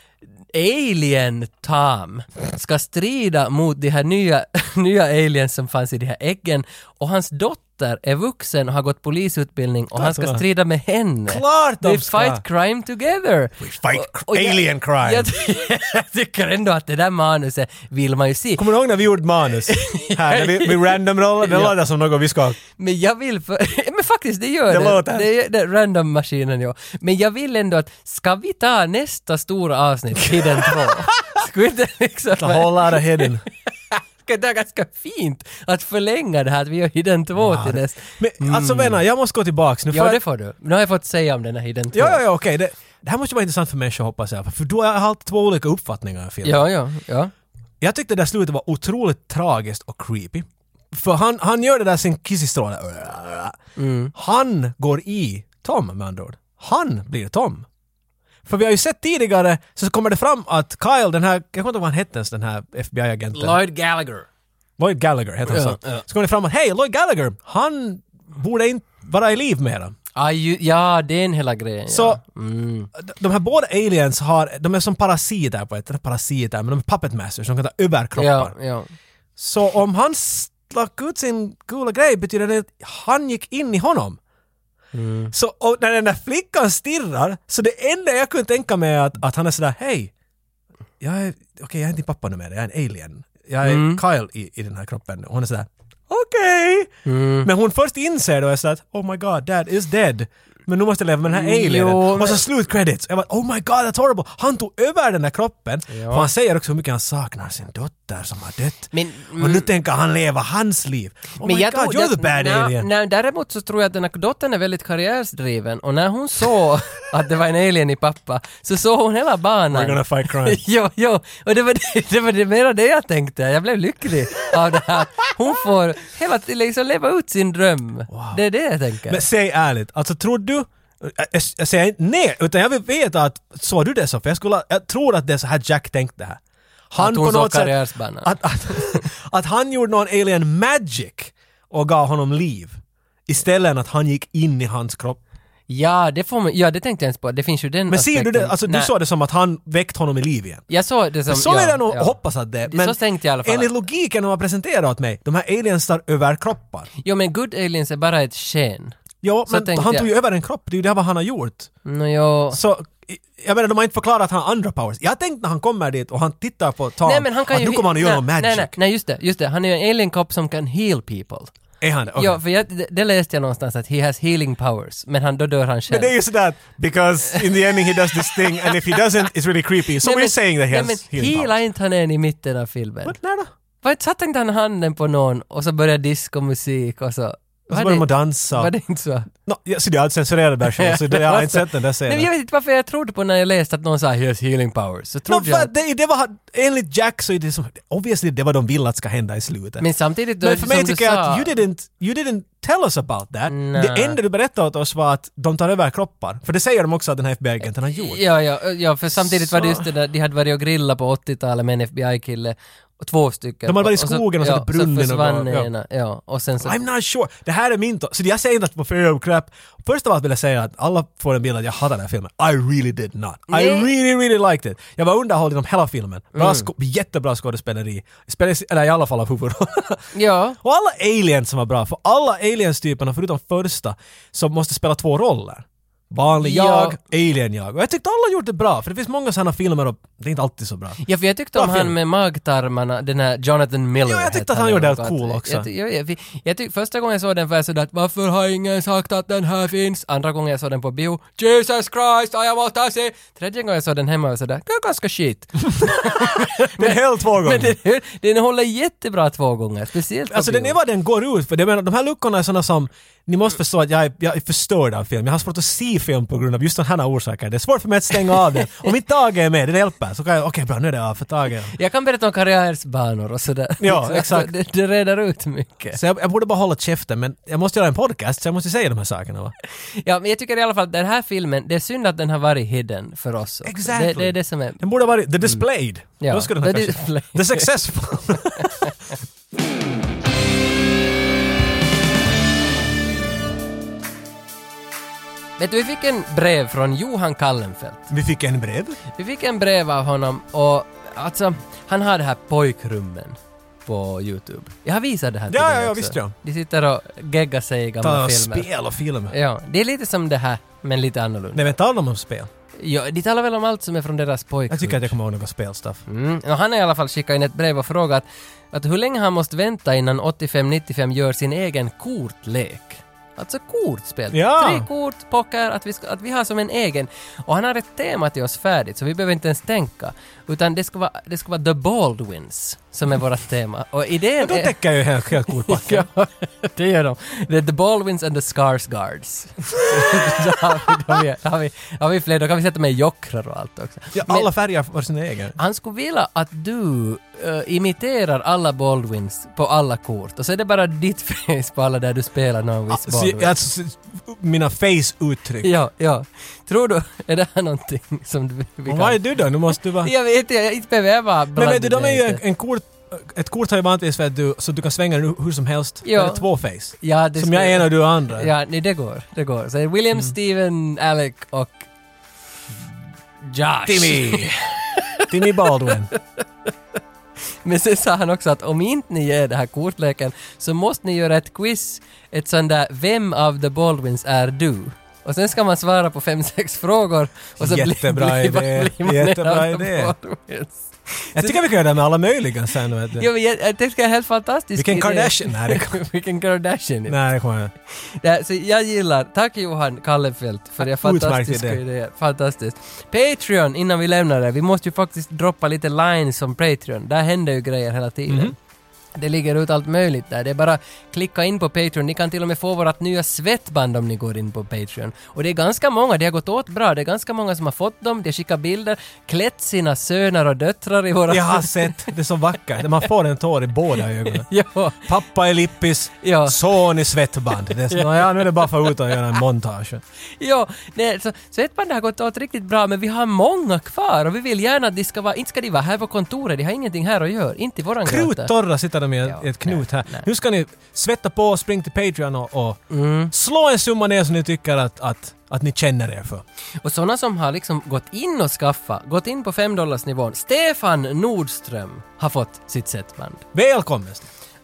Alien Tom ska strida mot de här nya, nya aliens som fanns i de här äggen och hans dotter är vuxen och har gått polisutbildning och han ska va. strida med henne. Klart de They ska. fight crime together! We fight alien crime. Jag, jag tycker ändå att det där manuset vill man ju se. Kommer du ihåg när vi gjorde manus? Här, när vi, vi random rollade, det Ja. låter som något vi ska... Men jag vill för... Men faktiskt, det gör Det det. låter. Det är det, random-maskinen, ja. Men jag vill ändå att, ska vi ta nästa stora avsnitt i den två? Skulle inte liksom... The whole lot of hidden. Ska Det är ganska fint att förlänga det här, att vi gör Hidden 2 till nästa. Men alltså vänner, jag måste gå tillbaks nu. för Mm. Ja, att- det får du. Nu har jag fått säga om den här Hidden 2. ja, ja, ja, okej. Det, det här måste vara intressant för människor hoppas jag. För du har haft två olika uppfattningar om filmen. ja, ja, ja. Jag tyckte det där slutet var otroligt tragiskt och creepy. För han, han gör det där sin kissistråle. Mm. Han går i Tom med andra ord. Han blir Tom. För vi har ju sett tidigare så kommer det fram att Kyle, den här, jag kommer inte ihåg vad han hette ens, den här FBI-agenten. Lloyd Gallagher. Lloyd Gallagher heter han så. Ja, ja. Så kommer det fram att hej, Lloyd Gallagher, han borde inte vara i liv mera. Ah, ju, ja, den hela grejen. Så ja. Mm. d- de här båda aliens har, de är som parasiter på ett, inte parasiter, men de är puppet masters, de kan ta över kroppar. Ja, ja. Så om han slack ut sin coola grej betyder det att han gick in i honom. Mm. Så och när den där flickan stirrar, så det enda jag kunde tänka mig är att, att han är sådär hej, jag är, okej jag är inte din pappa nu mer, jag är en alien. Jag är Mm. Kyle i, i den här kroppen. Och hon Mm. är sådär okej. Men hon först inser då är sådär att, oh my god, dad is dead. Men nu måste jag leva med den här alienen. Jo, Och så men- slut credits. Jag bara oh my god that's horrible. Han tog över den här kroppen. För han säger också hur mycket han saknar sin dotter som har dött. Men- mm. och nu tänker han leva hans liv. Oh my god you're the bad nä, alien. nä, däremot så tror jag att den här dottern är väldigt karriärsdriven och när hon såg att det var en alien i pappa så såg hon hela banan. We're gonna fight crime. jo, jo, och det var, det, det var det mera det jag tänkte. Jag blev lycklig av det här. Hon får hela tiden liksom leva ut sin dröm. Det är det jag tänker. Men säg ärligt, alltså tror du jag, jag, jag säger inte nej, utan jag vill veta att såg du det så? För jag, skulle, jag tror att det är så här Jack tänkte här. Han Att hon såg karriärsbanan. Att, att, att han gjorde någon alien magic och gav honom liv. Istället än att han gick in i hans kropp. Ja, det får man, ja, det tänkte jag ens på. Det finns ju den Men ser du det, aspekten. alltså du Nej, såg det som att han väckte honom i liv igen. Jag såg det som... Så vill jag nog hoppas att det är. Det- så tänkte jag i alla fall. enligt logiken de har presenterat åt mig, de här aliens tar över kroppar. Jo, men good aliens är bara ett sken. Ja, Så men tänkte han tog ju jag. över en kropp, det är ju det vad han har gjort. Nå, jo. Så, i- jag menar de har inte förklarat att han har andra powers. Jag tänkte när han kommer dit och han tittar på Tom Nej, men han kan att ju... nu kommer han att göra någon nej, Nej, magic. nej, nej, just det, just det. Han är ju en alien cop som kan heal people. Är han det? Okej. Ja, för jag, det, det läste jag någonstans att he has healing powers, men han, då dör han själv. Men det är ju sådär, because in the ending he does this thing and if he doesn't it's really creepy. So Nej, we're men- saying that he nej, has men healing Heala powers. inte han en i mitten av filmen. Men när då? Vad satte inte han handen på någon och så började discomusik och så... Och så börjar de att dansa. Var det inte så? No, ja, så det är en censurerad version, så det, jag har inte sett den där Nej, scenen. men jag vet inte varför jag trodde på när jag läste att någon sa “He has healing powers”. Så No, trodde jag... för det, det var, enligt Jack så är det som, obviously det var de vill att ska hända i slutet. Men samtidigt då, Men för mig som du tycker jag sa... att you didn't, you didn't tell us about that. Nej. Det enda du berättade åt oss var att de tar över kroppar. För det säger de också att den här FBI-agenten har gjort. Ja, ja, ja, för samtidigt var det just det där, de hade varit och grillat på 80-talet med en FBI-kille, och två stycken. De hade varit i så- skogen och satt i brunnen och Ja, så försvann bara- ja. ena, ja. Och sen så... I'm not sure. Det här är min to- Så jag säger inte att det var fair of crap. Först av allt vill jag säga att alla får en bild att jag hatar den här filmen. I really did not. I Nej. Mm. really, really liked it. Jag var underhålld genom hela filmen. Bra sko- jättebra skådespeleri. Spelis- eller i alla fall av huvudrollen. Ja. Och alla aliens som var bra, för alla aliens-typerna förutom första, som måste spela två roller. Vanlig Ja. jag, alien-jag. Och jag tyckte alla gjort det bra, för det finns många sådana filmer och det är inte alltid så bra. Ja, för jag tyckte Bra om han film. med magtarmarna, den här Jonathan Miller. Ja, jag tyckte hette att han gjorde eller det något. cool också. Jag, ty- jag, jag, jag tyck, första gången jag såg den var jag sådär att varför har ingen sagt att den här finns? Andra gången jag såg den på bio, Jesus Christ, jag måste se! Tredje gången jag såg den hemma var jag sådär, "Det är ganska shit. Den höll två gånger. Men den, den håller jättebra två gånger, speciellt på Alltså bio. den är vad den går ut för. Jag menar, de här luckorna är sådana som, ni måste förstå att jag är, jag är förstörd av film. Jag har svårt att se film på grund av just sådana här orsaker. Det är svårt för mig att stänga av den. Om inte Tage är med, det hjälper, så kan jag, okej bra nu är det av för Tage. Jag kan berätta om karriärsbanor och sådär. Ja, Så exakt. Det, det reder ut mycket. Så jag, jag borde bara hålla käften, men jag måste göra en podcast så jag måste säga de här sakerna va. Ja, men jag tycker i alla fall att den här filmen, det är synd att den har varit hidden för oss. också. Exactly. Det, det är det som är... Den borde ha varit the displayed. Mm. Ja, Då skulle den ha the kanske- displayed. The successful. Vet du, vi fick en brev från Johan Kallenfelt. Vi fick en brev. Vi fick en brev av honom och alltså, han har det här pojkrummen på Youtube. Jag har visat det här till Ja, dig ja, ja, också. visst, ja. De sitter och geggar sig i gamla Ta filmer. spel och film. Ja, det är lite som det här, men lite annorlunda. Nej men tala om spel. Ja, de talar väl om allt som är från deras pojkrum. Jag tycker att jag kommer ihåg något spelstuff. Mm. Och han har i alla fall skickat in ett brev och frågat att hur länge han måste vänta innan 85-95 gör sin egen kortlek. Alltså kortspel. Ja. Tre kort, poker, att vi, ska, att vi har som en egen. Och han har ett tema till oss färdigt, så vi behöver inte ens tänka. Utan det ska vara, det ska vara The Baldwins som är vårt tema. Och idén Men då är... täcker jag ju helt, helt kortbacken. Ja, det gör de. Det är The Baldwins and the Skarsgards. Då har vi, då har vi, då har vi, då har vi fler, då kan vi sätta med jockrar och allt också. Ja, Men- alla färger var sina egna. han skulle vilja att du eh, imiterar alla Baldwins på alla kort och så är det bara ditt face på alla där du spelar någon viss Så, Baldwin. alltså, så- mina face-uttryck. Ja, ja. Tror du, är det här någonting som du vi Och kan... Vad är du då? Nu måste du vara... Jag vet inte, jag inte behöver jag vara Men bland vet du, de är ju en, lite. en kort... Ett kort har ju vanligtvis för att du, så du kan svänga den hur som helst. Ja. Det är två face. Ja, det Som skulle- jag är ena och du är andra. Ja, nej, det går. Det går. Så William, Mm. Steven, Alec och... Josh. Timmy! Timmy Baldwin. Men sen sa han också att om inte ni ger den här kortleken så måste ni göra ett quiz, ett sånt där Vem av the Baldwins är du? Och sen ska man svara på fem, sex frågor och så blir- Jättebra blir, idé. blir man en Jättebra av the idé. Baldwins. Jag tycker vi kan göra det här med alla möjliga sen. Vet Jo, du. men jag, jag tycker det är en helt fantastisk Vilken idé. Kardashian! Nej, det kommer... Vilken Kardashian. Nej, det kommer... Ja, så jag gillar, tack Johan Kallefelt för det Utmärkt fantastiska idé. idé. Fantastiskt. Patreon, innan vi lämnar det, vi måste ju faktiskt droppa lite lines om Patreon. Där händer ju grejer hela tiden. Det ligger ut allt möjligt där. Det är bara klicka in på Patreon. Ni kan till och med få vårt nya svettband om ni går in på Patreon. Och det är ganska många, det har gått åt bra. Det är ganska många som har fått dem, de skickar bilder, klätt sina söner och döttrar i våra... Jag har sett, det är så vackert. Man får en tår i båda ögonen. ja. Pappa i lippis, Ja. son i svettband. Det är så, ja, nu är det bara för ut och göra en montage. Ja, nej, så svettbandet har gått åt riktigt bra men vi har många kvar och vi vill gärna att de ska vara, inte ska de vara här på kontoret, de har ingenting här att göra, inte i våran grotta. Kruttorra sitter de i ett, Ja, i ett knut här. nej, nej. Nu ska ni svetta på, spring till Patreon och, och Mm. slå en summa ner som ni tycker att, att, att ni känner er för. Och sådana som har liksom gått in och skaffa, gått in på 5 nivån. Stefan Nordström har fått sitt setband. Välkommen!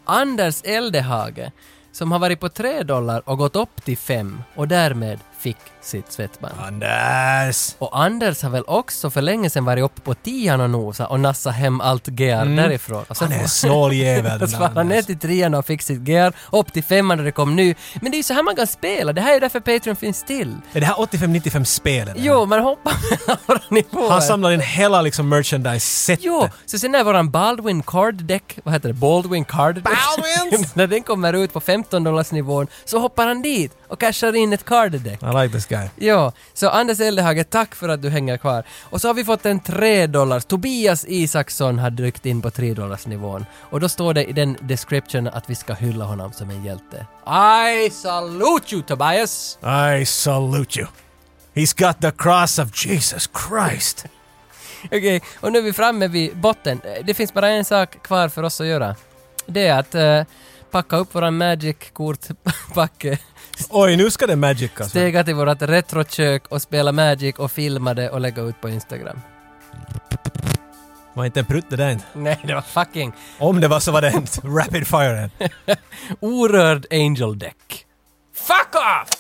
Anders Eldehage som har varit på 3 dollar och gått upp till 5 och därmed fick sitt svettband. Anders! Och Anders har väl också för länge sedan varit uppe på tian och nosat och nassat hem allt GR därifrån. Och sen Mm. Han är en snål jävel. den Alltså, han ner Anders. till trean och fick sitt GR, upp till femman när det kom ny. Men det är ju så här man kan spela, det här är ju därför Patreon finns till. Är det här 85-95 spelen? Jo, man hoppar mellan våra nivåer. Han samlar in hela liksom merchandise-setet. Jo, så sen när våran Baldwin Card Deck, vad heter det, Baldwin Card Deck? Baldwins! när den kommer ut på 15 dollars nivån så hoppar han dit och cashar in ett card deck. I like this guy. Ja, så Anders Eldehage, tack för att du hänger kvar. Och så har vi fått en 3 dollars. Tobias Isaksson har dykt in på 3 dollars nivån. Och då står det i den descriptionen att vi ska hylla honom som en hjälte. I salute you Tobias! I salute you. He's got the cross of Jesus Christ. Okej, och nu är vi framme vid botten. Eh, Det finns bara en sak kvar för oss att göra. Det är att eh, packa upp våran Magic-kortpacke, Oj, nu ska det magic alltså. stega till vårat retrokök och spela Magic och filma det och lägga ut på Instagram. Var inte en prutt det där inte. Nej, det var fucking Om det var så var det en rapid fire. orörd Angel Deck. Fuck off!